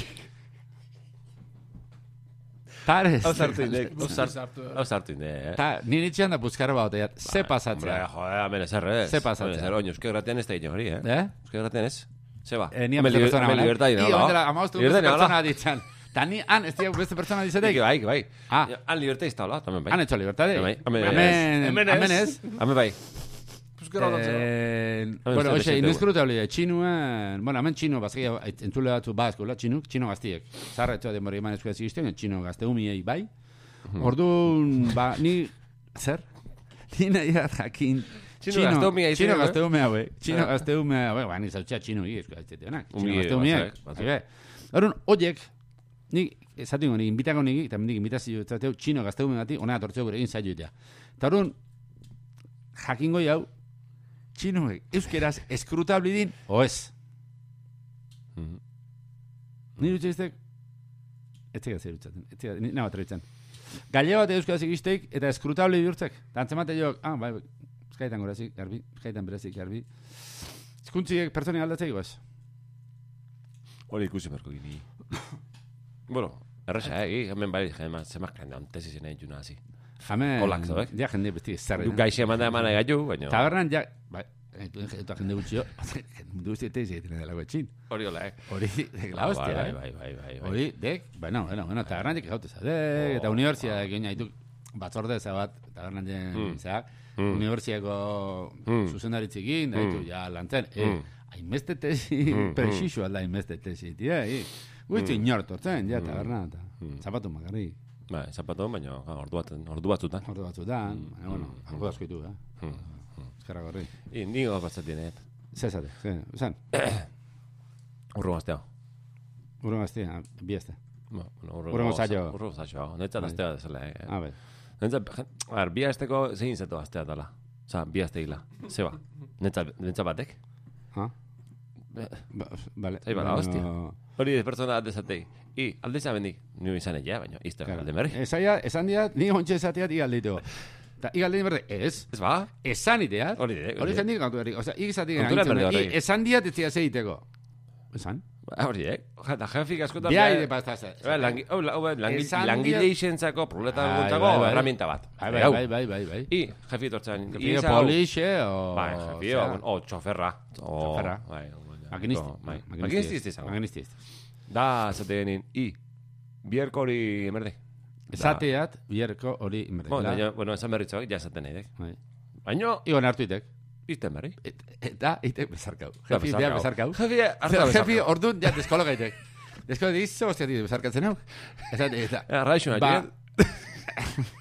[SPEAKER 2] Tare ez
[SPEAKER 1] Hau
[SPEAKER 2] da
[SPEAKER 1] sartu indek.
[SPEAKER 2] (laughs) galdetzen.
[SPEAKER 1] Hau
[SPEAKER 3] Busti sartu,
[SPEAKER 1] sartu-
[SPEAKER 3] eh.
[SPEAKER 1] hau sartu indek. eh.
[SPEAKER 2] Ta, nire itxean da puzkara bat, ze pasatzea.
[SPEAKER 1] Ba, Hombre, joder, amen ezer ez.
[SPEAKER 2] Ze pasatzea.
[SPEAKER 1] Amen ezer, oin, euskera gratean ez da egin hori, eh?
[SPEAKER 2] Eh?
[SPEAKER 1] Euskera gratean ez. Ze ba.
[SPEAKER 2] Eh, ni han
[SPEAKER 1] Hemen
[SPEAKER 2] beste
[SPEAKER 1] liber-
[SPEAKER 2] pertsona
[SPEAKER 1] hemen ba?
[SPEAKER 2] bana.
[SPEAKER 1] libertadin,
[SPEAKER 2] Ni
[SPEAKER 1] hola.
[SPEAKER 2] bandera amaboztu beste
[SPEAKER 1] Libertadin, hola.
[SPEAKER 2] pertsona ditzan. Ta ni han, este, ez diak beste pertsona
[SPEAKER 1] Nik
[SPEAKER 2] ditzetek.
[SPEAKER 1] bai, bai.
[SPEAKER 2] Ah.
[SPEAKER 1] Ja, Han libertadista hola, tamen bai.
[SPEAKER 2] Han etxo libertade.
[SPEAKER 1] Bai, hemen ez.
[SPEAKER 2] Hemen,
[SPEAKER 1] Hemen
[SPEAKER 2] hemen ez.
[SPEAKER 1] Hemen bai.
[SPEAKER 3] Euskara holantzera.
[SPEAKER 2] Eh,
[SPEAKER 1] Ah,
[SPEAKER 2] bueno,
[SPEAKER 1] beste
[SPEAKER 2] hoxe,
[SPEAKER 1] presente,
[SPEAKER 2] inezkruta hori, txinua, eh, bueno, hemen txino, bazkia, entzule batzu bazkola, txinuk, txino gaztiek. Zarra etxoa denbora eman eskuaz egizten, txino gazteumiei bai. Orduan, ba, ni, zer? Ni nahi da jakin.
[SPEAKER 1] Txino gazteumia izan,
[SPEAKER 2] Txino
[SPEAKER 1] eh?
[SPEAKER 2] gazteumea, hue. Txino gazteumea, hue, ba, ni zautxea txino hi, eskuaz egiztenak. Txino
[SPEAKER 1] Ungi
[SPEAKER 2] gazteumiek.
[SPEAKER 1] batzuk, batzuk.
[SPEAKER 2] Bai, bai. Orduan, oiek, nik esaten honik, inbitako niki, eta mendik inbitazio etzateu, txino gazteumen gati, ona tortzeo gure egin zaioitea. Eta orduan, jakingo jau, txinoek euskeraz eskrutabli din, o ez.
[SPEAKER 1] Mhm.
[SPEAKER 2] Nire utxe iztek, ez tega zer utxaten, ez tega, nire bat erutzen. Gaile bat euskaraz ikisteik eta eskrutabli bihurtzek. Eta antzemate joak, ah, bai, bai, eskaitan gorazik, garbi, eskaitan berezik, garbi. Ezkuntziek pertsonen aldatzeik, goaz.
[SPEAKER 1] Hori ikusi berko
[SPEAKER 2] (laughs)
[SPEAKER 1] gini. bueno, erresa, eh? Hemen bai, jema, zemak kandan, tesi zena itxuna hazi.
[SPEAKER 2] Jamen,
[SPEAKER 1] Kolak, zauek.
[SPEAKER 2] ja jende besti ez
[SPEAKER 1] Du gaixe eman da eman egaitu, baina...
[SPEAKER 2] Tabernan, ja, bai, eta jende (laughs) gutxio, mundu guzti eta egiten delako etxin.
[SPEAKER 1] Hori hola, eh?
[SPEAKER 2] Hori, (laughs) dek la hostia,
[SPEAKER 1] bai,
[SPEAKER 2] eh?
[SPEAKER 1] bai, bai, bai, Oh. bai.
[SPEAKER 2] Hori, dek, bueno, bueno, bueno, tabernan jek gautez, dek, eta unibertsiak egin haitu, batzorde ezabat, tabernan jen,
[SPEAKER 1] Hmm.
[SPEAKER 2] izak, unibertsiako zuzendaritzekin,
[SPEAKER 1] Hmm.
[SPEAKER 2] da ditu, ja, lantzen, eh, hainbeste tesi, prexixu alda hainbeste tesi, tia, eh, gutxi
[SPEAKER 1] Hmm.
[SPEAKER 2] inortortzen, ja, tabernan, eta zapatu makarri,
[SPEAKER 1] Ba, zapato, baina ah, ordu, bat, ordu batzutan.
[SPEAKER 2] ordu batzutan,
[SPEAKER 1] Hmm.
[SPEAKER 2] baina, bueno, algo asko ditu, eh? Eskerrak horri.
[SPEAKER 1] I, nigo batzatien, eh?
[SPEAKER 2] Zezate, ze, zan,
[SPEAKER 1] Urru gaztea.
[SPEAKER 2] urren gaztia, bi azte.
[SPEAKER 1] Ba, bueno, urru
[SPEAKER 2] Urrengo saio.
[SPEAKER 1] Urru zailo. Netzat aztea dezela, eh?
[SPEAKER 2] Ah, bai.
[SPEAKER 1] Netzat, a ber, bi azteko zein zeto aztea dala. Osa, bi azte hila. Zeba. Netzat, netzat batek.
[SPEAKER 2] Ah,
[SPEAKER 1] Be-
[SPEAKER 2] ba, vale.
[SPEAKER 1] Zai bala,
[SPEAKER 2] Baina-
[SPEAKER 1] hostia. Hori ez pertsona aldezatei. I, aldeza bendik. Nio izan egia, baina izte
[SPEAKER 2] Claro.
[SPEAKER 1] alde berri.
[SPEAKER 2] Esaia, esan diat, ni ontsa esateat igalditu. Ta igalditu berde, ez.
[SPEAKER 1] Ez ba?
[SPEAKER 2] Esan iteat.
[SPEAKER 1] Hori de-
[SPEAKER 2] Hori esan diat gautu berri. Osa, igazatik
[SPEAKER 1] Kontura
[SPEAKER 2] gaintzen.
[SPEAKER 1] berde
[SPEAKER 2] I,
[SPEAKER 1] horrek.
[SPEAKER 2] esan diat ez diat zeiteko. Esan?
[SPEAKER 1] Ba, Hori, eh? Eta jefik askotan...
[SPEAKER 2] Bia
[SPEAKER 1] behar-
[SPEAKER 2] ide pastaza.
[SPEAKER 1] Ba, langi- hau, la- hau, ba, langi-
[SPEAKER 2] Esan diat-
[SPEAKER 1] Langile izentzako, probleta
[SPEAKER 2] Bai,
[SPEAKER 1] guntzako,
[SPEAKER 2] bai, bai.
[SPEAKER 1] herramienta bat.
[SPEAKER 2] Bai,
[SPEAKER 1] Hau.
[SPEAKER 2] bai, bai, bai, bai.
[SPEAKER 1] I, jefi tortzen.
[SPEAKER 2] Pide polixe, o...
[SPEAKER 1] Bai, jefi,
[SPEAKER 2] o
[SPEAKER 1] o,
[SPEAKER 2] sea,
[SPEAKER 1] o txoferra. O,
[SPEAKER 2] Txoferra.
[SPEAKER 1] Bai,
[SPEAKER 2] Makinista.
[SPEAKER 1] o- Bai, makinista izte izango.
[SPEAKER 2] Makinista izte.
[SPEAKER 1] Da, zaten genin, i, bierko hori emerde.
[SPEAKER 2] Esateat, bierko hori
[SPEAKER 1] Bo,
[SPEAKER 2] inberdela.
[SPEAKER 1] baina, bueno, esan berritzak, ja zaten nahi dek.
[SPEAKER 2] Bai.
[SPEAKER 1] Baina,
[SPEAKER 2] Igon hartu itek.
[SPEAKER 1] izten berri.
[SPEAKER 2] Et- Eta itek bezarkau.
[SPEAKER 1] Da,
[SPEAKER 2] Jefi, bea bezarkau.
[SPEAKER 1] Jefi, hartu da
[SPEAKER 2] Jefi,
[SPEAKER 1] bezarkau.
[SPEAKER 2] orduan, ja, deskolo gaitek. Deskolo gaitek, izo, hostia, tio, bezarkatzen hau. Eta, eta,
[SPEAKER 1] Arraixo,
[SPEAKER 2] Ba,
[SPEAKER 1] nahi,
[SPEAKER 2] (laughs)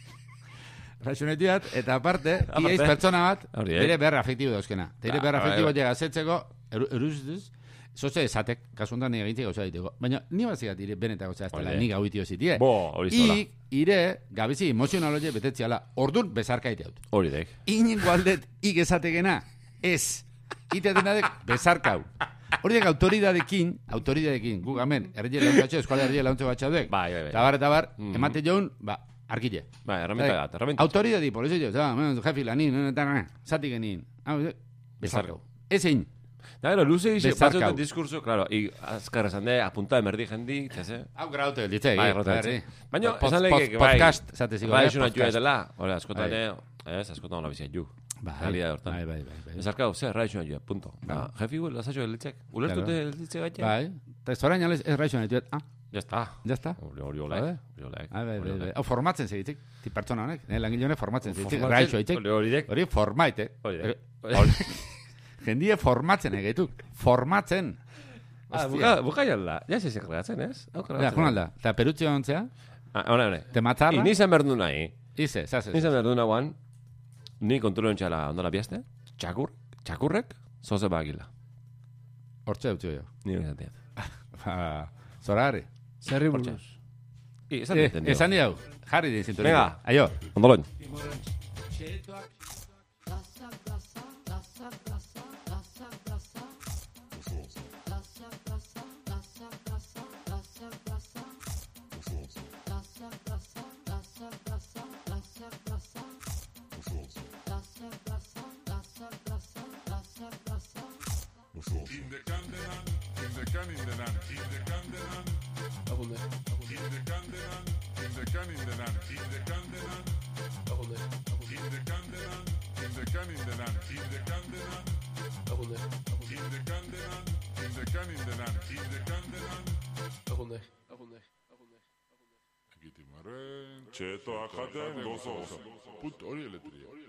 [SPEAKER 2] Raixonetiat, eta aparte,
[SPEAKER 1] eh? (laughs) Aparte.
[SPEAKER 2] iaiz pertsona bat,
[SPEAKER 1] Hori, eh?
[SPEAKER 2] bere behar afektibo dauzkena. Eta bere
[SPEAKER 1] Ah,
[SPEAKER 2] behar
[SPEAKER 1] bai,
[SPEAKER 2] afektibo
[SPEAKER 1] bai.
[SPEAKER 2] llega zetzeko, eruzituz, zoze esatek, kasu honetan nire gaitzik gauza diteko. Baina, ni bazigat ire benetako zehaztela,
[SPEAKER 1] Hori. eh?
[SPEAKER 2] ni gau itio zitie.
[SPEAKER 1] Bo, hori zola.
[SPEAKER 2] Ik, ire, gabizi emozionaloie betetziala, ordun bezarkaite haut.
[SPEAKER 1] Hori dek.
[SPEAKER 2] Inengo aldet, ik esatekena, ez. Itaten dadek, bezarkau. Horiek autoridadekin, autoridadekin, gu gamen, errege launtxatxe, eskuala errege launtxe bat xaudek.
[SPEAKER 1] Bai, bai, bai.
[SPEAKER 2] Tabar, tabar, emate joan, ba, arkile.
[SPEAKER 1] Bai, herramienta
[SPEAKER 2] Bai.
[SPEAKER 1] bat, herramienta.
[SPEAKER 2] Autoridad y por eso yo, ah, bueno, jefe lanin, eh, ta, ta, zati genin. Ah, eh, Bezarkau. Ezin.
[SPEAKER 1] Da, gero, luze izi,
[SPEAKER 2] Bezarkau.
[SPEAKER 1] batzuten diskurso, claro, i, azkar esan de, apunta emerdi jendik, txase.
[SPEAKER 2] Hau graute, litze.
[SPEAKER 1] Bai, rotatzen. Baina, esan lehik, bai.
[SPEAKER 2] Ba, Podcast, zate ziko.
[SPEAKER 1] Bai,
[SPEAKER 2] eh,
[SPEAKER 1] isun atxu
[SPEAKER 2] podcast.
[SPEAKER 1] edela, hori, askotan, eh, ez, askotan hola biziat ju. Realidade hortan.
[SPEAKER 2] Bai, bai, bai. bai.
[SPEAKER 1] Bezarkau, ze, raixo nahi punto. Ba, jefi, gu, lasaxo elitzek. Ulertute elitzek gaitea?
[SPEAKER 2] Bai. Ta ez orain alez, ez raixo netuet. Ah,
[SPEAKER 1] Ya está.
[SPEAKER 2] ya está.
[SPEAKER 1] Hori, hori, olek,
[SPEAKER 2] Joder.
[SPEAKER 1] hori, olek,
[SPEAKER 2] Ah, bai,
[SPEAKER 1] hori,
[SPEAKER 2] bai,
[SPEAKER 1] olek.
[SPEAKER 2] bai. Hau formatzen segitik. Ti pertsona honek, eh, langile honek formatzen segitik.
[SPEAKER 1] Formatzen,
[SPEAKER 2] Raixo aitek.
[SPEAKER 1] Hori, hori, dek.
[SPEAKER 2] Hori formaite.
[SPEAKER 1] Hori, dek.
[SPEAKER 2] Jendie formatzen egeituk. Formatzen.
[SPEAKER 1] Ah,
[SPEAKER 2] Hostia.
[SPEAKER 1] buka, buka jalda. Ja, ze sekreatzen, ez? Hau
[SPEAKER 2] Ja,
[SPEAKER 1] kreatzen.
[SPEAKER 2] jonalda. Ta perutxe ontzea,
[SPEAKER 1] Ah, hori, hori.
[SPEAKER 2] te matarra.
[SPEAKER 1] Ni izan berdu nahi.
[SPEAKER 2] Ize, zaz,
[SPEAKER 1] Ni izan berdu nahuan, ni kontrolo entxala ondola biazte, txakur, txakurrek, zoze bagila.
[SPEAKER 2] Hortxe dut jo.
[SPEAKER 1] Ni izan diat.
[SPEAKER 2] Ba, Zorari.
[SPEAKER 3] Zerri buruz.
[SPEAKER 1] I, esan
[SPEAKER 2] Eh,
[SPEAKER 1] diat, nio.
[SPEAKER 2] esan diau, jarri din zinturik.
[SPEAKER 1] Venga.
[SPEAKER 2] Aio.
[SPEAKER 1] Ondoloin.
[SPEAKER 3] Agunde. Agunde. Agunde. Agunde. Agunde.
[SPEAKER 5] Egiten arren, txetoak jaten gozoz. Punto hori eletria.